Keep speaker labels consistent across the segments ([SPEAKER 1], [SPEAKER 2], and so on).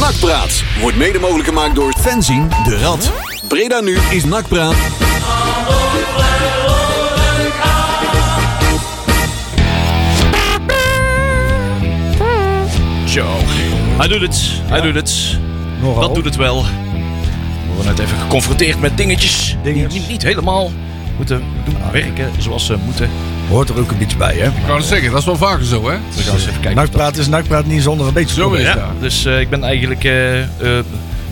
[SPEAKER 1] Nakpraat wordt mede mogelijk gemaakt door Fenzien de Rad. Breda nu is Nakpraat.
[SPEAKER 2] Joe. Hij doet het. Hij doet het.
[SPEAKER 3] Nogal.
[SPEAKER 2] Dat doet het wel. We worden net even geconfronteerd met dingetjes.
[SPEAKER 3] Dingetjes.
[SPEAKER 2] Die niet, niet helemaal moeten doen werken zoals ze moeten.
[SPEAKER 3] Hoort er ook een beetje bij, hè?
[SPEAKER 4] Ik kan het zeggen, dat is wel vaker zo, hè?
[SPEAKER 2] Dus eens even kijken.
[SPEAKER 3] Nakpraat is nakpraat niet zonder een beetje.
[SPEAKER 4] Zo is
[SPEAKER 3] context.
[SPEAKER 4] het.
[SPEAKER 2] Ja, dus eh, ik ben eigenlijk eh, eh,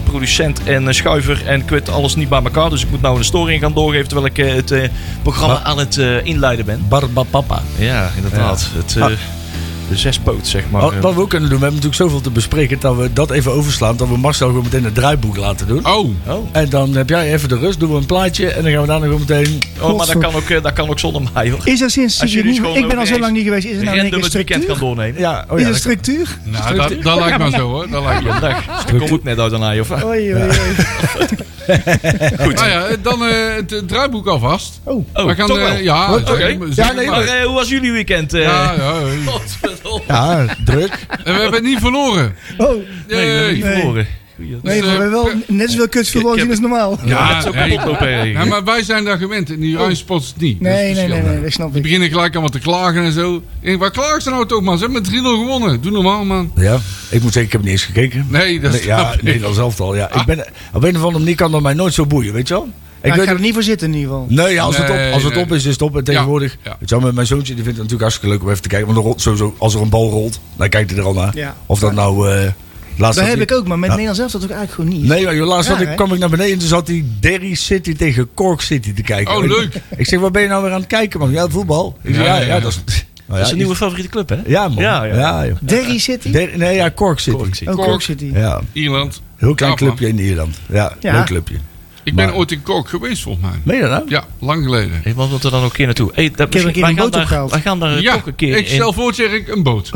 [SPEAKER 2] producent en eh, schuiver en ik weet alles niet bij elkaar. Dus ik moet nou een storing gaan doorgeven terwijl ik eh, het eh, programma
[SPEAKER 3] Wat?
[SPEAKER 2] aan het eh, inleiden ben.
[SPEAKER 3] Barbapapa.
[SPEAKER 2] Ja, inderdaad. Het, eh, Oh,
[SPEAKER 3] Ah.
[SPEAKER 2] De zespoot, zeg maar.
[SPEAKER 3] Oh,
[SPEAKER 2] eh.
[SPEAKER 3] Wat, wat we ook kunnen doen, we hebben natuurlijk zoveel te bespreken dat we dat even overslaan. Dat we Marcel gewoon meteen het draaiboek laten doen.
[SPEAKER 4] Oh,
[SPEAKER 2] oh.
[SPEAKER 3] En dan heb jij even de rust, doen we een plaatje en dan gaan we daarna gewoon meteen.
[SPEAKER 2] oh, maar dat kan, ook, eh, dat kan ook zonder mij, hoor.
[SPEAKER 5] Is er sinds
[SPEAKER 2] Als
[SPEAKER 5] je
[SPEAKER 2] jullie
[SPEAKER 5] niet,
[SPEAKER 2] gewoon
[SPEAKER 5] ik ben al zo
[SPEAKER 2] opeens
[SPEAKER 5] lang niet geweest. Is er nou in één
[SPEAKER 2] Random
[SPEAKER 5] keer
[SPEAKER 2] het weekend kan
[SPEAKER 5] structuur?
[SPEAKER 2] doornemen.
[SPEAKER 3] Ja, oh
[SPEAKER 5] Is
[SPEAKER 3] ja.
[SPEAKER 5] er
[SPEAKER 3] dat kan.
[SPEAKER 5] structuur?
[SPEAKER 4] nou, dat, dat lijkt me zo, hoor. Dat lijkt me.
[SPEAKER 2] Dag. Dat komt ook net uit een ei, of wat?
[SPEAKER 5] Oei, oei, oei.
[SPEAKER 4] Nou ja, dan eh, het eh, draaiboek alvast.
[SPEAKER 5] Oh.
[SPEAKER 2] Oh,
[SPEAKER 4] We gaan,
[SPEAKER 2] toch
[SPEAKER 4] eh,
[SPEAKER 2] wel?
[SPEAKER 4] ja,
[SPEAKER 2] Oké.
[SPEAKER 4] zeker,
[SPEAKER 3] Ja,
[SPEAKER 4] zeker
[SPEAKER 3] nee,
[SPEAKER 4] maar.
[SPEAKER 2] Maar eh, hoe was jullie weekend? eh?
[SPEAKER 4] Ja, ja, ja.
[SPEAKER 2] Godverdomme.
[SPEAKER 3] Ja, druk.
[SPEAKER 4] En we hebben het niet verloren. Dus, eh,
[SPEAKER 5] Oh,
[SPEAKER 2] Nee, ik ben
[SPEAKER 4] Yay.
[SPEAKER 2] niet
[SPEAKER 5] Nee.
[SPEAKER 2] verloren.
[SPEAKER 5] nee, maar we hebben wel net zoveel kutsverloren zien als normaal.
[SPEAKER 2] Ja, het is ook
[SPEAKER 4] nee.
[SPEAKER 2] kapot lopen, hè.
[SPEAKER 4] Ja, Nou, maar wij zijn daar gewend en die ruimspots niet. Dat is
[SPEAKER 5] Nee,
[SPEAKER 4] het
[SPEAKER 5] nee, nee,
[SPEAKER 4] verschil.
[SPEAKER 5] nee, dat snap
[SPEAKER 4] Die
[SPEAKER 5] ik.
[SPEAKER 4] beginnen gelijk allemaal te klagen en zo. Ik denk, waar klagen ze nou toch, man? Ze hebben met 3-0 gewonnen. Doe normaal, man.
[SPEAKER 3] Ja, ik moet zeggen, ik heb niet eens gekeken.
[SPEAKER 4] Nee, dat
[SPEAKER 3] Nee,
[SPEAKER 4] is
[SPEAKER 3] ja, Nederlands elftal. Ja. Ik ben, op een of andere manier kan dat mij nooit zo boeien, weet je wel?
[SPEAKER 5] Ik,
[SPEAKER 3] Ik weet
[SPEAKER 5] ga er niet voor zitten in ieder geval.
[SPEAKER 3] Nee, ja, als, het,
[SPEAKER 4] Nee,
[SPEAKER 3] op, als het
[SPEAKER 4] nee.
[SPEAKER 3] op is, is het op. En tegenwoordig,
[SPEAKER 4] ja.
[SPEAKER 3] Weet je wel, met mijn zoontje die vindt het natuurlijk hartstikke leuk om even te kijken. Want er rolt sowieso, als er een bal rolt, dan kijkt hij er al naar.
[SPEAKER 5] Ja.
[SPEAKER 3] Of dat nou... eh laatst
[SPEAKER 5] Dat
[SPEAKER 3] had
[SPEAKER 5] heb
[SPEAKER 3] hij-
[SPEAKER 5] ik ook, maar met
[SPEAKER 3] Ja.
[SPEAKER 5] Nederland zelf dat ook eigenlijk gewoon niet.
[SPEAKER 3] Nee, maar joh, laatst had
[SPEAKER 5] Ja,
[SPEAKER 3] ik,
[SPEAKER 5] hè?
[SPEAKER 3] kwam ik naar beneden en toen zat hij Derry City tegen Cork City te kijken.
[SPEAKER 4] Oh,
[SPEAKER 3] En ik-
[SPEAKER 4] leuk.
[SPEAKER 3] Ik zeg, wat ben je nou weer aan het kijken, man? Ja, voetbal. Ik zeg,
[SPEAKER 4] Ja,
[SPEAKER 3] ja,
[SPEAKER 4] ja,
[SPEAKER 3] ja,
[SPEAKER 4] ja.
[SPEAKER 3] dat is... Nou
[SPEAKER 2] Dat is
[SPEAKER 3] ja,
[SPEAKER 2] een nieuwe favoriete club, hè?
[SPEAKER 3] Ja, man.
[SPEAKER 2] Ja,
[SPEAKER 3] Ja,
[SPEAKER 2] ja.
[SPEAKER 3] joh.
[SPEAKER 5] Derry City?
[SPEAKER 3] Derry- nee, ja, Cork City.
[SPEAKER 2] Cork City.
[SPEAKER 5] oh,
[SPEAKER 4] Cork.
[SPEAKER 5] Cork City.
[SPEAKER 3] Ja,
[SPEAKER 4] Ierland.
[SPEAKER 3] heel klein
[SPEAKER 4] Ja, man.
[SPEAKER 3] clubje in Ierland. Ja,
[SPEAKER 5] Ja.
[SPEAKER 3] leuk clubje.
[SPEAKER 4] Ik ben
[SPEAKER 3] Maar-
[SPEAKER 4] ooit in Kork geweest, volgens mij.
[SPEAKER 3] Meen je dat nou?
[SPEAKER 4] Ja, lang geleden.
[SPEAKER 2] Hey, wat moet er dan ook een keer naartoe? Hey, dat
[SPEAKER 5] heb een keer
[SPEAKER 2] wij
[SPEAKER 5] een
[SPEAKER 2] gaan
[SPEAKER 5] boot
[SPEAKER 2] daar-
[SPEAKER 5] opgehaald.
[SPEAKER 2] Wij gaan daar
[SPEAKER 4] Ja,
[SPEAKER 2] ook Eh, een keer
[SPEAKER 4] ik
[SPEAKER 2] in,
[SPEAKER 4] stel voor, zeg ik, een boot.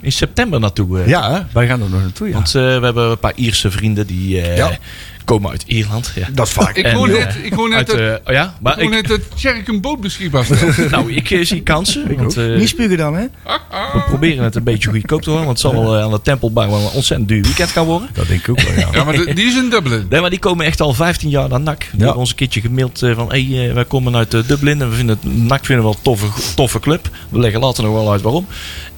[SPEAKER 2] in september naartoe. eh.
[SPEAKER 3] Ja, hè? wij gaan er nog naartoe, ja.
[SPEAKER 2] Want eh, we hebben een paar Ierse vrienden die eh,
[SPEAKER 3] Ja.
[SPEAKER 2] komen uit Ierland. Ja.
[SPEAKER 3] dat is vaak.
[SPEAKER 4] Ik
[SPEAKER 2] En,
[SPEAKER 4] hoor
[SPEAKER 2] eh,
[SPEAKER 4] net, ik hoor net,
[SPEAKER 2] Uit,
[SPEAKER 4] dat,
[SPEAKER 2] eh, oh ja, maar
[SPEAKER 4] ik hoor
[SPEAKER 2] ik,
[SPEAKER 4] net dat Sjerk een boot beschikbaar stelt.
[SPEAKER 2] nou, ik eh, zie kansen. want, eh,
[SPEAKER 5] Niet spugen dan, hè?
[SPEAKER 2] we proberen het een beetje goedkoop te houden. Want het zal wel eh, aan de tempelbouw een ontzettend duur weekend gaan worden.
[SPEAKER 3] Dat denk ik ook wel, ja.
[SPEAKER 4] Ja, maar de- die is in Dublin.
[SPEAKER 2] Nee, maar die komen echt al 15 jaar naar NAC. Die
[SPEAKER 3] Ja.
[SPEAKER 2] hebben ons een keertje gemaild eh, van... hey, eh, wij komen uit eh, Dublin en we vinden het, NAC vinden we wel een toffe, toffe club. We leggen later nog wel uit waarom.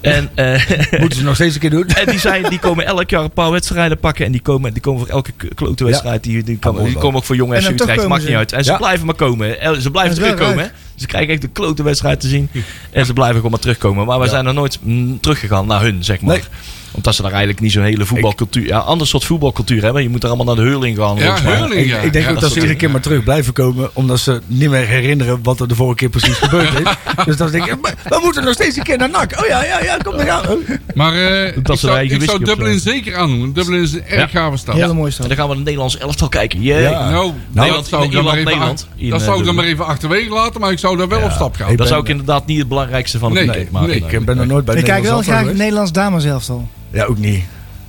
[SPEAKER 2] En, eh,
[SPEAKER 3] Moeten ze nog steeds een keer doen?
[SPEAKER 2] en die, zijn, die komen elk jaar een paar wedstrijden pakken. En die komen, die komen voor elke k- klote wedstrijd. Die, die, komen, die komen ook voor Jong
[SPEAKER 5] En
[SPEAKER 2] FC
[SPEAKER 5] dan toch
[SPEAKER 2] Utrecht.
[SPEAKER 5] komen
[SPEAKER 2] Maakt niet
[SPEAKER 5] ze.
[SPEAKER 2] uit. En ze
[SPEAKER 3] Ja.
[SPEAKER 2] blijven maar komen. El- Ze blijven
[SPEAKER 5] Dat is wel
[SPEAKER 2] terugkomen.
[SPEAKER 5] leuk.
[SPEAKER 2] hè. Ze krijgen echt de klote wedstrijd te zien. En ze blijven gewoon maar terugkomen. Maar wij zijn er nooit mm, teruggegaan naar hun, zeg maar.
[SPEAKER 3] Nee.
[SPEAKER 2] Omdat ze daar eigenlijk niet zo'n hele voetbalcultuur... Ja, ander soort voetbalcultuur hebben. Je moet er allemaal naar de hurling gaan.
[SPEAKER 4] Ja,
[SPEAKER 2] volgens mij.
[SPEAKER 4] Heurling, ja.
[SPEAKER 3] Ik, ik denk
[SPEAKER 4] Ja,
[SPEAKER 3] ook dat ze
[SPEAKER 4] soort
[SPEAKER 3] iedere keer maar terug blijven komen, omdat ze niet meer herinneren wat er de vorige keer precies gebeurd is. Dus dan denk ik, maar we moeten nog steeds een keer naar NAC. Oh ja, ja, ja, kom dan gaan. Oh.
[SPEAKER 4] Maar eh, ik
[SPEAKER 2] ze
[SPEAKER 4] zou,
[SPEAKER 2] een eigen
[SPEAKER 4] ik zou
[SPEAKER 2] whisky op
[SPEAKER 4] Dublin zeker aandoen. Dublin is een erg gave stad.
[SPEAKER 5] Heel mooi
[SPEAKER 2] En
[SPEAKER 5] stad.
[SPEAKER 2] dan gaan we het Nederlands elftal kijken. Jee.
[SPEAKER 3] Ja.
[SPEAKER 4] Nou,
[SPEAKER 2] Nederland,
[SPEAKER 4] dat zou ik dan maar even,
[SPEAKER 2] Nederland.
[SPEAKER 4] achter-
[SPEAKER 2] In,
[SPEAKER 4] dat
[SPEAKER 2] eh,
[SPEAKER 4] zou ik
[SPEAKER 2] Dublin.
[SPEAKER 4] dan maar even achterwege laten, maar ik zou daar wel op stap gaan.
[SPEAKER 2] Dat
[SPEAKER 3] Ik ben- eh,
[SPEAKER 2] zou ik inderdaad niet het belangrijkste van het
[SPEAKER 4] Nee,
[SPEAKER 2] weekend maken.
[SPEAKER 4] nee, ik
[SPEAKER 3] Ik ben er nooit bij
[SPEAKER 5] Ik kijk wel
[SPEAKER 3] Nederlands
[SPEAKER 5] graag
[SPEAKER 3] elftal
[SPEAKER 5] het Nederlands dames zelf al.
[SPEAKER 3] geweest. Ja, ook niet.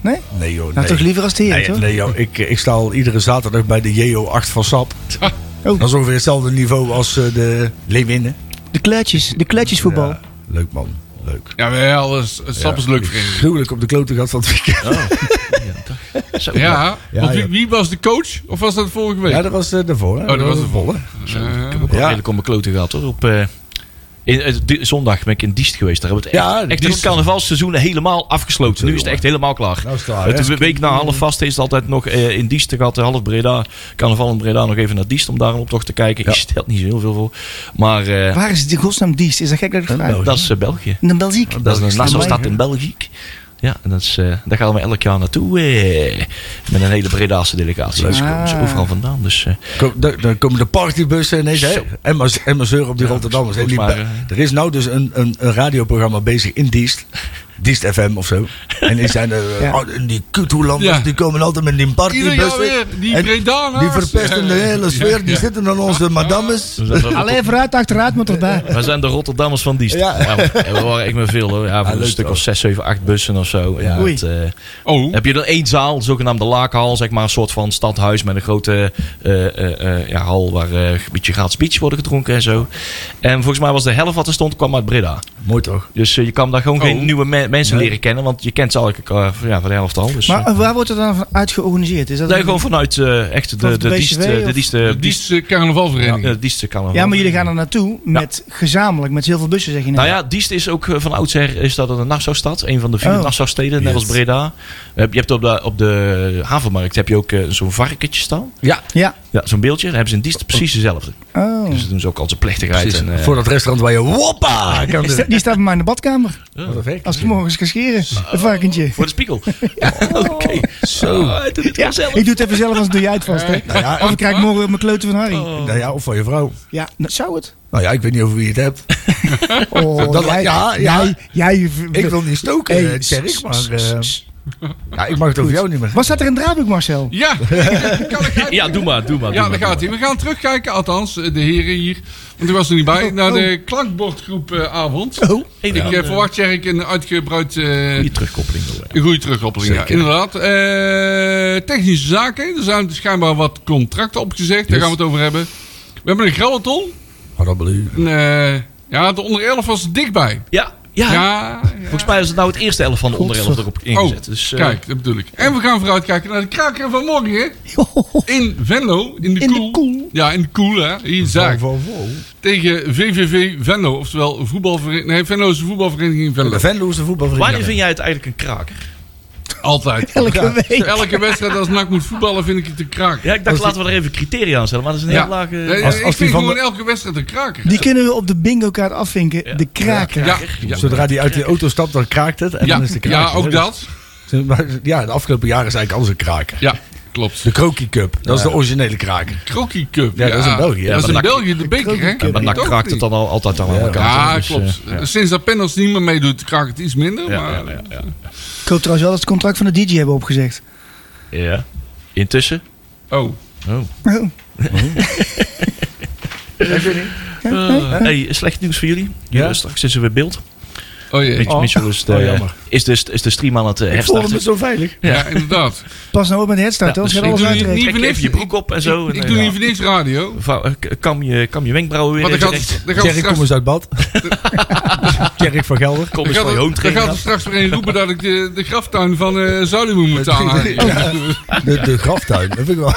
[SPEAKER 5] Nee?
[SPEAKER 3] Nee joh,
[SPEAKER 5] Nou,
[SPEAKER 3] nee.
[SPEAKER 5] toch liever als de heren,
[SPEAKER 3] Nee,
[SPEAKER 5] toch?
[SPEAKER 3] nee, joh, ik, ik sta al iedere zaterdag bij de JO8 van SAP. Dat is ongeveer hetzelfde niveau als eh, de Leeuwinnen.
[SPEAKER 5] De kluitjes, de kluitjesvoetbal.
[SPEAKER 3] Ja, leuk man, leuk.
[SPEAKER 4] Ja, wel, eh, stap is leuk vereniging.
[SPEAKER 3] Gruwelijk op de klote gehad van het weekend.
[SPEAKER 2] Zo,
[SPEAKER 4] Ja,
[SPEAKER 3] Oh. Ja,
[SPEAKER 4] want wie,
[SPEAKER 3] ja.
[SPEAKER 4] wie was de coach? Of was dat vorige week?
[SPEAKER 3] Ja, dat was eh, daarvoor. hè.
[SPEAKER 4] Oh, dat was ervoor.
[SPEAKER 3] volle.
[SPEAKER 4] Eh,
[SPEAKER 2] Ik heb ook wel
[SPEAKER 3] Ja.
[SPEAKER 2] redelijk om mijn kloten gehad hoor. Op, eh, in, eh, di- zondag ben ik in Diest geweest. Daar hebben we het echt,
[SPEAKER 3] Ja,
[SPEAKER 2] echt
[SPEAKER 3] Diest.
[SPEAKER 2] het carnavalseizoen helemaal afgesloten. Nu is het echt helemaal klaar.
[SPEAKER 3] Nou is het klaar,
[SPEAKER 2] het
[SPEAKER 3] hè?
[SPEAKER 2] de week na half vast is het altijd nog eh, in Diest. gaat de half Breda, carnaval in Breda nog even naar Diest om daar een optocht te kijken.
[SPEAKER 3] Ja.
[SPEAKER 2] Je stelt niet zo heel veel voor. Maar eh,
[SPEAKER 5] Waar is het in godsnaam Diest? Is dat gek dat ik het vraag?
[SPEAKER 2] dat is eh, België.
[SPEAKER 5] In België.
[SPEAKER 2] Dat is een
[SPEAKER 5] België.
[SPEAKER 2] Nassau-stad in België. Ja, en dat is, eh, daar gaan we elk jaar naartoe. eh, met een hele Bredaanse delegatie. Dus komen ze
[SPEAKER 5] Ah.
[SPEAKER 2] overal vandaan. Dus, eh,
[SPEAKER 3] Kom- da- Dan komen de partybussen ineens. hè? En maar- En maar zeuren op die Rotterdammers. hè?
[SPEAKER 2] goed
[SPEAKER 3] Die
[SPEAKER 2] maar,
[SPEAKER 3] ba-
[SPEAKER 4] eh.
[SPEAKER 3] Er is nou dus een, een, een radioprogramma bezig in Diest. Diest FM of zo. En die zijn er,
[SPEAKER 5] Ja.
[SPEAKER 3] oh, die kuthoelanders,
[SPEAKER 4] Ja.
[SPEAKER 3] die komen altijd met die
[SPEAKER 4] Ieder jaar
[SPEAKER 3] partybussen.
[SPEAKER 4] weer, die
[SPEAKER 3] En
[SPEAKER 4] Bredanaars.
[SPEAKER 3] Die verpesten de
[SPEAKER 4] Ja.
[SPEAKER 3] hele sfeer. Die zitten aan onze madammes.
[SPEAKER 2] we zijn wel-
[SPEAKER 5] Alleen vooruit, achteruit, maar toch daar.
[SPEAKER 2] Wij zijn de Rotterdammers van Diest. Ja.
[SPEAKER 3] Ja.
[SPEAKER 2] we waren echt maar veel hoor. Ja, van
[SPEAKER 3] leuk
[SPEAKER 2] een stuk
[SPEAKER 3] wel.
[SPEAKER 2] of 6, 7, 8 bussen of zo. Ja,
[SPEAKER 5] Oei.
[SPEAKER 2] het, eh,
[SPEAKER 4] Oh,
[SPEAKER 2] heb je dan één zaal, een zogenaamde laakhal, zeg maar een soort van stadhuis met een grote eh, eh, eh, ja, hal waar eh, een beetje gratis speech worden gedronken en zo. En volgens mij was de helft wat er stond, kwam uit Breda.
[SPEAKER 3] Mooi toch?
[SPEAKER 2] Dus eh, je kan daar gewoon
[SPEAKER 4] Oh.
[SPEAKER 2] geen nieuwe me- mensen
[SPEAKER 3] Nee.
[SPEAKER 2] leren kennen, want je kent ze eigenlijk eh, van, ja, van de helft al. Dus,
[SPEAKER 5] Maar
[SPEAKER 2] eh,
[SPEAKER 5] eh, waar wordt het dan van uitgeorganiseerd? Is dat
[SPEAKER 2] nee,
[SPEAKER 5] een-
[SPEAKER 2] gewoon vanuit eh, echt de,
[SPEAKER 5] Vanaf de
[SPEAKER 2] de, dienst,
[SPEAKER 5] BCW
[SPEAKER 2] eh, de
[SPEAKER 5] of-
[SPEAKER 2] dienst, eh,
[SPEAKER 4] De
[SPEAKER 2] dienst,
[SPEAKER 4] Diestse carnavalvereniging.
[SPEAKER 2] ja, de dienst kan er
[SPEAKER 5] Ja,
[SPEAKER 2] wel.
[SPEAKER 5] maar jullie gaan er naartoe met gezamenlijk, met heel veel bussen, zeg je net.
[SPEAKER 2] Nou ja, Diest is ook eh, van oudsher is dat een Nassau-stad. Een van de vier
[SPEAKER 5] Oh.
[SPEAKER 2] Nassau-steden, net
[SPEAKER 3] Yes.
[SPEAKER 2] als Breda. Eh, Je hebt op de, op de havenmarkt heb je ook eh, zo'n varkentje staan.
[SPEAKER 5] Ja.
[SPEAKER 2] Ja, zo'n beeldje. Daar hebben ze in Diest precies dezelfde.
[SPEAKER 5] Oh.
[SPEAKER 2] Dus dat doen ze ook als een plechtigheid.
[SPEAKER 3] Precies.
[SPEAKER 2] En, eh,
[SPEAKER 3] Voor dat restaurant waar je woppa kan
[SPEAKER 5] Is dat-
[SPEAKER 3] doen.
[SPEAKER 5] Die staat bij mij in de badkamer.
[SPEAKER 3] Wat een gek.
[SPEAKER 5] Als ik morgens ga scheren. Een varkentje.
[SPEAKER 2] voor de spiegel. Oké. Oh. Zo. doe het
[SPEAKER 5] Ja, ik doe het even zelf, anders doe jij het vast. Hè?
[SPEAKER 3] Nou ja,
[SPEAKER 5] Of ik krijg morgen op mijn kloten van Harry.
[SPEAKER 3] Nou ja, of van je vrouw.
[SPEAKER 5] Ja, dat zou het.
[SPEAKER 3] Nou ja, ik weet niet over wie je het hebt.
[SPEAKER 5] Oh,
[SPEAKER 3] Dat-
[SPEAKER 5] jij,
[SPEAKER 3] ja, ja.
[SPEAKER 5] Jij, jij,
[SPEAKER 3] Ik wil niet stoken,
[SPEAKER 5] Hey,
[SPEAKER 3] eh, Dirk, maar...
[SPEAKER 5] s-
[SPEAKER 3] eh, ja, ik mag het over jou niet meer
[SPEAKER 5] Wat staat er in Draaiboek, Marcel?
[SPEAKER 4] Ja, kan ik uit-
[SPEAKER 2] eh, Ja, doe maar, doe maar.
[SPEAKER 4] Ja,
[SPEAKER 2] doe
[SPEAKER 4] daar
[SPEAKER 2] maar,
[SPEAKER 4] gaat
[SPEAKER 2] doe
[SPEAKER 4] hij. We gaan terugkijken, althans, eh, de heren hier. Want ik was er niet bij.
[SPEAKER 5] Oh,
[SPEAKER 4] Naar
[SPEAKER 5] oh.
[SPEAKER 4] de klankbordgroep eh, avond.
[SPEAKER 5] Oh.
[SPEAKER 2] maar.
[SPEAKER 4] Ik
[SPEAKER 2] Ja.
[SPEAKER 4] eh, verwacht, zeg ik, een uitgebreid... eh,
[SPEAKER 2] Die terugkoppeling. wil, ja.
[SPEAKER 4] een goede terugkoppeling, ja,
[SPEAKER 3] Zeker.
[SPEAKER 4] inderdaad. Eh, technische zaken. Er zijn dus schijnbaar wat contracten opgezegd. Daar
[SPEAKER 3] Yes.
[SPEAKER 4] gaan we het over hebben. We hebben een grabbelton. En, eh, ja, de onder 11 was er dichtbij.
[SPEAKER 2] Ja, Ah. ja.
[SPEAKER 4] Ja, ja.
[SPEAKER 2] Volgens mij is het nou het eerste elf van de onder elf erop
[SPEAKER 4] Oh,
[SPEAKER 2] ingezet. Dus, eh,
[SPEAKER 4] kijk, dat bedoel ik. En we gaan vooruitkijken naar de kraker van morgen. hè. In Venlo, in de
[SPEAKER 5] In de
[SPEAKER 4] koel.
[SPEAKER 5] koel.
[SPEAKER 4] Ja, in de koel, hè. Hier, zaak. Tegen VVV Venlo, oftewel voetbalvereniging. Nee, Venlo is de voetbalvereniging in Venlo.
[SPEAKER 3] De Venlo is
[SPEAKER 2] Wanneer
[SPEAKER 3] de voetbalvereniging.
[SPEAKER 2] vind jij het eigenlijk een kraker?
[SPEAKER 4] Altijd.
[SPEAKER 5] Elke week.
[SPEAKER 4] Elke wedstrijd als NAC moet voetballen vind ik het een kraker.
[SPEAKER 2] Ja, ik dacht, laten we er even criteria aan stellen. Maar dat is een heel eh, lage...
[SPEAKER 4] Nee,
[SPEAKER 3] Als-
[SPEAKER 4] ik
[SPEAKER 3] als die
[SPEAKER 4] vind
[SPEAKER 3] van de-
[SPEAKER 4] gewoon elke wedstrijd een kraker.
[SPEAKER 5] Die kunnen we op de bingo kaart afvinken.
[SPEAKER 2] Ja.
[SPEAKER 5] De kraker.
[SPEAKER 4] Ja, ja,
[SPEAKER 3] Zodra die uit die auto stapt, dan kraakt het. En dan
[SPEAKER 4] ja,
[SPEAKER 3] is de kraker. Dus,
[SPEAKER 4] ja, ook dat.
[SPEAKER 3] Maar Ja, de afgelopen jaren is eigenlijk alles een kraker.
[SPEAKER 4] Ja, klopt.
[SPEAKER 3] De Croaky Cup, dat is de originele kraker.
[SPEAKER 4] Crocky Cup.
[SPEAKER 3] Ja, dat is in België, ja.
[SPEAKER 4] Dat is in
[SPEAKER 2] Maar NAC-
[SPEAKER 4] België de beker, hè?
[SPEAKER 2] Ja, maar dan
[SPEAKER 4] Ook
[SPEAKER 2] kraakt het
[SPEAKER 4] niet.
[SPEAKER 2] dan al, altijd al aan
[SPEAKER 3] Ja.
[SPEAKER 2] elkaar.
[SPEAKER 4] Ja,
[SPEAKER 2] Dus, eh,
[SPEAKER 4] klopt.
[SPEAKER 2] ja.
[SPEAKER 4] Sinds dat Pennos niet meer meedoet, kraakt het iets minder.
[SPEAKER 2] Ja,
[SPEAKER 4] maar,
[SPEAKER 2] ja, ja,
[SPEAKER 5] Ik hoop trouwens wel dat ze het contract van de DJ hebben opgezegd.
[SPEAKER 2] ja. Ja. Intussen?
[SPEAKER 4] Oh,
[SPEAKER 2] Oh.
[SPEAKER 5] Oh.
[SPEAKER 2] Hey, slecht nieuws voor jullie.
[SPEAKER 3] Ja?
[SPEAKER 2] Straks is er weer beeld.
[SPEAKER 4] oh jee.
[SPEAKER 2] Mitch- Mitchell is de,
[SPEAKER 3] Oh, jammer.
[SPEAKER 2] is, de, is de stream aan het eh,
[SPEAKER 3] Ik voel
[SPEAKER 2] herstarten.
[SPEAKER 3] me zo veilig.
[SPEAKER 4] Ja, inderdaad.
[SPEAKER 5] Pas nou op met de headstart,
[SPEAKER 2] Ja,
[SPEAKER 5] hoor. Ze
[SPEAKER 2] dus
[SPEAKER 5] hebben
[SPEAKER 4] ik
[SPEAKER 5] alles
[SPEAKER 4] doe niet-
[SPEAKER 5] uitgerekend.
[SPEAKER 4] niet-
[SPEAKER 2] Trek even
[SPEAKER 4] ben
[SPEAKER 2] je broek op en zo.
[SPEAKER 4] Ik, ik
[SPEAKER 2] en,
[SPEAKER 4] doe
[SPEAKER 2] eh,
[SPEAKER 4] niet voor niks radio.
[SPEAKER 2] vouw- eh, k- Kam je, kam je wenkbrauwen weer
[SPEAKER 4] Want dan
[SPEAKER 2] even
[SPEAKER 4] gaat
[SPEAKER 2] recht.
[SPEAKER 4] het- dan gaat het
[SPEAKER 3] Jerry, kom
[SPEAKER 4] straks...
[SPEAKER 3] eens uit bad. Jerry van Gelder.
[SPEAKER 2] Kom
[SPEAKER 4] Dan
[SPEAKER 2] eens
[SPEAKER 4] gaat,
[SPEAKER 2] van je home
[SPEAKER 4] het, dan
[SPEAKER 2] trainen.
[SPEAKER 4] gaat er straks weer een roepen dat ik de, de graftuin van eh Zuidermoe moet aanhaken.
[SPEAKER 3] De, de graftuin, dat vind ik wel.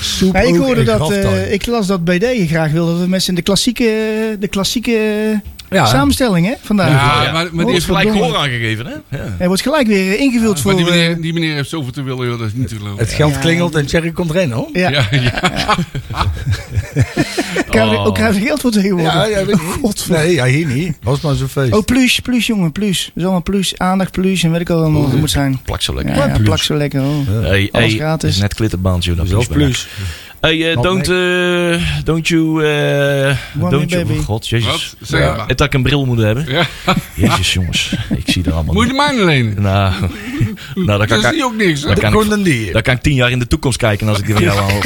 [SPEAKER 3] Soep,
[SPEAKER 5] Ja, ik
[SPEAKER 3] ook
[SPEAKER 5] hoorde
[SPEAKER 3] en
[SPEAKER 5] dat, eh,
[SPEAKER 3] graftuin.
[SPEAKER 5] ik las dat BD graag wilde dat we mensen de klassieke, de klassieke
[SPEAKER 3] ja,
[SPEAKER 5] samenstelling hè, vandaag.
[SPEAKER 4] Ja,
[SPEAKER 2] Ja.
[SPEAKER 4] maar, maar die
[SPEAKER 5] Oh,
[SPEAKER 4] heeft
[SPEAKER 5] wat
[SPEAKER 2] Gelijk
[SPEAKER 5] verdomme.
[SPEAKER 2] gehoor aangegeven, hè? Ja.
[SPEAKER 5] Hij wordt gelijk weer eh, ingevuld voor...
[SPEAKER 4] Maar die
[SPEAKER 5] eh,
[SPEAKER 4] meneer, die meneer heeft zoveel te willen, joh, dat is niet te geloven.
[SPEAKER 3] het geld
[SPEAKER 5] Ja.
[SPEAKER 3] klingelt en Jerry komt erin, hoor.
[SPEAKER 5] ja,
[SPEAKER 4] Ja, ja.
[SPEAKER 5] eh, krijgen we-
[SPEAKER 2] Oh.
[SPEAKER 5] ook krijgen we geld voor tegenwoordig.
[SPEAKER 3] Ja, ja, weet ik niet.
[SPEAKER 5] Godver-
[SPEAKER 3] Nee, ja, hier niet. Was maar zo'n feest.
[SPEAKER 5] Oh, plus, plus jongen, plus. Dat is allemaal plus, aandacht plus en weet ik al
[SPEAKER 3] Oh,
[SPEAKER 5] allemaal wat het
[SPEAKER 3] dus-
[SPEAKER 5] moet zijn.
[SPEAKER 2] Plak zo lekker.
[SPEAKER 5] Ja, ja plak zo lekker. Oh.
[SPEAKER 2] Hey,
[SPEAKER 5] Alles
[SPEAKER 2] hey,
[SPEAKER 5] gratis.
[SPEAKER 2] het is net klitterbaantje. dat
[SPEAKER 3] Zelfs
[SPEAKER 2] is bijna.
[SPEAKER 3] plus.
[SPEAKER 2] Hey, eh,
[SPEAKER 3] Not
[SPEAKER 2] don't, eh, don't you... eh,
[SPEAKER 5] me
[SPEAKER 2] don't you...
[SPEAKER 5] baby.
[SPEAKER 2] oh God, jezus.
[SPEAKER 4] Wat? Zeg
[SPEAKER 3] Ja.
[SPEAKER 4] maar.
[SPEAKER 2] Het dat ik een bril moet hebben.
[SPEAKER 4] Ja.
[SPEAKER 2] Jezus, jongens. Ik zie er allemaal...
[SPEAKER 4] Moet je de mijne lenen?
[SPEAKER 2] Nou, nou dat
[SPEAKER 4] Dat is
[SPEAKER 2] kan ik...
[SPEAKER 4] niet ook niks. hè?
[SPEAKER 2] Dat kan
[SPEAKER 3] Kon
[SPEAKER 2] ik...
[SPEAKER 3] dan die.
[SPEAKER 2] Dan kan ik tien jaar in de toekomst kijken als ik die van jou haal.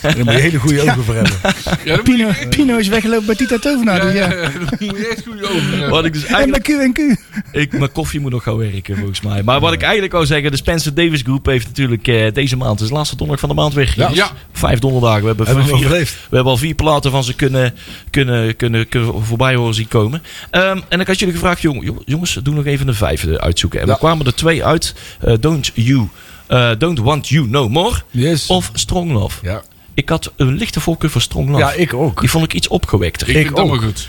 [SPEAKER 3] Daar moet je hele goede ogen voor hebben.
[SPEAKER 4] Oh. Ja, dat moet
[SPEAKER 5] Pino,
[SPEAKER 4] je-
[SPEAKER 5] Pino is weggelopen bij Tita Tovenaar.
[SPEAKER 4] ja,
[SPEAKER 5] dus ja.
[SPEAKER 4] ja, ja, dat moet je echt goed over hebben.
[SPEAKER 2] Wat ik dus
[SPEAKER 5] En
[SPEAKER 2] eigenlijk
[SPEAKER 5] bij Q&Q.
[SPEAKER 2] Ik, mijn koffie moet nog gaan werken, volgens mij. Maar wat ik eigenlijk wou zeggen, de Spencer Davis Group heeft natuurlijk eh, deze maand, het is de laatste donderdag van de maand weg.
[SPEAKER 3] Ja.
[SPEAKER 4] Ja.
[SPEAKER 2] Vijf donderdagen. We hebben,
[SPEAKER 3] Hebben we
[SPEAKER 2] vier-
[SPEAKER 3] overleefd.
[SPEAKER 2] we hebben al vier platen van ze kunnen, kunnen, kunnen, kunnen voorbij horen zien komen. Ehm, en ik had jullie gevraagd, jong, jong- jongens, doe nog even een vijfde uitzoeken. En
[SPEAKER 3] Ja.
[SPEAKER 2] we kwamen er twee uit. Eh, don't You, eh, Don't Want You No More
[SPEAKER 3] Yes.
[SPEAKER 2] of Strong Love.
[SPEAKER 3] Ja.
[SPEAKER 2] Ik had een lichte voorkeur voor Strong Love.
[SPEAKER 3] ja, ik ook.
[SPEAKER 2] Die vond ik iets opgewekter.
[SPEAKER 4] Ik vind het
[SPEAKER 3] ook.
[SPEAKER 4] allemaal goed.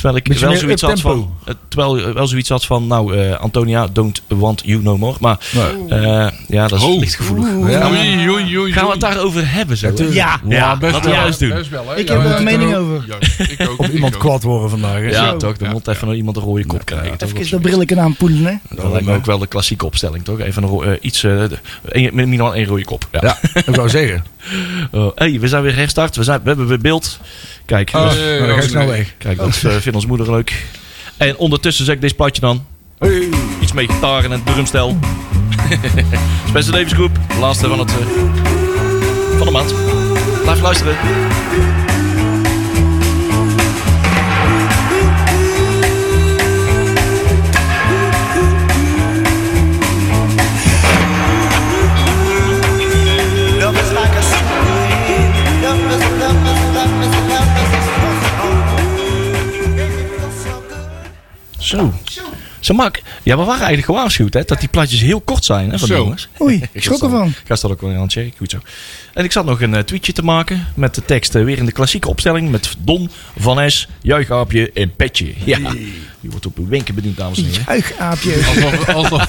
[SPEAKER 2] Terwijl ik
[SPEAKER 3] Beetje
[SPEAKER 2] wel
[SPEAKER 3] meer
[SPEAKER 2] zoiets, had
[SPEAKER 3] uptempo.
[SPEAKER 2] van, eh, terwijl, eh, wel zoiets had van, nou eh, Antonia, don't want you no more. Maar
[SPEAKER 3] Nee.
[SPEAKER 2] eh, ja, dat is
[SPEAKER 4] Oh.
[SPEAKER 2] licht gevoelig.
[SPEAKER 3] Ja.
[SPEAKER 4] Oei, oei, oei,
[SPEAKER 2] Gaan we
[SPEAKER 4] oei.
[SPEAKER 2] het daarover hebben zo? hè?
[SPEAKER 3] Natuurlijk.
[SPEAKER 5] Ja.
[SPEAKER 2] ja, laten we juist doen.
[SPEAKER 4] best wel, hè?
[SPEAKER 5] Ik heb er
[SPEAKER 4] dat doe
[SPEAKER 5] een mening
[SPEAKER 4] ik ook.
[SPEAKER 5] over.
[SPEAKER 4] Ja, ik ook.
[SPEAKER 3] Of
[SPEAKER 4] ik
[SPEAKER 3] iemand
[SPEAKER 4] ook.
[SPEAKER 3] kwaad worden vandaag. hè?
[SPEAKER 2] Ja,
[SPEAKER 5] Zo.
[SPEAKER 2] toch. Dan moet even nog iemand een rode kop krijgen. toch?
[SPEAKER 5] Even dat brilletje aanpoelen, hè.
[SPEAKER 2] Dat lijkt me ook wel de klassieke opstelling, toch? Even een ro- eh, iets, eh, de- een- minimaal één rode kop. Ja.
[SPEAKER 3] Ja, ik wou zeggen.
[SPEAKER 2] Oh, hey, we zijn weer herstart. We, zijn, we hebben weer beeld. Kijk,
[SPEAKER 4] Oh,
[SPEAKER 2] dat-
[SPEAKER 4] eh,
[SPEAKER 3] Maar dan ga ik snel
[SPEAKER 4] nee.
[SPEAKER 3] weg.
[SPEAKER 2] kijk dat eh, vindt ons moeder leuk. En ondertussen zeg ik dit plaatje dan.
[SPEAKER 3] Hey.
[SPEAKER 2] Iets mee gitaar en een drumstel. Spencer Davis Groep, laatste van, het, eh, van de maand. Blijf luisteren.
[SPEAKER 6] Love is like a spring. Love is, love is, love is, love is. Love is.
[SPEAKER 2] Zo. Zo, Ze maken, ja, we waren eigenlijk gewaarschuwd hè, dat die plaatjes heel kort zijn hè, van de
[SPEAKER 4] Zo.
[SPEAKER 2] jongens.
[SPEAKER 5] Oei, ik schrok
[SPEAKER 2] zat-
[SPEAKER 5] ervan.
[SPEAKER 2] Ik dat ook wel aan het checken. Goed zo. En ik zat nog een eh, tweetje te maken met de tekst eh, weer in de klassieke opstelling met Don, Van S, Juichaapje en Petje. Ja, die wordt op een wenken bediend, dames en heren.
[SPEAKER 5] Juichaapje,
[SPEAKER 4] Alsof, alsof,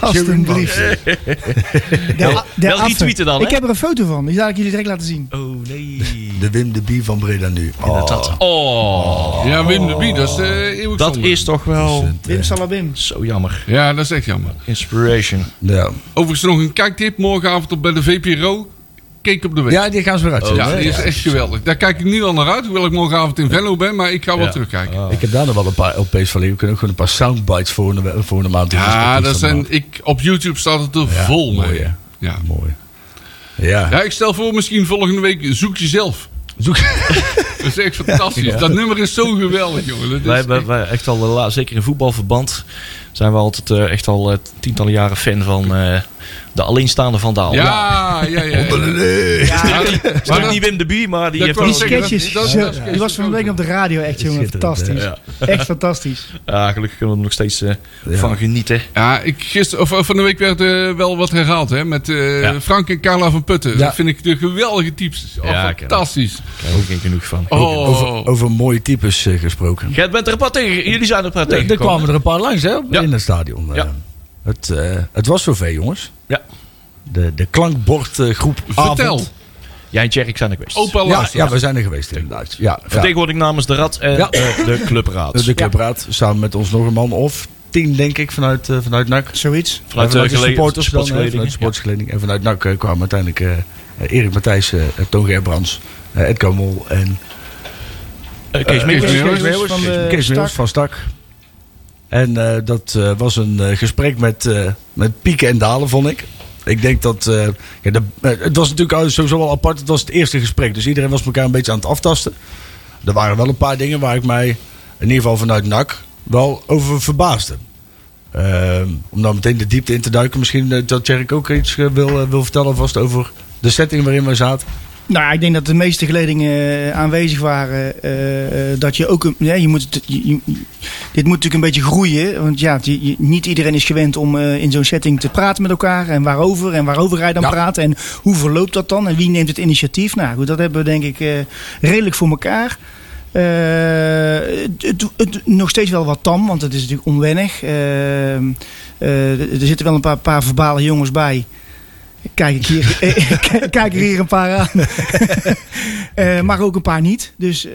[SPEAKER 5] alstublieft. De, de
[SPEAKER 2] Wel
[SPEAKER 5] affen.
[SPEAKER 2] retweeten dan, hè?
[SPEAKER 5] Ik heb er een foto van. Die zal ik jullie direct laten zien.
[SPEAKER 2] Oh nee.
[SPEAKER 3] De Wim de Bie van Breda nu. Oh,
[SPEAKER 2] Dat, oh,
[SPEAKER 4] ja, Wim de Bie, dat is eh eeuwig
[SPEAKER 2] dat
[SPEAKER 4] zonde.
[SPEAKER 2] is toch wel
[SPEAKER 5] Wim Salabim.
[SPEAKER 2] zo jammer.
[SPEAKER 4] Ja, dat is echt jammer.
[SPEAKER 2] Inspiration.
[SPEAKER 3] Ja.
[SPEAKER 4] Overigens nog een kijktip. Morgenavond op bij de VPRO. Kijk op de weg.
[SPEAKER 3] ja, die gaan ze weer uit.
[SPEAKER 4] Ja, Oh, die is echt geweldig. Daar kijk ik nu al naar uit, hoewel ik morgenavond in Venlo ben, maar ik ga wel
[SPEAKER 2] Ja.
[SPEAKER 4] terugkijken.
[SPEAKER 3] Oh. Ik heb daar nog wel een paar LP's van liggen. We kunnen ook gewoon een paar soundbites voor de, voor de maand. doen.
[SPEAKER 4] Ja,
[SPEAKER 3] Dus
[SPEAKER 4] dat
[SPEAKER 3] is
[SPEAKER 4] zijn,
[SPEAKER 3] allemaal
[SPEAKER 4] ik, op YouTube staat het er vol
[SPEAKER 3] mooi,
[SPEAKER 4] mee.
[SPEAKER 3] hè?
[SPEAKER 4] Ja.
[SPEAKER 3] eh, Mooi. Ja.
[SPEAKER 4] ja, ik stel voor misschien volgende week Zoek Jezelf. Zoek Dat is echt fantastisch. Dat nummer is zo geweldig, jongen. Dat is
[SPEAKER 2] Wij,
[SPEAKER 4] echt-
[SPEAKER 2] wij, wij echt al, eh, la- zeker in voetbalverband, zijn we altijd eh, echt al eh, tientallen jaren fan van eh, de alleenstaande Van Daal.
[SPEAKER 4] Ja, ja, ja. ja.
[SPEAKER 2] Ja, die-
[SPEAKER 4] Maar
[SPEAKER 2] maar niet Wim de Bie, maar die
[SPEAKER 4] dat
[SPEAKER 2] heeft
[SPEAKER 4] kwam
[SPEAKER 2] wel
[SPEAKER 5] Die
[SPEAKER 4] zeker. dat-
[SPEAKER 5] sketches.
[SPEAKER 4] dat-
[SPEAKER 5] zo,
[SPEAKER 4] dat- dat-
[SPEAKER 5] die was van de week op de radio echt, jongen.
[SPEAKER 3] Schitterend,
[SPEAKER 5] Fantastisch.
[SPEAKER 2] ja.
[SPEAKER 5] Echt fantastisch.
[SPEAKER 2] Ja, gelukkig kunnen we er nog steeds eh,
[SPEAKER 3] Ja.
[SPEAKER 2] van genieten.
[SPEAKER 4] Ja, ik, gister, of, of van de week werd eh, wel wat herhaald hè, met eh,
[SPEAKER 2] Ja.
[SPEAKER 4] Frank en Carla van Putten.
[SPEAKER 3] Ja.
[SPEAKER 4] Dat vind ik de geweldige types. Oh,
[SPEAKER 2] Ja, ik ken
[SPEAKER 4] fantastisch.
[SPEAKER 2] Daar heb ik geen genoeg van.
[SPEAKER 4] Oh.
[SPEAKER 3] Over, over mooie types eh, gesproken.
[SPEAKER 2] Jij bent er een paar tegen. Jullie zijn er een paar
[SPEAKER 3] Er
[SPEAKER 2] tegen.
[SPEAKER 3] kwamen er een paar langs hè, op-
[SPEAKER 2] Ja.
[SPEAKER 3] in het stadion. eh.
[SPEAKER 2] Ja.
[SPEAKER 3] Het, eh, het was zover, jongens.
[SPEAKER 2] Ja.
[SPEAKER 3] De, de klankbordgroep
[SPEAKER 4] Vertel.
[SPEAKER 3] Avond.
[SPEAKER 2] Jij en Jerry zijn er geweest.
[SPEAKER 4] Opa
[SPEAKER 3] Ja,
[SPEAKER 4] Lars.
[SPEAKER 3] ja, we zijn er geweest inderdaad. Ja, ja.
[SPEAKER 2] Vertegenwoordig namens de Rad en
[SPEAKER 3] Ja.
[SPEAKER 2] eh, de Clubraad.
[SPEAKER 3] De clubraad samen met ons nog een man of tien, denk ik, vanuit, eh, vanuit NAC.
[SPEAKER 5] Zoiets.
[SPEAKER 2] Vanuit
[SPEAKER 3] vanuit
[SPEAKER 2] de
[SPEAKER 3] de
[SPEAKER 2] gele-
[SPEAKER 3] supporters dan, hè,
[SPEAKER 2] sportsgeledingen,
[SPEAKER 3] vanuit
[SPEAKER 2] ja.
[SPEAKER 3] de sportsgeleding. En vanuit NAC eh, kwamen uiteindelijk eh, eh, Erik Matthijs, eh, Toon Gerbrands, eh, Ed Kamol en
[SPEAKER 2] Eh, Kees
[SPEAKER 4] Kees
[SPEAKER 2] Meeuwis.
[SPEAKER 4] Meeuwis.
[SPEAKER 5] Kees Meeuwis van de
[SPEAKER 3] Kees Meeuwis
[SPEAKER 5] Eh, Stak.
[SPEAKER 3] van Stak. En eh, dat eh, was een eh, gesprek met, eh, met pieken en dalen, vond ik. Ik denk dat... eh, ja, de- eh, het was natuurlijk al- sowieso wel apart. Het was het eerste gesprek. Dus iedereen was elkaar een beetje aan het aftasten. Er waren wel een paar dingen waar ik mij, in ieder geval vanuit NAC, wel over verbaasde. Ehm, om dan meteen de diepte in te duiken. Misschien eh, dat Jerry ook iets eh, wil, eh, wil vertellen vast over de setting waarin we zaten.
[SPEAKER 5] Nou, ja, ik denk dat de meeste geledingen eh, aanwezig waren. eh, eh, dat je ook. een- Ja, je moet, het- je- je- dit moet natuurlijk een beetje groeien. Want ja, je- je- niet iedereen is gewend om eh, in zo'n setting te praten met elkaar. En waarover en waarover ga je dan
[SPEAKER 3] Ja.
[SPEAKER 5] praten. En hoe verloopt dat dan? En wie neemt het initiatief? Nou, goed, dat hebben we denk ik eh, redelijk voor elkaar. Eh, het, het, het- nog steeds wel wat tam, want het is natuurlijk onwennig. Eh, eh, er zitten wel een paar, paar verbale jongens bij. Kijk ik hier, eh, k- kijk er hier een paar aan. Eh, maar ook een paar niet. Dus eh,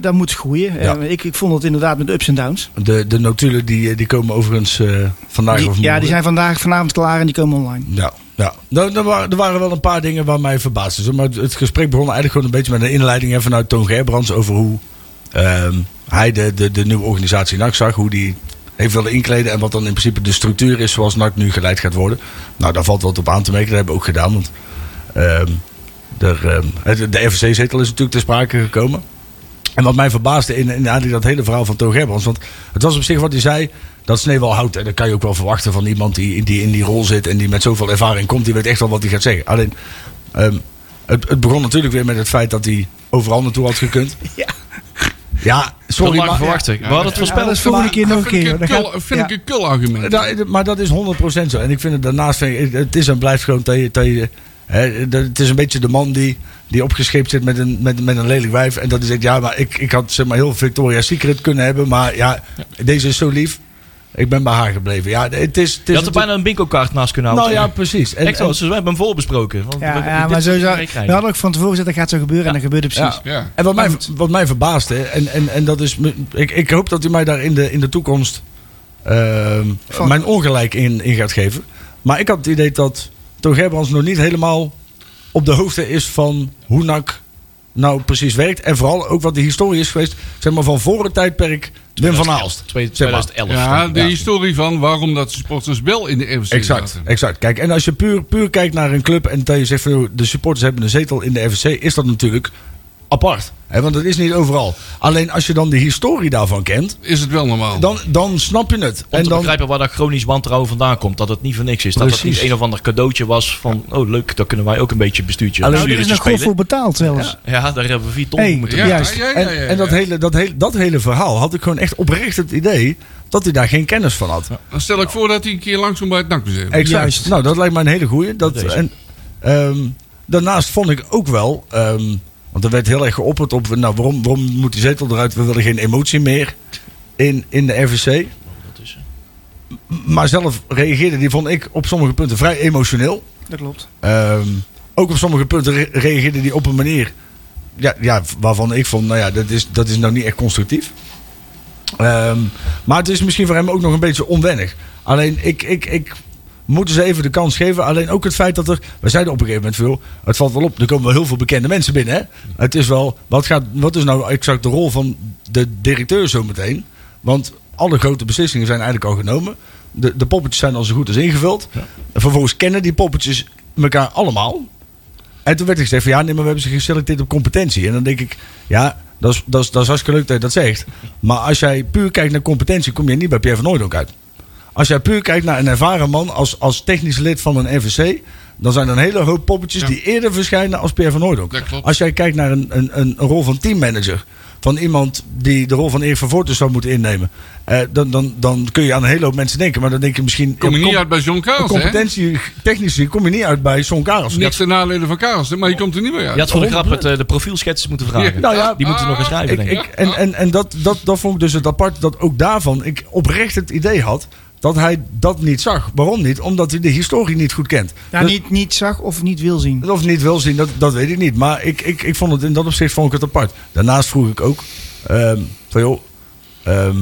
[SPEAKER 5] dat moet groeien.
[SPEAKER 3] Ja.
[SPEAKER 5] Eh, ik, ik vond het inderdaad met ups en downs.
[SPEAKER 3] De, de notulen die, eh, die komen overigens eh, vandaag
[SPEAKER 5] Die-
[SPEAKER 3] of morgen.
[SPEAKER 5] ja, die zijn vandaag, vanavond klaar en die komen online.
[SPEAKER 3] Ja, ja. Nou, er, waren, er waren wel een paar dingen waar mij verbaasd is. hoor. Maar het, het gesprek begon eigenlijk gewoon een beetje met een inleiding hè, vanuit Toon Gerbrands over hoe ehm, hij de, de, de nieuwe organisatie NAC zag. Hoe die heeft willen inkleden en wat dan in principe de structuur is zoals NAC nu geleid gaat worden. Nou, daar valt wat op aan te merken. Dat hebben we ook gedaan. Want ehm, er, ehm, het- de FVC-zetel is natuurlijk ter sprake gekomen. En wat mij verbaasde in, in eigenlijk dat hele verhaal van Toon Gerbrands. Want het was op zich wat hij zei. Dat sneeuw wel houdt. En dat kan je ook wel verwachten van iemand die, die in die rol zit. En die met zoveel ervaring komt. Die weet echt wel wat hij gaat zeggen. Alleen, ehm, het, het begon natuurlijk weer met het feit dat hij overal naartoe had gekund.
[SPEAKER 5] Ja.
[SPEAKER 3] Ja, sorry.
[SPEAKER 2] Te lang
[SPEAKER 3] maar-
[SPEAKER 2] verwachten. We hadden het
[SPEAKER 5] Ja, dat
[SPEAKER 2] voorspeld.
[SPEAKER 5] is volgende keer nog een
[SPEAKER 4] Dat vind ik
[SPEAKER 5] keer. hoor.
[SPEAKER 4] een
[SPEAKER 5] Dat
[SPEAKER 4] kul-
[SPEAKER 5] gaat-
[SPEAKER 4] vind
[SPEAKER 5] ja.
[SPEAKER 4] ik een kul argument.
[SPEAKER 3] Da- maar dat is 100% zo. En ik vind het daarnaast, vind ik, het is en blijft gewoon dat je. Dat je hè, dat- het is een beetje de man die, die opgescheept zit met een, met, met een lelijk wijf. En dat hij zegt: Ja, maar ik, ik had zeg maar, heel Victoria's Secret kunnen hebben. Maar ja, deze is zo lief. Ik ben bij haar gebleven. Ja, het is. Het
[SPEAKER 2] Je
[SPEAKER 3] is
[SPEAKER 2] had er bijna een bingo kaart naast kunnen
[SPEAKER 3] Nou
[SPEAKER 2] houden.
[SPEAKER 3] ja, precies. En,
[SPEAKER 2] Echt wel, dus we hebben hem voorbesproken. Want we-
[SPEAKER 5] Ja, ja,
[SPEAKER 2] dit
[SPEAKER 5] maar
[SPEAKER 2] is
[SPEAKER 5] zo
[SPEAKER 2] wat
[SPEAKER 5] zou,
[SPEAKER 2] wij krijgen.
[SPEAKER 5] we hadden ook van tevoren gezegd dat gaat zo gebeuren en dat gebeurde precies.
[SPEAKER 3] Ja.
[SPEAKER 4] Ja.
[SPEAKER 3] En wat mij, wat mij verbaasde, en, en, en dat is. me- Ik, ik hoop dat u mij daar in de, in de toekomst ehm,
[SPEAKER 5] Van-
[SPEAKER 3] mijn ongelijk in, in gaat geven. Maar ik had het idee dat Toon Gerbrands nog niet helemaal op de hoogte is van hoe NAC nou precies werkt. En vooral ook wat de historie is geweest, zeg maar van voor het tijdperk Wim van Aalst.
[SPEAKER 2] Twee-
[SPEAKER 3] Zeg maar.
[SPEAKER 2] 2011.
[SPEAKER 4] Ja, de
[SPEAKER 3] Ja.
[SPEAKER 4] historie van waarom dat supporters wel in de RFC
[SPEAKER 3] Exact,
[SPEAKER 4] zaten.
[SPEAKER 3] exact. Kijk, en als je puur, puur kijkt naar een club en dat je zegt van joh, de supporters hebben een zetel in de FC, is dat natuurlijk apart. Hè, want dat is niet overal. Alleen als je dan de historie daarvan kent,
[SPEAKER 4] Is het wel normaal?
[SPEAKER 3] dan, dan snap je het.
[SPEAKER 2] Om
[SPEAKER 3] en
[SPEAKER 2] te
[SPEAKER 3] dan,
[SPEAKER 2] begrijpen waar dat chronisch wantrouwen vandaan komt. Dat het niet voor niks is. Dat het
[SPEAKER 3] Precies.
[SPEAKER 2] niet een of ander cadeautje was van... Oh, leuk, daar kunnen wij ook een beetje bestuurtje
[SPEAKER 3] Alleen-
[SPEAKER 5] Nou, er is
[SPEAKER 2] bestuurtje
[SPEAKER 5] nog gewoon voor
[SPEAKER 2] spelen.
[SPEAKER 5] betaald zelfs.
[SPEAKER 2] Ja, daar hebben we vier ton
[SPEAKER 5] Hey,
[SPEAKER 2] voor moeten
[SPEAKER 4] ja,
[SPEAKER 2] betalen.
[SPEAKER 5] juist.
[SPEAKER 4] Ja, ja, ja,
[SPEAKER 3] en,
[SPEAKER 4] ja,
[SPEAKER 3] en dat,
[SPEAKER 4] ja.
[SPEAKER 3] hele, dat, hele, dat hele verhaal had ik gewoon echt oprecht het idee dat hij daar geen kennis van had.
[SPEAKER 4] Dan stel ik voor dat hij een keer langzaam bij het nakmuseum.
[SPEAKER 3] Exact.
[SPEAKER 5] Juist.
[SPEAKER 3] Nou, dat lijkt mij een hele goeie. Dat,
[SPEAKER 2] Deze.
[SPEAKER 3] en, ehm, daarnaast vond ik ook wel... ehm, want er werd heel erg geopperd op... Nou, waarom, waarom moet die zetel eruit? We willen geen emotie meer in, in de RVC.
[SPEAKER 2] Dat is,
[SPEAKER 3] M- Maar zelf reageerde die, vond ik, op sommige punten vrij emotioneel.
[SPEAKER 5] Dat klopt.
[SPEAKER 3] Ehm, ook op sommige punten re- reageerde die op een manier... Ja, ja, waarvan ik vond, nou ja, dat is, dat is nou niet echt constructief. Ehm, maar het is misschien voor hem ook nog een beetje onwennig. Alleen, ik, ik, ik moet ze even de kans geven. Alleen ook het feit dat er... We zeiden op een gegeven moment veel... Het valt wel op, er komen wel heel veel bekende mensen binnen. Hè? Het is wel... Wat, gaat, wat is nou exact de rol van de directeur zometeen? Want alle grote beslissingen zijn eigenlijk al genomen. De, de poppetjes zijn al zo goed als ingevuld. En Vervolgens kennen die poppetjes elkaar allemaal. En toen werd er gezegd van ja, nee, maar we hebben ze geselecteerd op competentie. En dan denk ik, ja, dat is, dat is, dat is hartstikke leuk dat je dat zegt. Maar als jij puur kijkt naar competentie, kom je niet bij Pierre van Hooydonk uit. Als jij puur kijkt naar een ervaren man als, als technisch lid van een NVC... dan zijn er een hele hoop poppetjes
[SPEAKER 4] Ja.
[SPEAKER 3] die eerder verschijnen als Pierre van Hooydonk.
[SPEAKER 4] Dat klopt.
[SPEAKER 3] Als jij kijkt naar een, een, een een rol van teammanager... van iemand die de rol van Erik van Voorten zou moeten innemen... eh, dan, dan, dan kun je aan een hele hoop mensen denken. Maar dan denk je misschien...
[SPEAKER 4] Kom je
[SPEAKER 3] ja,
[SPEAKER 4] niet
[SPEAKER 3] com-
[SPEAKER 4] uit bij John Karels, hè?
[SPEAKER 3] competentie technisch kom je niet uit bij Son Karels.
[SPEAKER 4] Niks ten nadele van Karels, hè, maar je komt er niet meer uit.
[SPEAKER 2] Je had voor de grap het, eh, de profielschets moeten vragen.
[SPEAKER 3] Nou ja,
[SPEAKER 2] Die moeten we nog eens schrijven,
[SPEAKER 3] Ik,
[SPEAKER 2] denk ik.
[SPEAKER 3] ik, en en, en dat, dat, dat vond ik dus het apart dat ook daarvan ik oprecht het idee had dat hij dat niet zag. Waarom niet? Omdat hij de historie niet goed kent.
[SPEAKER 5] Ja,
[SPEAKER 3] Dus-
[SPEAKER 5] niet, niet zag of niet wil zien.
[SPEAKER 3] Of niet wil zien, dat, dat weet ik niet. Maar ik, ik, ik vond het in dat opzicht vond ik het apart. Daarnaast vroeg ik ook ehm, van joh. ehm,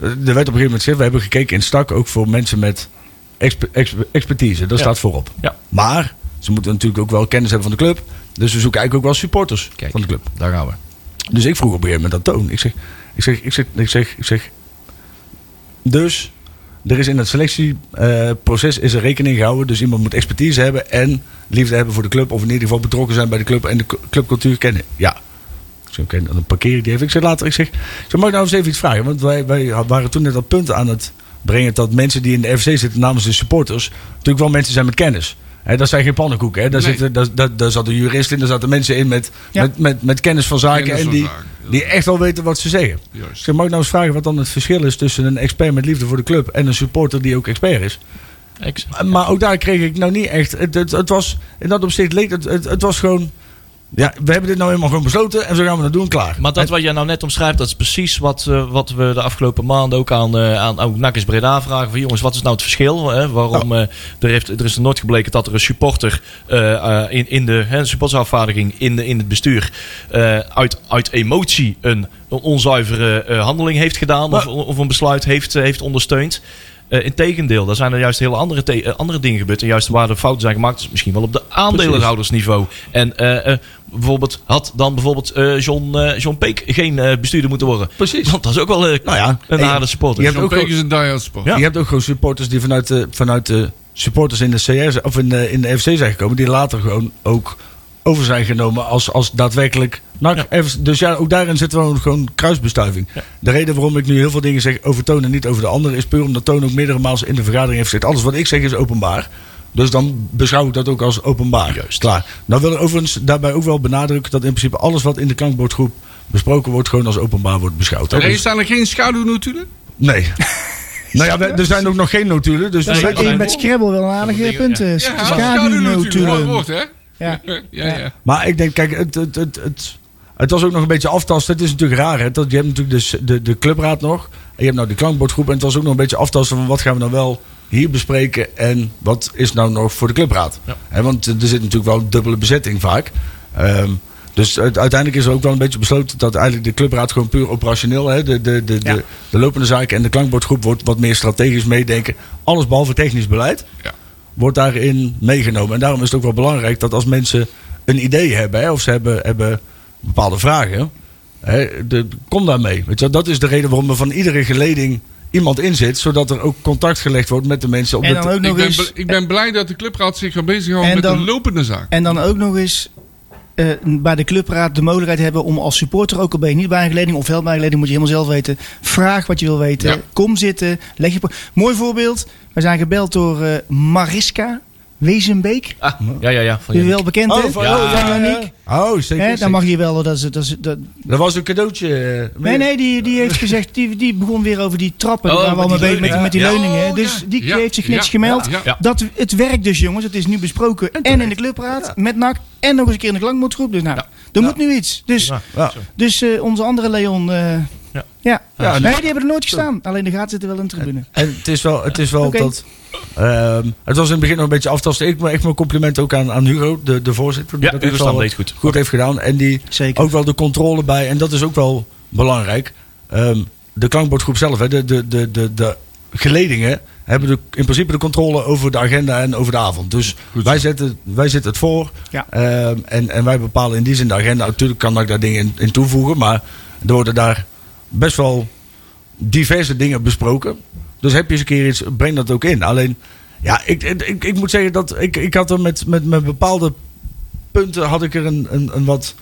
[SPEAKER 3] er werd op een gegeven moment gezegd, we hebben gekeken in stak ook voor mensen met expe- expe- expertise. Dat
[SPEAKER 2] Ja.
[SPEAKER 3] staat voorop.
[SPEAKER 2] Ja.
[SPEAKER 3] Maar ze moeten natuurlijk ook wel kennis hebben van de club. Dus we zoeken eigenlijk ook wel supporters
[SPEAKER 2] Kijk.
[SPEAKER 3] van de club. Daar gaan we. Dus ik vroeg op een gegeven moment aan Toon. Ik zeg, ik zeg, ik zeg, ik zeg, ik zeg. Dus er is in het selectieproces eh, is er rekening gehouden. Dus iemand moet expertise hebben en liefde hebben voor de club. Of in ieder geval betrokken zijn bij de club en de cu- clubcultuur kennen. Ja. Ik zeg, oké, dan parkeer ik die even. Ik zeg later, ik zeg, ik zeg, mag ik nou eens even iets vragen? Want wij, wij had- waren toen net dat punt aan het brengen dat mensen die in de FC zitten namens de supporters, natuurlijk wel mensen zijn met kennis. Hè, dat zijn geen pannenkoeken. Hè. Daar,
[SPEAKER 4] Nee.
[SPEAKER 3] zitten, daar, daar, daar zat een jurist in, daar zaten mensen in met,
[SPEAKER 5] Ja.
[SPEAKER 3] met, met, met kennis van zaken.
[SPEAKER 4] Kennis
[SPEAKER 3] en
[SPEAKER 4] van
[SPEAKER 3] die,
[SPEAKER 4] zaken, ja.
[SPEAKER 3] die echt wel weten wat ze zeggen. Ik
[SPEAKER 4] Juist.
[SPEAKER 3] zeg, mag ik nou eens vragen wat dan het verschil is tussen een expert met liefde voor de club en een supporter die ook expert is?
[SPEAKER 2] Ex-
[SPEAKER 3] Maar ook daar kreeg ik nou niet echt. Het, het, het was, in dat opzicht leek het, het, het was gewoon. Ja, we hebben dit nou helemaal gewoon besloten en zo gaan we dat doen, klaar.
[SPEAKER 2] Maar dat wat jij nou net omschrijft, dat is precies wat, eh, wat we de afgelopen maanden ook aan, eh aan ook NAC is Breda vragen. Van, jongens, wat is nou het verschil? Hè? Waarom, eh, er, heeft, er is er nooit gebleken dat er een supporter eh, eh, in, in de hè, supportersafvaardiging in, de, in het bestuur eh, uit, uit emotie een onzuivere eh, handeling heeft gedaan of,
[SPEAKER 3] Maar-
[SPEAKER 2] of een besluit heeft, eh, heeft ondersteund. Eh, integendeel, daar zijn er juist hele andere, the- eh, andere dingen gebeurd. En juist waar de fouten zijn gemaakt, is misschien wel op de aandeelhoudersniveau. En eh, eh, bijvoorbeeld, had dan bijvoorbeeld eh, John, eh, John Peek geen eh, bestuurder moeten worden?
[SPEAKER 3] Precies.
[SPEAKER 2] Want dat is ook wel eh,
[SPEAKER 3] Nou ja,
[SPEAKER 2] een
[SPEAKER 3] en-
[SPEAKER 2] harde supporter.
[SPEAKER 3] je hebt
[SPEAKER 4] John
[SPEAKER 3] ook
[SPEAKER 4] Peek
[SPEAKER 3] wel-
[SPEAKER 4] is een die-hard sport.
[SPEAKER 2] Ja.
[SPEAKER 3] Je hebt ook gewoon supporters die vanuit de, vanuit de supporters in de, CR, zijn- of in de, in de FC zijn gekomen, die later gewoon ook over zijn genomen als, als daadwerkelijk. NAC. Dus ja, ook daarin zit wel gewoon kruisbestuiving. De reden waarom ik nu heel veel dingen zeg over Toon en niet over de anderen is puur omdat Toon ook meerdere maals in de vergadering heeft gezegd: alles wat ik zeg is openbaar. Dus dan beschouw ik dat ook als openbaar. Juist. Klaar. Nou wil ik overigens daarbij ook wel benadrukken dat in principe alles wat in de klankbordgroep besproken wordt, gewoon als openbaar wordt beschouwd.
[SPEAKER 4] Er
[SPEAKER 3] Dus-
[SPEAKER 4] is daar geen schaduwnotulen?
[SPEAKER 3] Nee. nou ja, we- er zijn ook nog geen notulen. Dus
[SPEAKER 5] Dat is
[SPEAKER 3] we-
[SPEAKER 2] Nee,
[SPEAKER 5] één met Scrabble wel een aardige punten.
[SPEAKER 4] Ja, schaduwnotulen. Mooi woord,
[SPEAKER 5] Schaduwnotulen.
[SPEAKER 4] hè?
[SPEAKER 5] Ja.
[SPEAKER 4] ja, ja.
[SPEAKER 3] Maar ik denk, kijk, het, het, het, het, het was ook nog een beetje aftasten. Het is natuurlijk raar, hè? Dat, je hebt natuurlijk de, de, de clubraad nog. En je hebt nou de klankbordgroep. En het was ook nog een beetje aftasten van wat gaan we nou wel hier bespreken. En wat is nou nog voor de clubraad.
[SPEAKER 2] Ja.
[SPEAKER 3] Hè, want eh, er zit natuurlijk wel een dubbele bezetting vaak. Ehm, dus het- uiteindelijk is er ook wel een beetje besloten dat eigenlijk de clubraad gewoon puur operationeel, hè, de, de, de,
[SPEAKER 5] Ja.
[SPEAKER 3] de, de lopende zaken en de klankbordgroep wordt wat meer strategisch meedenken. Alles behalve technisch beleid
[SPEAKER 4] Ja.
[SPEAKER 3] wordt daarin meegenomen. En daarom is het ook wel belangrijk dat als mensen een idee hebben, hè, of ze hebben, hebben bepaalde vragen, hè, de, kom daarmee. Weet je, wel. dat is de reden waarom er van iedere geleding iemand in zit, zodat er ook contact gelegd wordt met de mensen. Op
[SPEAKER 5] En
[SPEAKER 3] het-
[SPEAKER 5] dan ook
[SPEAKER 4] Ik
[SPEAKER 5] nog
[SPEAKER 4] ben,
[SPEAKER 5] eens...
[SPEAKER 4] bl- ik ben blij dat de clubraad zich gaat bezighouden
[SPEAKER 5] En
[SPEAKER 4] met
[SPEAKER 5] dan-
[SPEAKER 4] de lopende zaak.
[SPEAKER 5] En dan ook nog eens eh, bij de clubraad de mogelijkheid hebben om als supporter ook al ben je niet bij een geleding of wel bij een geleding, moet je helemaal zelf weten. Vraag wat je wil weten.
[SPEAKER 4] Ja.
[SPEAKER 5] Kom zitten. Leg je pro- Mooi voorbeeld. We zijn gebeld door eh, Mariska Wezenbeek.
[SPEAKER 2] Ah, ja, ja, ja. Van
[SPEAKER 5] Jullie
[SPEAKER 2] Jannik.
[SPEAKER 5] wel bekend, hè?
[SPEAKER 2] ja.
[SPEAKER 5] Van Yannick.
[SPEAKER 3] Oh, zeker.
[SPEAKER 5] Hè,
[SPEAKER 3] zeker.
[SPEAKER 5] dan mag je wel, dat, is, dat, is, dat,
[SPEAKER 3] Dat was een cadeautje. eh,
[SPEAKER 5] Nee, nee, die, die heeft gezegd, die, die begon weer over die trappen.
[SPEAKER 2] Oh,
[SPEAKER 5] daar waren
[SPEAKER 2] met
[SPEAKER 5] we al
[SPEAKER 2] die
[SPEAKER 5] mee bezig met,
[SPEAKER 2] leuningen.
[SPEAKER 5] met
[SPEAKER 2] Ja.
[SPEAKER 5] die leuningen. hè.
[SPEAKER 4] Oh,
[SPEAKER 5] dus
[SPEAKER 4] ja.
[SPEAKER 5] die
[SPEAKER 4] Ja,
[SPEAKER 5] heeft zich niks
[SPEAKER 4] ja,
[SPEAKER 5] gemeld.
[SPEAKER 4] ja,
[SPEAKER 2] ja.
[SPEAKER 5] Dat, het werkt dus, jongens. Het is nu besproken. En, in de clubraad, met NAC. En nog eens een keer in de klankmoedgroep. Dus nou, er moet nu iets. Dus,
[SPEAKER 2] Ja.
[SPEAKER 3] Ja.
[SPEAKER 5] dus eh, onze andere Leon... eh,
[SPEAKER 2] Ja.
[SPEAKER 5] ja.
[SPEAKER 3] Ja,
[SPEAKER 5] nee, die hebben er nooit gestaan. Alleen de gaten zitten wel in de tribune.
[SPEAKER 3] En het is wel, het is wel
[SPEAKER 5] Oké.
[SPEAKER 3] dat. ehm, het was in het begin nog een beetje aftasten. Ik maar echt mijn compliment ook aan, aan Hugo, de, de voorzitter.
[SPEAKER 2] Ja,
[SPEAKER 3] dat
[SPEAKER 2] Hugo
[SPEAKER 3] echt
[SPEAKER 2] Stam
[SPEAKER 3] wel
[SPEAKER 2] deed goed.
[SPEAKER 3] Goed heeft gedaan. En die
[SPEAKER 5] Zeker.
[SPEAKER 3] ook wel de controle bij. En dat is ook wel belangrijk. Ehm, de klankbordgroep zelf, hè, de, de, de, de, de geledingen, hebben de, in principe de controle over de agenda en over de avond. Dus
[SPEAKER 4] Goed zo.
[SPEAKER 3] wij zetten, wij zetten het voor.
[SPEAKER 5] Ja.
[SPEAKER 3] Ehm, en, en wij bepalen in die zin de agenda. Natuurlijk kan ik daar dingen in, in toevoegen. Maar er worden daar best wel diverse dingen besproken. Dus heb je eens een keer iets, breng dat ook in. Alleen, ja, ik, ik, ik, ik moet zeggen dat ik, ik had er met, met, met bepaalde punten had ik er een, een, een wat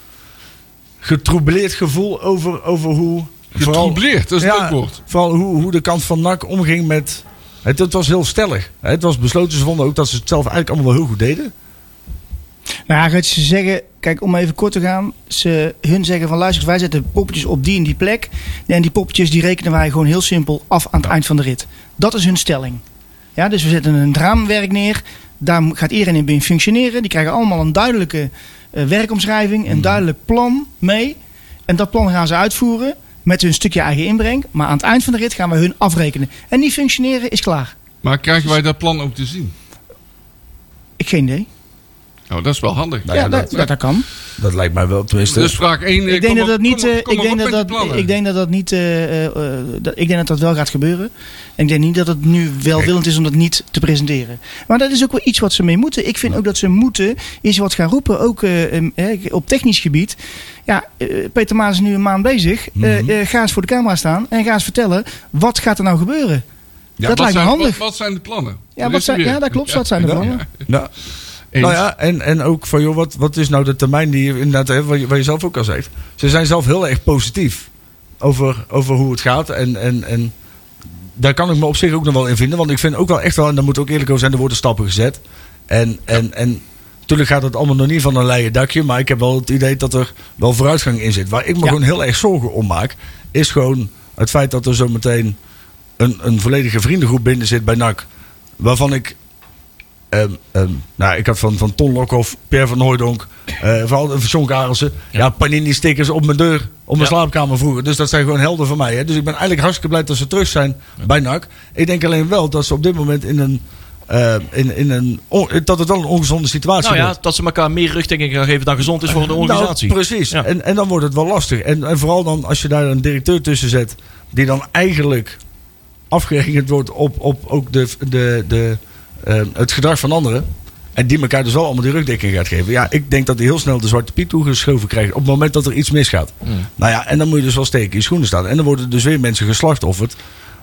[SPEAKER 3] getroubleerd gevoel over, over hoe. vooral-
[SPEAKER 4] Getroubleerd, dat is het
[SPEAKER 3] ja,
[SPEAKER 4] woord.
[SPEAKER 3] Vooral hoe, hoe de kant van NAC omging met. Het, het was heel stellig. Het was besloten. Ze vonden ook dat ze het zelf eigenlijk allemaal wel heel goed deden.
[SPEAKER 5] Nou, ja, gaat ze zeggen, kijk, om even kort te gaan. Ze, hun zeggen van luister, wij zetten poppetjes op die en die plek. En die poppetjes die rekenen wij gewoon heel simpel af aan het eind van de rit. Dat is hun stelling. Ja, dus we zetten een raamwerk neer. Daar mo- gaat iedereen in binnen functioneren. Die krijgen allemaal een duidelijke eh, werkomschrijving, een duidelijk plan mee. En dat plan gaan ze uitvoeren met hun stukje eigen inbreng. Maar aan het eind van de rit gaan we hun afrekenen. En die functioneren is klaar.
[SPEAKER 4] Maar krijgen wij dat plan ook te zien?
[SPEAKER 5] Ik geen idee.
[SPEAKER 4] Nou, dat is wel handig.
[SPEAKER 5] Ja, dat, ja, dat kan.
[SPEAKER 3] Dat lijkt mij wel. Tenminste,
[SPEAKER 4] Dus vraag 1.
[SPEAKER 5] Ik denk dat dat niet. eh, Ik denk dat dat. Ik denk dat dat niet. eh, eh, dat- Ik denk dat dat wel gaat gebeuren. En ik denk niet dat het nu welwillend is om dat niet te presenteren. Maar dat is ook wel iets wat ze mee moeten. Ik vind ook dat ze moeten is wat gaan roepen. Ook eh, em, eh, op technisch gebied. Ja, eh, Peter Maas is nu een maand bezig. Eh, eh, ga eens voor de camera staan en ga eens vertellen wat gaat er nou gebeuren. dat lijkt me handig.
[SPEAKER 4] Wat, wat zijn de plannen?
[SPEAKER 5] ja, wat zijn, ja, dat klopt. Dat zijn de
[SPEAKER 3] Ja.
[SPEAKER 5] plannen.
[SPEAKER 3] nou, nou ja, en, en ook van joh, wat, wat is nou de termijn die je inderdaad hebt, wat je, wat je zelf ook al zegt. Ze zijn zelf heel erg positief over, over hoe het gaat. En, en, en daar kan ik me op zich ook nog wel in vinden. Want ik vind ook wel echt wel, en daar moet ook eerlijk over zijn, er worden stappen gezet. En, en, en natuurlijk gaat het allemaal nog niet van een leien dakje. Maar ik heb wel het idee dat er wel vooruitgang in zit. Waar ik me
[SPEAKER 5] Ja.
[SPEAKER 3] gewoon heel erg zorgen om maak, is gewoon het feit dat er zometeen een, een volledige vriendengroep binnen zit bij NAC. Waarvan ik Ehm, ehm, nou, ik had van, van Ton Lokhoff, Pierre van Hooijdonk, eh van, van John Karelsen. Ja, panini-stickers op mijn deur, op mijn
[SPEAKER 2] Ja.
[SPEAKER 3] slaapkamer vroeger. Dus dat zijn gewoon helden van mij. Hè? Dus ik ben eigenlijk hartstikke blij dat ze terug zijn bij NAC. Ik denk alleen wel dat ze op dit moment in een... eh, in, in een on- dat het wel een ongezonde situatie
[SPEAKER 2] Nou
[SPEAKER 3] wordt.
[SPEAKER 2] ja, dat ze elkaar meer rugdekking gaan geven dan gezond is voor de organisatie.
[SPEAKER 3] Nou, precies.
[SPEAKER 2] Ja.
[SPEAKER 3] En, en dan wordt het wel lastig. En, en vooral dan als je daar een directeur tussen zet. die dan eigenlijk afgerekend wordt op, op ook de, de, de, eh, het gedrag van anderen. En die elkaar dus wel allemaal die rugdekking gaat geven. Ja, ik denk dat hij heel snel de zwarte piet toegeschoven krijgt. op het moment dat er iets misgaat.
[SPEAKER 2] Hmm.
[SPEAKER 3] Nou ja, en dan moet je dus wel steken in je schoenen staan. En dan worden dus weer mensen geslachtofferd.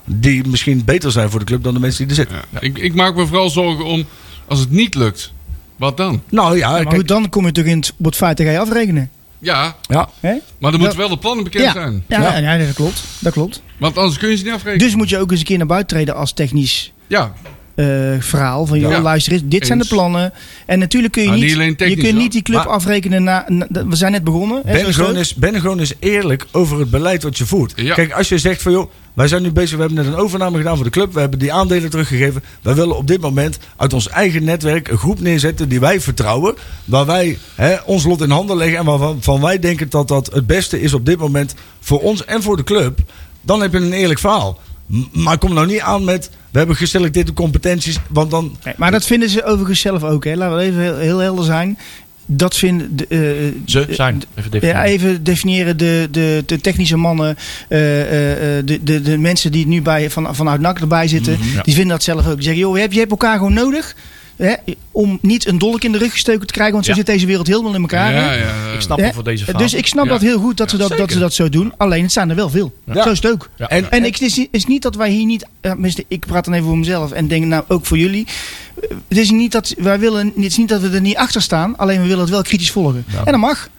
[SPEAKER 3] die misschien beter zijn voor de club dan de mensen die er zitten.
[SPEAKER 4] Ja. Ik, ik maak me vooral zorgen om als het niet lukt. Wat dan?
[SPEAKER 3] Nou ja,
[SPEAKER 5] Maar goed,
[SPEAKER 3] kijk,
[SPEAKER 5] dan kom je natuurlijk in het, op het feit dat ga je afrekenen.
[SPEAKER 4] Ja,
[SPEAKER 3] ja.
[SPEAKER 5] Hè?
[SPEAKER 4] maar dan moeten
[SPEAKER 5] Ja.
[SPEAKER 4] wel de plannen bekend
[SPEAKER 5] Ja.
[SPEAKER 4] zijn.
[SPEAKER 5] Ja, ja. ja, dat klopt. Dat klopt.
[SPEAKER 4] Want anders kun je ze niet afrekenen.
[SPEAKER 5] Dus moet je ook eens een keer naar buiten treden als technisch
[SPEAKER 4] ja,
[SPEAKER 5] eh, verhaal. Van joh,
[SPEAKER 4] Ja.
[SPEAKER 5] luister eens, dit zijn de
[SPEAKER 4] Eens.
[SPEAKER 5] plannen. En natuurlijk kun je
[SPEAKER 4] Maar
[SPEAKER 5] niet,
[SPEAKER 4] niet alleen
[SPEAKER 5] je
[SPEAKER 4] technisch,
[SPEAKER 5] kunt
[SPEAKER 4] hoor.
[SPEAKER 5] niet die club
[SPEAKER 4] Maar-
[SPEAKER 5] afrekenen na, na- d- We zijn net begonnen. hè, zo
[SPEAKER 3] Ben
[SPEAKER 5] is het
[SPEAKER 3] gewoon,
[SPEAKER 5] ook.
[SPEAKER 3] eens, ben gewoon eens eerlijk over het beleid wat je voert.
[SPEAKER 4] Ja.
[SPEAKER 3] Kijk, als je zegt van joh, wij zijn nu bezig, we hebben net een overname gedaan voor de club, we hebben die aandelen teruggegeven. Wij willen op dit moment uit ons eigen netwerk een groep neerzetten die wij vertrouwen, waar wij hè, ons lot in handen leggen en waarvan van wij denken dat dat het beste is op dit moment voor ons en voor de club. Dan heb je een eerlijk verhaal. M- Maar kom nou niet aan met we hebben geselecteerde competenties, want dan
[SPEAKER 5] Nee, maar dat vinden ze overigens zelf ook. Hè. Laten we even heel, heel helder zijn. Dat vinden... De, eh,
[SPEAKER 2] Ze
[SPEAKER 5] de-
[SPEAKER 2] zijn. Even definiëren.
[SPEAKER 5] Ja, even definiëren de, de, de technische mannen, eh, eh, eh, de, de, de mensen die nu bij, van, vanuit NAC erbij zitten,
[SPEAKER 4] Mhm,
[SPEAKER 5] die vinden dat zelf ook. Die zeggen, joh, je hebt, je hebt elkaar gewoon nodig hè, om niet een dolk in de rug gestoken te krijgen, want
[SPEAKER 2] Ja.
[SPEAKER 5] zo zit deze wereld helemaal in
[SPEAKER 4] ja,
[SPEAKER 5] elkaar. hè.
[SPEAKER 4] ja, ja. eh,
[SPEAKER 2] Ik snap
[SPEAKER 5] Hè?
[SPEAKER 2] hem voor deze vraag.
[SPEAKER 5] Dus ik snap
[SPEAKER 4] Ja.
[SPEAKER 5] dat heel goed dat, ze dat, dat ze dat zo doen. Alleen het zijn er wel veel.
[SPEAKER 3] Ja.
[SPEAKER 5] Zo is het ook.
[SPEAKER 2] Ja.
[SPEAKER 3] En-
[SPEAKER 5] En, ik, het is, is niet dat wij hier niet... eh, tenminste, ik praat dan even voor mezelf en denk nou ook voor jullie. het is niet dat wij willen, het is niet dat we er niet achter staan, alleen we willen het wel kritisch volgen. En dat mag,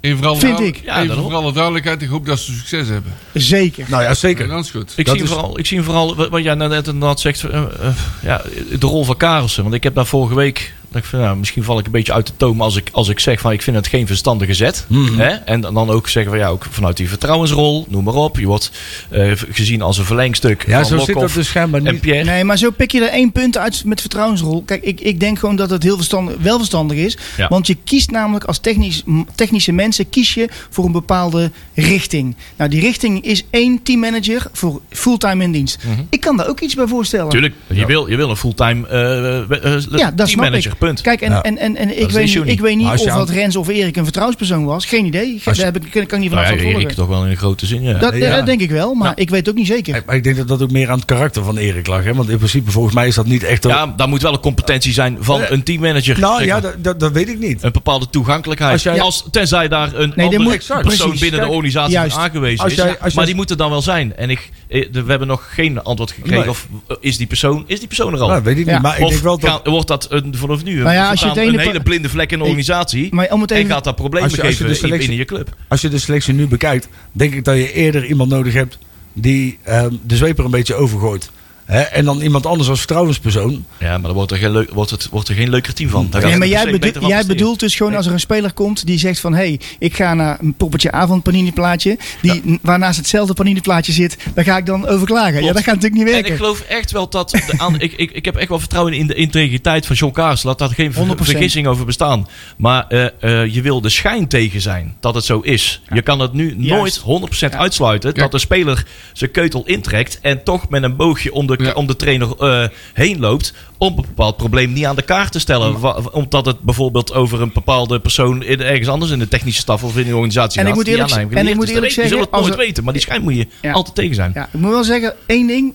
[SPEAKER 4] Even voor alle
[SPEAKER 5] Vind
[SPEAKER 4] duidel-
[SPEAKER 5] ik.
[SPEAKER 2] Ja,
[SPEAKER 4] Even
[SPEAKER 2] daarom.
[SPEAKER 4] voor alle duidelijkheid, ik hoop dat ze succes hebben.
[SPEAKER 5] zeker.
[SPEAKER 3] Nou ja,
[SPEAKER 4] En
[SPEAKER 3] zeker.
[SPEAKER 4] dan is het goed.
[SPEAKER 2] Ik
[SPEAKER 3] Dat
[SPEAKER 2] zie,
[SPEAKER 3] is-
[SPEAKER 2] vooral, ik zie vooral wat, wat jij net inderdaad zegt, eh, eh, ja, de rol van Karelsen. Want ik heb daar vorige week, dacht ik van, nou, misschien val ik een beetje uit de toom als ik, als ik zeg van ik vind het geen verstandige zet. Hè? En dan- dan ook zeggen van ja, ook vanuit die vertrouwensrol, noem maar op. Je wordt eh, gezien als een verlengstuk
[SPEAKER 3] Ja,
[SPEAKER 2] van
[SPEAKER 3] zo zit dat
[SPEAKER 2] Lokhoff
[SPEAKER 3] dus schijnbaar
[SPEAKER 2] en
[SPEAKER 3] niet.
[SPEAKER 2] Pierre.
[SPEAKER 5] Nee, maar zo pik je er één punt uit met vertrouwensrol. Kijk, ik, ik denk gewoon dat het heel verstandig, wel verstandig is.
[SPEAKER 2] Ja.
[SPEAKER 5] Want je kiest namelijk als technisch, m- technische mensen kies je voor een bepaalde richting. Nou, die richting is één teammanager voor fulltime in dienst. Ik kan daar ook iets bij voorstellen.
[SPEAKER 2] Mhm. Tuurlijk, je, wil, je wil een fulltime eh eh,
[SPEAKER 5] Ja, dat snap
[SPEAKER 2] teammanager,
[SPEAKER 5] ik.
[SPEAKER 2] punt.
[SPEAKER 5] Kijk, en,
[SPEAKER 3] Ja.
[SPEAKER 5] en, en, en
[SPEAKER 2] is
[SPEAKER 5] ik,
[SPEAKER 2] een
[SPEAKER 5] weet
[SPEAKER 2] issue
[SPEAKER 5] niet,
[SPEAKER 2] niet.
[SPEAKER 5] ik weet niet
[SPEAKER 3] Maar als
[SPEAKER 5] of
[SPEAKER 3] je aan-
[SPEAKER 5] dat Rens of Erik een vertrouwenspersoon was. Geen idee. Daar
[SPEAKER 3] je-
[SPEAKER 5] heb ik, kan ik niet
[SPEAKER 2] nou
[SPEAKER 5] vanaf
[SPEAKER 2] ja,
[SPEAKER 5] van
[SPEAKER 2] Erik
[SPEAKER 5] volgen.
[SPEAKER 2] toch wel in grote zin, ja. Nou.
[SPEAKER 5] Dat,
[SPEAKER 3] Ja.
[SPEAKER 5] dat denk ik wel, maar ik weet het ook niet zeker.
[SPEAKER 3] Maar ik denk dat dat ook meer aan het karakter van Erik lag. Hè? Want in principe, volgens mij is dat niet echt... een-
[SPEAKER 2] ja, daar moet wel een competentie zijn van
[SPEAKER 3] Eh,
[SPEAKER 2] een teammanager.
[SPEAKER 3] nou
[SPEAKER 2] zeg
[SPEAKER 3] ja,
[SPEAKER 2] maar.
[SPEAKER 3] dat, dat, dat weet ik niet.
[SPEAKER 2] een bepaalde toegankelijkheid. Als
[SPEAKER 3] Als jij-
[SPEAKER 2] tenzij daar een
[SPEAKER 5] dit
[SPEAKER 2] andere persoon
[SPEAKER 5] moet- exact. Precies.
[SPEAKER 2] binnen de
[SPEAKER 5] Kijk,
[SPEAKER 2] organisatie
[SPEAKER 5] juist.
[SPEAKER 2] van aangewezen
[SPEAKER 3] Als
[SPEAKER 2] is.
[SPEAKER 3] jij- als
[SPEAKER 2] maar
[SPEAKER 3] jij-
[SPEAKER 2] die moet er dan wel zijn. En ik, eh, de- we hebben nog geen antwoord gekregen.
[SPEAKER 3] Nee.
[SPEAKER 2] Of eh, is die persoon, is die persoon er al?
[SPEAKER 3] Nou, dat weet ik
[SPEAKER 5] Ja.
[SPEAKER 3] niet. Maar ik
[SPEAKER 2] of
[SPEAKER 3] denk wel dat...
[SPEAKER 2] gaan- wordt dat een, vanaf nu
[SPEAKER 5] Nou ja, als je
[SPEAKER 2] voortaan
[SPEAKER 5] het ene
[SPEAKER 2] een
[SPEAKER 5] pa-
[SPEAKER 2] hele blinde vlek in de
[SPEAKER 5] Ik-
[SPEAKER 2] organisatie?
[SPEAKER 5] maar om het
[SPEAKER 2] en
[SPEAKER 5] even-
[SPEAKER 2] gaat dat problemen
[SPEAKER 3] Als je- als je
[SPEAKER 2] geven
[SPEAKER 3] de selectie-
[SPEAKER 2] in, in je club?
[SPEAKER 3] Als je de selectie nu bekijkt, denk ik dat je eerder iemand nodig hebt die ehm, de zweep er een beetje overgooit. Hè? En dan iemand anders als vertrouwenspersoon.
[SPEAKER 2] Ja, maar dan wordt er geen, leuk, wordt het, wordt er geen leuker team van. Dan gaat
[SPEAKER 5] Nee,
[SPEAKER 2] het
[SPEAKER 5] maar
[SPEAKER 2] per
[SPEAKER 5] jij,
[SPEAKER 2] se
[SPEAKER 5] bedoel-
[SPEAKER 2] beter van
[SPEAKER 5] jij
[SPEAKER 2] presteren.
[SPEAKER 5] bedoelt dus gewoon als er een speler komt die zegt van... hé, hey, ik ga naar een poppetje avond panini plaatje... Die, waarnaast hetzelfde panini plaatje zit, daar ga ik dan over klagen. Ja,
[SPEAKER 2] Klopt.
[SPEAKER 5] dat gaat natuurlijk niet
[SPEAKER 2] En ik
[SPEAKER 5] werken.
[SPEAKER 2] geloof echt wel dat. De aan, ik, ik, ik heb echt wel vertrouwen in de integriteit van John Kaars. Laat daar geen ver-
[SPEAKER 5] 100%.
[SPEAKER 2] vergissing over bestaan. Maar eh, eh, je wil de schijn tegen zijn dat het zo is. Je kan het nu
[SPEAKER 5] Juist.
[SPEAKER 2] nooit 100% uitsluiten.
[SPEAKER 4] Ja.
[SPEAKER 2] Dat de speler zijn keutel intrekt. en toch met een boogje om de,
[SPEAKER 4] Ja.
[SPEAKER 2] om de trainer eh, heen loopt. om een bepaald probleem niet aan de kaart te
[SPEAKER 5] Mm.
[SPEAKER 2] stellen. Wa- Omdat het bijvoorbeeld over een bepaalde persoon. In, ergens anders in de technische staf of in de organisatie.
[SPEAKER 5] En ik
[SPEAKER 2] gaat
[SPEAKER 5] moet
[SPEAKER 2] die
[SPEAKER 5] eerlijk-
[SPEAKER 2] aan hem
[SPEAKER 5] en ik
[SPEAKER 2] geleerd
[SPEAKER 5] moet
[SPEAKER 2] is. Dat
[SPEAKER 5] eerlijk
[SPEAKER 2] weet- Je
[SPEAKER 5] zeggen,
[SPEAKER 2] zult het
[SPEAKER 5] als
[SPEAKER 2] nooit
[SPEAKER 5] er-
[SPEAKER 2] weten, maar die schijn moet je
[SPEAKER 5] Ja.
[SPEAKER 2] altijd tegen zijn.
[SPEAKER 5] Ja, ik moet wel zeggen, één ding...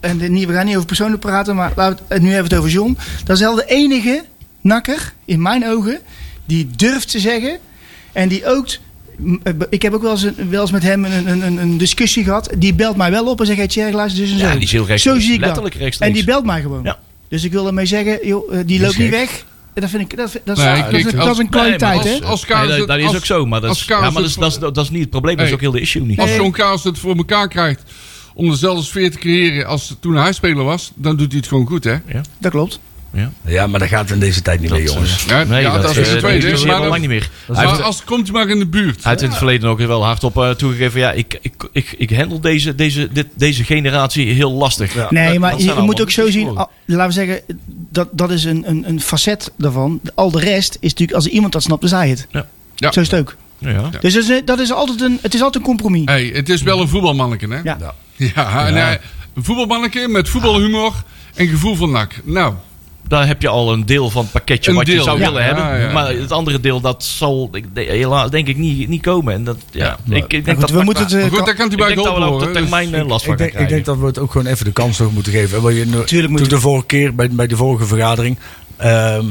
[SPEAKER 5] En dit niet, we gaan niet over personen praten, maar laten we het- nu hebben we het over John. Dat is wel de enige nakker, in mijn ogen, die durft te zeggen... en die ook... m- eh, Ik heb ook wel eens, een- wel eens met hem een, een, een- een discussie gehad. Die belt mij wel op en zegt: hey, Thierry, luister, dus en
[SPEAKER 2] Ja,
[SPEAKER 5] zo.
[SPEAKER 2] die is heel rechts-
[SPEAKER 5] Zo zie ik dat.
[SPEAKER 2] letterlijk rechtstreeks.
[SPEAKER 5] En die belt mij gewoon.
[SPEAKER 2] Ja.
[SPEAKER 5] Dus ik wil ermee zeggen, joh, eh, die loopt
[SPEAKER 3] gek.
[SPEAKER 5] niet weg. En dat vind ik, dat, vind- dat, is-
[SPEAKER 4] Nee,
[SPEAKER 5] dat,
[SPEAKER 4] ik-
[SPEAKER 5] is-
[SPEAKER 4] ik-
[SPEAKER 5] dat is een
[SPEAKER 4] als-
[SPEAKER 5] kwaliteit,
[SPEAKER 4] nee,
[SPEAKER 5] hè?
[SPEAKER 4] maar als- Kaas
[SPEAKER 2] Nee, dat,
[SPEAKER 4] het-
[SPEAKER 2] dat is
[SPEAKER 4] als-
[SPEAKER 2] ook zo, maar dat is,
[SPEAKER 4] als Kaas
[SPEAKER 2] ja, maar dat
[SPEAKER 4] het
[SPEAKER 2] is, dat, is, dat is niet het probleem, dat
[SPEAKER 4] Nee.
[SPEAKER 2] is ook heel de issue niet.
[SPEAKER 4] Als
[SPEAKER 5] Nee.
[SPEAKER 4] zo'n Kaas het voor elkaar krijgt om dezelfde sfeer te creëren als toen hij speler was, dan doet hij het gewoon goed, hè?
[SPEAKER 5] Dat klopt.
[SPEAKER 3] Ja, maar dat eh, gaat in deze tijd niet meer, jongens.
[SPEAKER 4] Ja,
[SPEAKER 2] Nee,
[SPEAKER 4] ja,
[SPEAKER 2] dat,
[SPEAKER 4] dat is
[SPEAKER 2] eh,
[SPEAKER 4] de
[SPEAKER 2] dat
[SPEAKER 4] tweede,
[SPEAKER 2] is
[SPEAKER 4] hè,
[SPEAKER 2] hier
[SPEAKER 4] maar
[SPEAKER 2] al
[SPEAKER 4] dat-
[SPEAKER 2] lang niet meer. Hij
[SPEAKER 4] Maar
[SPEAKER 2] heeft,
[SPEAKER 4] als komt hij maar in de buurt.
[SPEAKER 2] hij heeft in het verleden ook wel hardop eh, toegegeven, ja, ik, ik, ik, ik handel deze, deze, dit, deze generatie heel lastig.
[SPEAKER 3] Ja.
[SPEAKER 5] Nee, maar
[SPEAKER 2] dat
[SPEAKER 5] je,
[SPEAKER 2] zijn
[SPEAKER 5] je moet
[SPEAKER 2] allemaal
[SPEAKER 5] ook zo zien.
[SPEAKER 2] verloren.
[SPEAKER 5] al- laten we zeggen, dat, dat is een, een, een facet daarvan. Al de rest is natuurlijk, als iemand dat snapt, dan zei het.
[SPEAKER 2] Ja.
[SPEAKER 4] Ja.
[SPEAKER 5] Zo is het ook.
[SPEAKER 2] Ja, ja.
[SPEAKER 5] Dus dat is, dat is altijd een, het is altijd een compromis.
[SPEAKER 4] Hey, het is wel een voetbalmanneken, hè?
[SPEAKER 5] Ja.
[SPEAKER 4] Ja, en hij- een voetbalmanneke met voetbalhumor en gevoel van nak. Nou,
[SPEAKER 2] Daar heb je al een deel van het pakketje
[SPEAKER 4] Een
[SPEAKER 2] wat je
[SPEAKER 4] deel,
[SPEAKER 2] zou
[SPEAKER 4] ja.
[SPEAKER 2] willen
[SPEAKER 4] Ja,
[SPEAKER 2] hebben.
[SPEAKER 4] ja, ja.
[SPEAKER 2] Maar het andere deel, dat zal ik, de- helaas denk ik niet, niet komen. En dat, ja, ik, ik
[SPEAKER 5] Maar
[SPEAKER 2] denk
[SPEAKER 5] goed,
[SPEAKER 2] dat
[SPEAKER 5] we moeten het, eh,
[SPEAKER 4] maar goed,
[SPEAKER 5] kan-
[SPEAKER 4] daar kan hij
[SPEAKER 2] ik
[SPEAKER 4] bij
[SPEAKER 2] denk dat
[SPEAKER 4] geholpen
[SPEAKER 2] we daar op de
[SPEAKER 4] worden. dus-
[SPEAKER 2] termijn eh, last van
[SPEAKER 3] Ik
[SPEAKER 2] gaan
[SPEAKER 3] denk, ik denk
[SPEAKER 2] krijgen.
[SPEAKER 3] dat we het ook gewoon even de kans nog moeten geven. En Wat je, nu-
[SPEAKER 5] Tuurlijk moet
[SPEAKER 3] toen de vorige keer, bij, bij de vorige vergadering. ehm,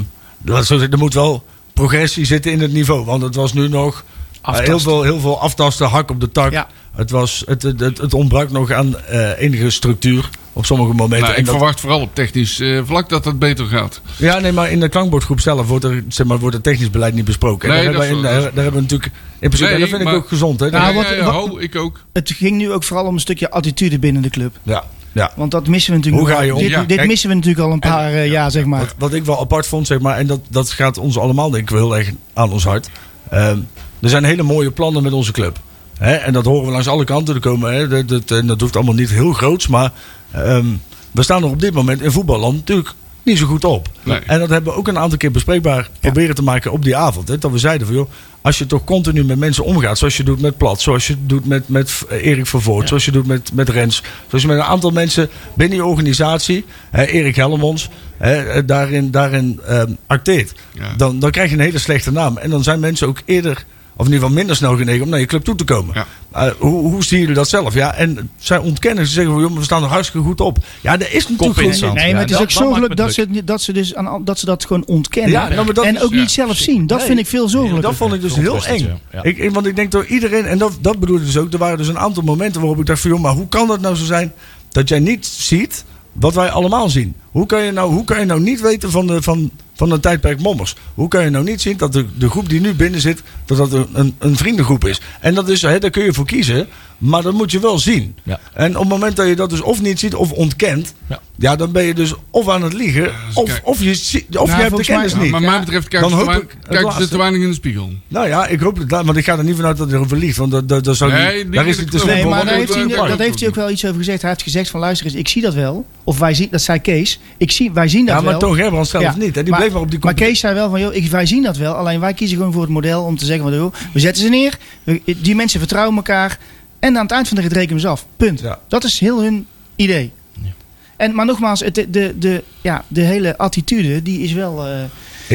[SPEAKER 3] laat ik zo zeggen, er moet wel progressie zitten in het niveau. Want het was nu nog eh, heel, veel, heel veel aftasten, hak op de tak.
[SPEAKER 5] Ja.
[SPEAKER 3] Het, was, het, het, het, het ontbrak nog aan eh, enige structuur op sommige momenten.
[SPEAKER 4] Nou,
[SPEAKER 3] En
[SPEAKER 4] ik
[SPEAKER 3] dat-
[SPEAKER 4] verwacht vooral op technisch eh, vlak dat het beter gaat.
[SPEAKER 3] Ja, nee, maar in de klankbordgroep zelf wordt, er, zeg maar, wordt het technisch beleid niet besproken.
[SPEAKER 4] Nee,
[SPEAKER 3] daar,
[SPEAKER 4] dat
[SPEAKER 3] hebben we,
[SPEAKER 4] is
[SPEAKER 3] in-
[SPEAKER 4] wel-
[SPEAKER 3] daar, daar hebben we natuurlijk. In principe,
[SPEAKER 4] Nee,
[SPEAKER 3] en dat vind
[SPEAKER 4] maar-
[SPEAKER 3] ik ook gezond, hè?
[SPEAKER 4] Ja,
[SPEAKER 5] Nou,
[SPEAKER 4] ja,
[SPEAKER 5] wat-
[SPEAKER 4] ja,
[SPEAKER 5] wat-
[SPEAKER 4] Eh, ho, ik ook.
[SPEAKER 5] Het ging nu ook vooral om een stukje attitude binnen de club.
[SPEAKER 3] ja, ja.
[SPEAKER 5] Want dat missen we natuurlijk.
[SPEAKER 3] Hoe ga je
[SPEAKER 5] al-
[SPEAKER 3] om?
[SPEAKER 5] Dit,
[SPEAKER 4] Ja.
[SPEAKER 5] dit
[SPEAKER 3] Kijk,
[SPEAKER 5] missen we natuurlijk al een paar eh, jaar, zeg maar.
[SPEAKER 3] Wat, wat ik wel apart vond, zeg maar, en dat, dat gaat ons allemaal denk ik wel heel erg aan ons hart. Ehm, er zijn hele mooie plannen met onze club. Hè, en dat horen we langs alle kanten te komen. Hè, dat, dat, en dat hoeft allemaal niet heel groots, maar ehm, we staan er op dit moment in voetballand natuurlijk niet zo goed op.
[SPEAKER 4] Nee.
[SPEAKER 3] En dat hebben we ook een aantal keer bespreekbaar proberen te maken op die avond. Hè, dat we zeiden van, joh, als je toch continu met mensen omgaat, zoals je doet met Plat, zoals je doet met, met eh, Erik Vervoort, zoals je doet met, met Rens, zoals je met een aantal mensen binnen je organisatie, hè, Erik Helmons, hè, eh, daarin, daarin ehm, acteert,
[SPEAKER 4] Ja.
[SPEAKER 3] dan, dan krijg je een hele slechte naam. En dan zijn mensen ook eerder, of in ieder geval minder snel genegen om naar je club toe te komen.
[SPEAKER 4] Ja.
[SPEAKER 3] Eh, hoe, hoe zien jullie dat zelf? Ja, en zij ontkennen, ze zeggen van, joh, maar we staan er hartstikke goed op. Ja, dat is natuurlijk
[SPEAKER 2] in
[SPEAKER 3] gewoon
[SPEAKER 2] het
[SPEAKER 3] niet.
[SPEAKER 2] zand.
[SPEAKER 5] Nee,
[SPEAKER 2] Ja,
[SPEAKER 5] maar het is
[SPEAKER 2] dat-
[SPEAKER 5] ook
[SPEAKER 2] dat
[SPEAKER 5] zo
[SPEAKER 2] maakt me
[SPEAKER 5] geluk dat ze, dat, ze dus aan, al- dat ze dat gewoon ontkennen.
[SPEAKER 3] Ja, nou, maar dat
[SPEAKER 5] en
[SPEAKER 3] is-
[SPEAKER 5] ook
[SPEAKER 4] ja,
[SPEAKER 5] niet zelf zien. Dat vind ik veel zorgelijker.
[SPEAKER 3] Dat vond ik dus
[SPEAKER 2] Heel
[SPEAKER 3] heel
[SPEAKER 2] onrustig,
[SPEAKER 3] eng.
[SPEAKER 2] ja. Ja.
[SPEAKER 3] Ik, ik- want ik denk door iedereen, en dat, dat bedoelde dus ook, er waren dus een aantal momenten waarop ik dacht van joh, maar hoe kan dat nou zo zijn dat jij niet ziet wat wij allemaal zien. Hoe kan je nou, hoe kan je nou niet weten van, de, van, van een tijdperk mommers? Hoe kan je nou niet zien dat de, de groep die nu binnen zit, dat dat een- een, een vriendengroep is? En dat is, hè, daar kun je voor kiezen, maar dat moet je wel zien.
[SPEAKER 2] Ja.
[SPEAKER 3] En op het moment dat je dat dus of niet ziet of ontkent, ja,
[SPEAKER 2] Ja.
[SPEAKER 3] dan ben je dus of aan het liegen, of,
[SPEAKER 4] kijk.
[SPEAKER 3] of je, zie- of je hebt de
[SPEAKER 5] volgens mij-
[SPEAKER 3] kennis
[SPEAKER 5] ja,
[SPEAKER 3] niet.
[SPEAKER 4] Maar mij betreft kijken
[SPEAKER 3] Dan
[SPEAKER 4] ze
[SPEAKER 3] hoop
[SPEAKER 4] te weinig-
[SPEAKER 3] ik het
[SPEAKER 4] kijken ze
[SPEAKER 3] laatste.
[SPEAKER 4] te weinig in de spiegel.
[SPEAKER 3] Nou ja, ik hoop het, la- want ik ga er niet vanuit dat hij erover liegt, want dat, dat, dat zou
[SPEAKER 4] Nee,
[SPEAKER 3] niet-
[SPEAKER 4] die
[SPEAKER 3] daar is
[SPEAKER 4] vind
[SPEAKER 3] hij
[SPEAKER 4] ik
[SPEAKER 3] te
[SPEAKER 4] ook
[SPEAKER 3] slim
[SPEAKER 4] wel.
[SPEAKER 5] Nee,
[SPEAKER 3] voor.
[SPEAKER 5] maar daar
[SPEAKER 4] dat
[SPEAKER 5] heeft,
[SPEAKER 4] is
[SPEAKER 5] hij,
[SPEAKER 4] waar.
[SPEAKER 5] dat heeft hij ook wel iets over gezegd. Hij heeft gezegd van luister eens, ik zie dat wel. Of wij zien, dat zei Kees, ik zie, wij zien dat
[SPEAKER 3] Ja,
[SPEAKER 5] wel.
[SPEAKER 3] maar Toon Gerbrand zelf
[SPEAKER 5] Ja,
[SPEAKER 3] niet. Hè? Die
[SPEAKER 5] maar-
[SPEAKER 3] bleef maar op die
[SPEAKER 5] Maar
[SPEAKER 3] computer.
[SPEAKER 5] Kees zei wel van, joh, ik, wij zien dat wel. Alleen wij kiezen gewoon voor het model om te zeggen van, joh, we zetten ze neer. we- die mensen vertrouwen elkaar. En aan het eind van de rit rekenen we ze af. Punt.
[SPEAKER 3] Ja.
[SPEAKER 5] Dat is heel hun idee. En, maar nogmaals, het, de, de, de, ja, de hele attitude, die is wel... eh,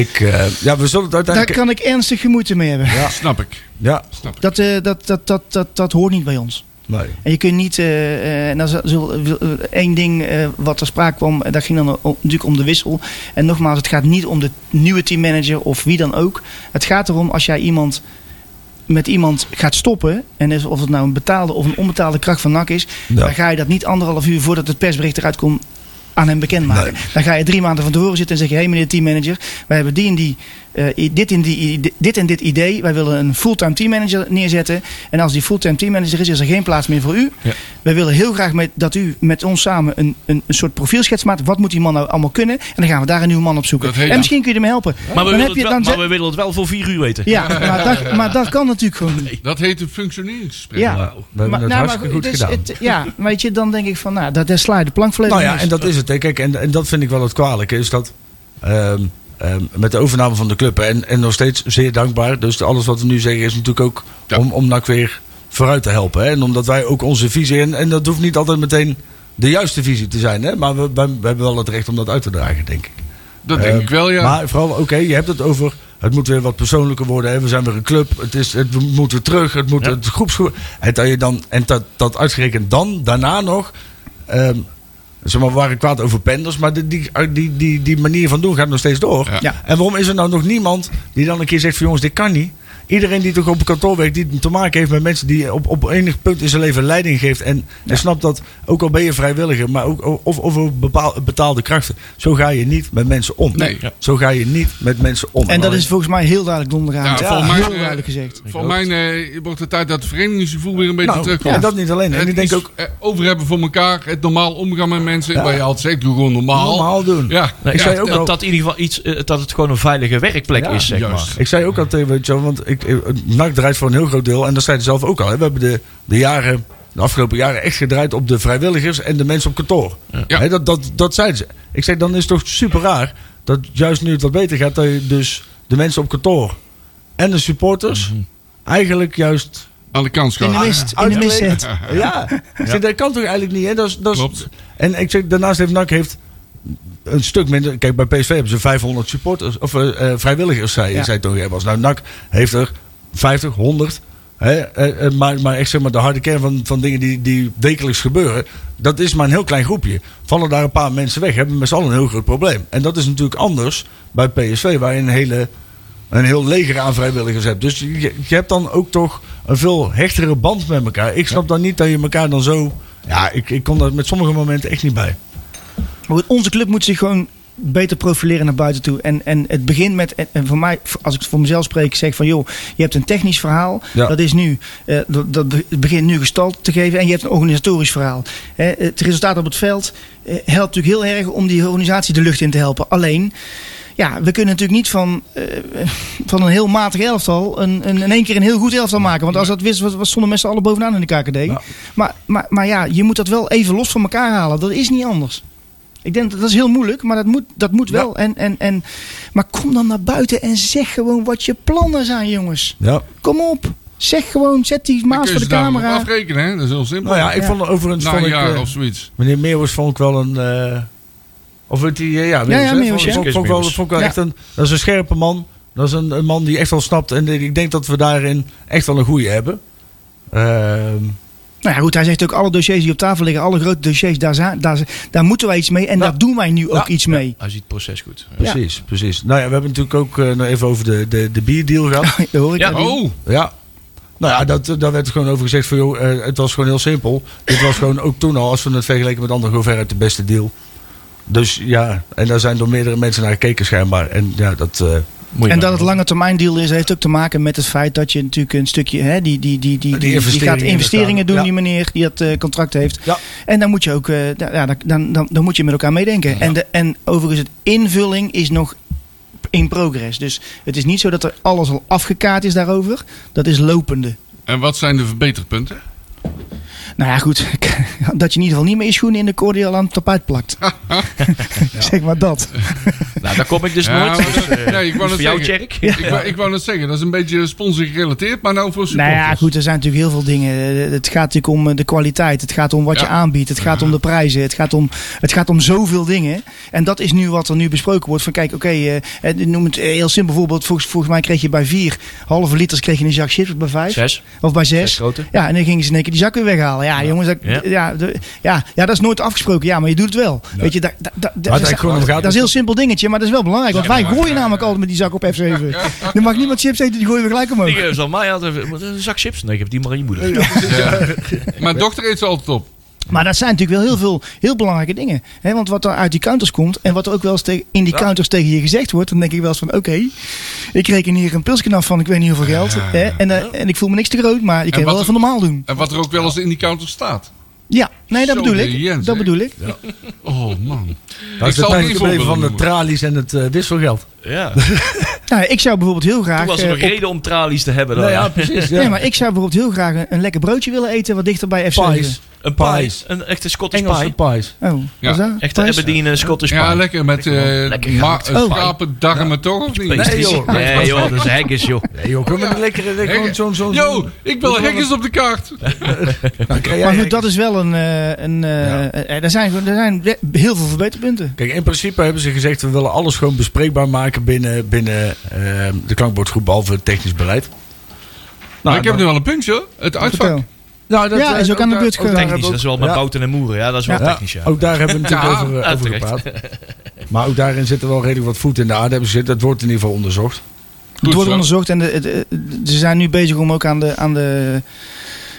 [SPEAKER 3] Ik, eh, ja, we zullen het
[SPEAKER 5] daar
[SPEAKER 3] uiteindelijk...
[SPEAKER 5] kan ik ernstig gemoeite mee hebben.
[SPEAKER 4] Snap ik.
[SPEAKER 3] Ja,
[SPEAKER 5] Dat, eh, dat, dat, dat, dat, dat hoort niet bij ons.
[SPEAKER 3] nee.
[SPEAKER 5] En je kunt niet, eh, eh, en dat is zo- eh, één ding eh, wat ter sprake kwam, eh, dat ging dan om- natuurlijk om de wissel. En nogmaals, het gaat niet om de nieuwe teammanager of wie dan ook. Het gaat erom als jij iemand met iemand gaat stoppen, en is- of het nou een betaalde of een onbetaalde kracht van NAC is,
[SPEAKER 3] Ja.
[SPEAKER 5] dan ga je dat niet anderhalf uur voordat het persbericht eruit komt aan hem bekendmaken. Dan ga je drie maanden van tevoren zitten en zeggen, hé hey, meneer teammanager, wij hebben die en die, eh, i- dit, en die, i- dit en dit idee, wij willen een fulltime teammanager neerzetten. En als die fulltime teammanager is, is er geen plaats meer voor u.
[SPEAKER 2] Ja.
[SPEAKER 5] Wij willen heel graag met, dat u met ons samen een, een, een soort profielschets maakt. Wat moet die man nou allemaal kunnen? En dan gaan we daar een nieuwe man op zoeken.
[SPEAKER 4] Dat heet
[SPEAKER 5] En
[SPEAKER 4] dat.
[SPEAKER 5] misschien kun je hem helpen.
[SPEAKER 2] Maar we,
[SPEAKER 5] dan
[SPEAKER 2] willen
[SPEAKER 5] heb
[SPEAKER 2] het
[SPEAKER 5] je
[SPEAKER 2] wel,
[SPEAKER 5] dan
[SPEAKER 2] maar
[SPEAKER 5] ze-
[SPEAKER 2] we willen het wel voor vier uur weten.
[SPEAKER 5] Ja, maar dat, maar dat kan natuurlijk gewoon niet.
[SPEAKER 4] Dat heet een functioneringsgesprek.
[SPEAKER 5] Ja.
[SPEAKER 3] Nou, we hebben het
[SPEAKER 5] nou,
[SPEAKER 3] hartstikke goed
[SPEAKER 5] dus
[SPEAKER 3] gedaan.
[SPEAKER 5] het- ja, weet je, dan denk ik van, nou, dat, daar sla je de plank volledig
[SPEAKER 3] nou ja,
[SPEAKER 5] mis.
[SPEAKER 3] en dat is het. hè. Kijk, en, en dat vind ik wel het kwalijke. Is dat ehm, ehm, met de overname van de club. hè, En, en nog steeds zeer dankbaar. Dus alles wat we nu zeggen is natuurlijk ook
[SPEAKER 4] Ja.
[SPEAKER 3] om, om NAC weer vooruit te helpen. Hè. En omdat wij ook onze visie. En, en dat hoeft niet altijd meteen de juiste visie te zijn. Hè. Maar we, wij- we hebben wel het recht om dat uit te dragen, denk ik.
[SPEAKER 4] Dat denk
[SPEAKER 3] Eh,
[SPEAKER 4] ik wel, ja.
[SPEAKER 3] Maar vooral, oké, je hebt het over. Het moet weer wat persoonlijker worden. Hè. We zijn weer een club. Het, is, het we moeten terug. Het moet
[SPEAKER 2] Ja.
[SPEAKER 3] het groepsgevoel. En dat, je dan, en dat, dat uitgerekend dan, daarna nog. ehm, zeg maar, we waren kwaad over penders. Maar die, die, die, die, die manier van doen gaat nog steeds door.
[SPEAKER 4] Ja.
[SPEAKER 5] Ja.
[SPEAKER 3] En waarom is er nou nog niemand die dan een keer zegt: van jongens, dit kan niet? Iedereen die toch op kantoor werkt, die te maken heeft met mensen die op, op enig punt in zijn leven leiding geeft. En, en snapt dat, ook al ben je vrijwilliger, maar ook of, of over bepaal- betaalde krachten. Zo ga je niet met mensen om.
[SPEAKER 4] Nee.
[SPEAKER 2] Ja.
[SPEAKER 3] Zo ga je niet met mensen om.
[SPEAKER 5] En dat is volgens mij heel duidelijk donderdagavond.
[SPEAKER 4] Ja,
[SPEAKER 5] Ja,
[SPEAKER 4] volgens mij,
[SPEAKER 5] heel
[SPEAKER 4] eh,
[SPEAKER 5] duidelijk gezegd.
[SPEAKER 4] Voor mij eh, wordt het tijd dat het verenigingsgevoel weer een beetje
[SPEAKER 3] nou,
[SPEAKER 4] terugkomt.
[SPEAKER 3] En dat niet alleen. En
[SPEAKER 4] Het
[SPEAKER 3] ik denk
[SPEAKER 4] is,
[SPEAKER 3] ook
[SPEAKER 4] eh, over hebben voor elkaar, het normaal omgaan met mensen.
[SPEAKER 3] Ja.
[SPEAKER 4] Waar je altijd zegt, doe gewoon normaal.
[SPEAKER 3] normaal doen.
[SPEAKER 4] Ja,
[SPEAKER 2] Nee,
[SPEAKER 3] Ik
[SPEAKER 4] ja.
[SPEAKER 3] zei ook al-
[SPEAKER 2] dat, dat in ieder geval iets, eh, dat het gewoon een veilige werkplek
[SPEAKER 3] Ja,
[SPEAKER 2] is, zeg
[SPEAKER 4] juist.
[SPEAKER 2] maar.
[SPEAKER 3] Ik zei ook al tegen Joe, want ik, eh, NAC draait voor een heel groot deel. En dat zei hij zelf ook al. Hè. We hebben de, de jaren, de afgelopen jaren echt gedraaid op de vrijwilligers en de mensen op kantoor.
[SPEAKER 4] Ja.
[SPEAKER 3] Hè, dat, dat, dat zeiden ze. Ik zei, dan is het toch super raar dat juist nu het wat beter gaat, dat je dus de mensen op kantoor en de supporters
[SPEAKER 4] Mhm.
[SPEAKER 3] eigenlijk juist.
[SPEAKER 4] aan de kans
[SPEAKER 5] In de
[SPEAKER 4] gaan.
[SPEAKER 5] mist, in de mist zet.
[SPEAKER 3] Ja, Ik zeg, dat kan toch eigenlijk niet. Hè? Dat is, dat is,
[SPEAKER 4] Klopt.
[SPEAKER 3] En ik zeg, daarnaast heeft NAC heeft een stuk minder. Kijk, bij PSV hebben ze 500 supporters of eh, eh, vrijwilligers, zei,
[SPEAKER 5] Ja.
[SPEAKER 3] zei Tony Ebbers. Nou, NAC heeft er 50, 100. Hè, eh, eh, maar, maar echt zeg maar de harde kern van, van dingen die, die wekelijks gebeuren, dat is maar een heel klein groepje. Vallen daar een paar mensen weg, hebben we met z'n allen een heel groot probleem. En dat is natuurlijk anders bij PSV, waar je een, hele, een heel leger aan vrijwilligers hebt. Dus je, je hebt dan ook toch een veel hechtere band met elkaar. Ik snap dan niet dat je elkaar dan zo. Ja, ik, ik kon daar met sommige momenten echt niet bij.
[SPEAKER 5] Maar goed, onze club moet zich gewoon beter profileren naar buiten toe. En, en het begint met, en- en voor mij, als ik voor mezelf spreek, zeg van joh, je hebt een technisch verhaal.
[SPEAKER 3] Ja.
[SPEAKER 5] Dat is nu, eh, dat, dat be- begint nu gestalte te geven. En je hebt een organisatorisch verhaal. Hè, het resultaat op het veld eh, helpt natuurlijk heel erg om die organisatie de lucht in te helpen. Alleen, ja, we kunnen natuurlijk niet van, eh, van een heel matig elftal een, een, in één keer een heel goed elftal maken. Want als dat wist, was, was stonden mensen alle bovenaan in de KKD. Maar, maar, maar ja, je moet dat wel even los van elkaar halen. Dat is niet anders. Ik denk dat dat is heel moeilijk, maar dat moet, dat moet wel. En, en, en, maar kom dan naar buiten en zeg gewoon wat je plannen zijn, jongens.
[SPEAKER 3] Ja.
[SPEAKER 5] Kom op. Zeg gewoon, zet die
[SPEAKER 4] Ah, Dan kun
[SPEAKER 5] maas
[SPEAKER 4] je
[SPEAKER 5] voor de
[SPEAKER 4] ze daarmee
[SPEAKER 5] camera.
[SPEAKER 4] afrekenen, hè? dat is heel simpel.
[SPEAKER 3] Nou ja, ik
[SPEAKER 5] Ja.
[SPEAKER 3] vond overigens.
[SPEAKER 4] Na
[SPEAKER 3] vond
[SPEAKER 4] een
[SPEAKER 3] ik,
[SPEAKER 4] jaar
[SPEAKER 3] eh,
[SPEAKER 4] of zoiets.
[SPEAKER 3] Meneer Meeuwis vond ik wel een. eh, of het die. eh, ja, Meeuwis,
[SPEAKER 5] ja,
[SPEAKER 3] hè,
[SPEAKER 5] Meeuwis,
[SPEAKER 3] vond,
[SPEAKER 5] ja.
[SPEAKER 3] vond, vond ik wel, vond ik wel
[SPEAKER 5] Ja.
[SPEAKER 3] echt een. Dat is een scherpe man. Dat is een, een man die echt wel snapt. En ik denk dat we daarin echt wel een goede hebben. Ehm,
[SPEAKER 5] Nou ja, goed, hij zegt ook alle dossiers die op tafel liggen, alle grote dossiers, daar, zijn- daar, zijn- daar moeten wij iets mee. En
[SPEAKER 2] Nou,
[SPEAKER 5] daar doen wij nu ook iets mee.
[SPEAKER 2] Hij ziet het proces goed.
[SPEAKER 3] precies, precies. Nou ja, we hebben natuurlijk ook eh, nog even over de, de, de bierdeal gehad.
[SPEAKER 5] Dat hoor ik.
[SPEAKER 2] Ja,
[SPEAKER 5] Adi.
[SPEAKER 4] Oh,
[SPEAKER 3] Ja. Nou ja, dat, daar werd gewoon over gezegd van, joh, eh, het was gewoon heel simpel. Dit was gewoon ook toen al, als we het vergeleken met anderen, gewoon veruit de beste deal Dus ja, en daar zijn door meerdere mensen naar gekeken schijnbaar. En ja, dat... eh,
[SPEAKER 2] Moet je
[SPEAKER 5] En
[SPEAKER 2] maar
[SPEAKER 5] dat het lange termijn deal is, heeft ook te maken met het feit dat je natuurlijk een stukje, hè, die, die, die, die, die, die
[SPEAKER 3] investeringen
[SPEAKER 5] gaat investeringen doen,
[SPEAKER 3] Ja.
[SPEAKER 5] die meneer die dat eh, contract heeft.
[SPEAKER 3] Ja.
[SPEAKER 5] En dan moet je ook, eh, da- ja, dan, dan, dan, dan moet je met elkaar meedenken. En, de, en overigens, het invulling is nog in progress. Dus het is niet zo dat er alles al afgekaart is daarover. Dat is lopende.
[SPEAKER 4] En wat zijn de verbeterpunten?
[SPEAKER 5] Nou ja, goed. Dat je in ieder geval niet meer je schoenen in de cordial aan het tapijt plakt. zeg maar dat.
[SPEAKER 2] Nou, daar kom ik dus
[SPEAKER 4] Ja,
[SPEAKER 2] nooit.
[SPEAKER 4] maar-
[SPEAKER 2] Dus, eh,
[SPEAKER 4] ja, ik wou
[SPEAKER 2] voor
[SPEAKER 4] net
[SPEAKER 2] jou,
[SPEAKER 4] zeggen.
[SPEAKER 2] Tjerk.
[SPEAKER 4] Ik, wou, ik wou net zeggen, dat is een beetje sponsor gerelateerd, maar nou voor
[SPEAKER 5] Nou
[SPEAKER 4] supporters.
[SPEAKER 5] ja, goed, er zijn natuurlijk heel veel dingen. Eh, Het gaat natuurlijk om eh, de kwaliteit. Het gaat om wat
[SPEAKER 4] Ja.
[SPEAKER 5] je aanbiedt. Het gaat om de prijzen. Het gaat om, het gaat om zoveel dingen. En dat is nu wat er nu besproken wordt. Van kijk, oké, eh, eh, noem het eh, heel simpel voorbeeld. Volgens, volgens mij kreeg je bij vier halve liters kreeg je een zak chips of bij vijf.
[SPEAKER 2] Zes.
[SPEAKER 5] Of bij
[SPEAKER 2] Zes
[SPEAKER 5] zes.
[SPEAKER 2] grote.
[SPEAKER 5] Ja, en dan gingen ze in één keer die zak weer weghalen. Ja, jongens, dat,
[SPEAKER 2] Ja.
[SPEAKER 5] ja. de- ja, ja, dat is nooit afgesproken. Ja, maar je doet het wel. Weet je, da, da- da- da-
[SPEAKER 3] eigenlijk
[SPEAKER 5] da-
[SPEAKER 3] gewoon om
[SPEAKER 5] dat,
[SPEAKER 3] gaat
[SPEAKER 5] is een heel simpel dingetje, maar dat is wel belangrijk. Want wij gooien namelijk altijd met die zak op F7. Er mag niemand chips eten, die gooien we gelijk omhoog.
[SPEAKER 2] Ik, eh, zal mij altijd- wat is een zak chips. Nee, ik heb die maar aan je moeder.
[SPEAKER 4] Mijn dochter eet ze altijd op.
[SPEAKER 5] Maar dat zijn natuurlijk wel heel veel heel belangrijke dingen. hè? want wat er uit die counters komt en wat er ook wel eens te- in die counters tegen je gezegd wordt, dan denk ik wel eens van oké, ik reken hier een pilsknap van, ik weet niet hoeveel geld. hè? en, eh, en ik voel me niks te groot, maar ik kan
[SPEAKER 4] wat er-
[SPEAKER 5] wel even normaal doen.
[SPEAKER 4] En wat er ook wel eens in die counter staat.
[SPEAKER 5] Ja, nee, dat
[SPEAKER 4] Zo
[SPEAKER 5] bedoel ik.
[SPEAKER 4] de Jens,
[SPEAKER 5] dat
[SPEAKER 4] hè?
[SPEAKER 5] bedoel ik.
[SPEAKER 4] Oh man.
[SPEAKER 3] dat is
[SPEAKER 4] zal
[SPEAKER 3] het
[SPEAKER 4] geen
[SPEAKER 3] pijn gebleven
[SPEAKER 4] voorbeeld
[SPEAKER 3] van de
[SPEAKER 4] noemen.
[SPEAKER 3] tralies en het eh, wisselgeld.
[SPEAKER 2] Ja.
[SPEAKER 5] Nou, ik zou bijvoorbeeld heel graag.
[SPEAKER 2] Toen was er
[SPEAKER 5] eh,
[SPEAKER 2] nog
[SPEAKER 5] op-
[SPEAKER 2] reden om tralies te hebben. Dan.
[SPEAKER 3] Nou ja, precies. Ja.
[SPEAKER 5] Nee, maar ik zou bijvoorbeeld heel graag een, een lekker broodje willen eten wat dichter bij F7.
[SPEAKER 3] Pies.
[SPEAKER 2] Een pie.
[SPEAKER 3] Pies.
[SPEAKER 2] Een echte Scottish
[SPEAKER 3] Engelse
[SPEAKER 2] pie.
[SPEAKER 3] pies.
[SPEAKER 5] Oh,
[SPEAKER 4] Ja,
[SPEAKER 5] was dat?
[SPEAKER 2] Echte
[SPEAKER 5] Pies?
[SPEAKER 2] Aberdeen eh, Scottish
[SPEAKER 4] Ja,
[SPEAKER 2] pie.
[SPEAKER 4] lekker met
[SPEAKER 2] Lekker
[SPEAKER 4] eh ma-
[SPEAKER 2] gehakt.
[SPEAKER 5] Oh.
[SPEAKER 4] eh, schapendarmen toch of niet?
[SPEAKER 2] Nee joh. Nee joh, dat is hekkers joh.
[SPEAKER 3] Nee joh, kom met een lekkere... gewoon
[SPEAKER 4] Hekken-
[SPEAKER 3] zo'n- zo'n-
[SPEAKER 4] Yo, ik wil
[SPEAKER 3] Zo'n-
[SPEAKER 4] hekkers op de kaart.
[SPEAKER 5] Nou,
[SPEAKER 3] Dan krijg jij
[SPEAKER 5] Maar goed,
[SPEAKER 3] hekken.
[SPEAKER 5] dat is wel een. eh, een eh,
[SPEAKER 3] Ja.
[SPEAKER 5] eh, er, zijn, gewoon- er zijn heel veel verbeterpunten.
[SPEAKER 3] Kijk, in principe hebben ze gezegd... we willen alles gewoon bespreekbaar maken binnen, binnen ehm, de klankbordgroep... behalve het technisch beleid.
[SPEAKER 4] Maar ik heb
[SPEAKER 3] dan-
[SPEAKER 4] nu wel een puntje hoor. Het uitvak.
[SPEAKER 5] Vertel. Ja, is eh, ook aan de beurt gekomen.
[SPEAKER 2] Technisch, dat is wel met bouten en moeren. Ja, dat is wel technisch ja.
[SPEAKER 3] Ook daar hebben we het natuurlijk
[SPEAKER 4] Ja,
[SPEAKER 3] over, eh, over
[SPEAKER 2] terecht.
[SPEAKER 3] gepraat. Maar ook daarin zit er wel redelijk wat voet in de aarde. Hebben ze zitten. Dat wordt in ieder geval onderzocht.
[SPEAKER 5] Het wordt
[SPEAKER 4] zo.
[SPEAKER 5] onderzocht en de, de- de- ze zijn nu bezig om ook aan de, aan de,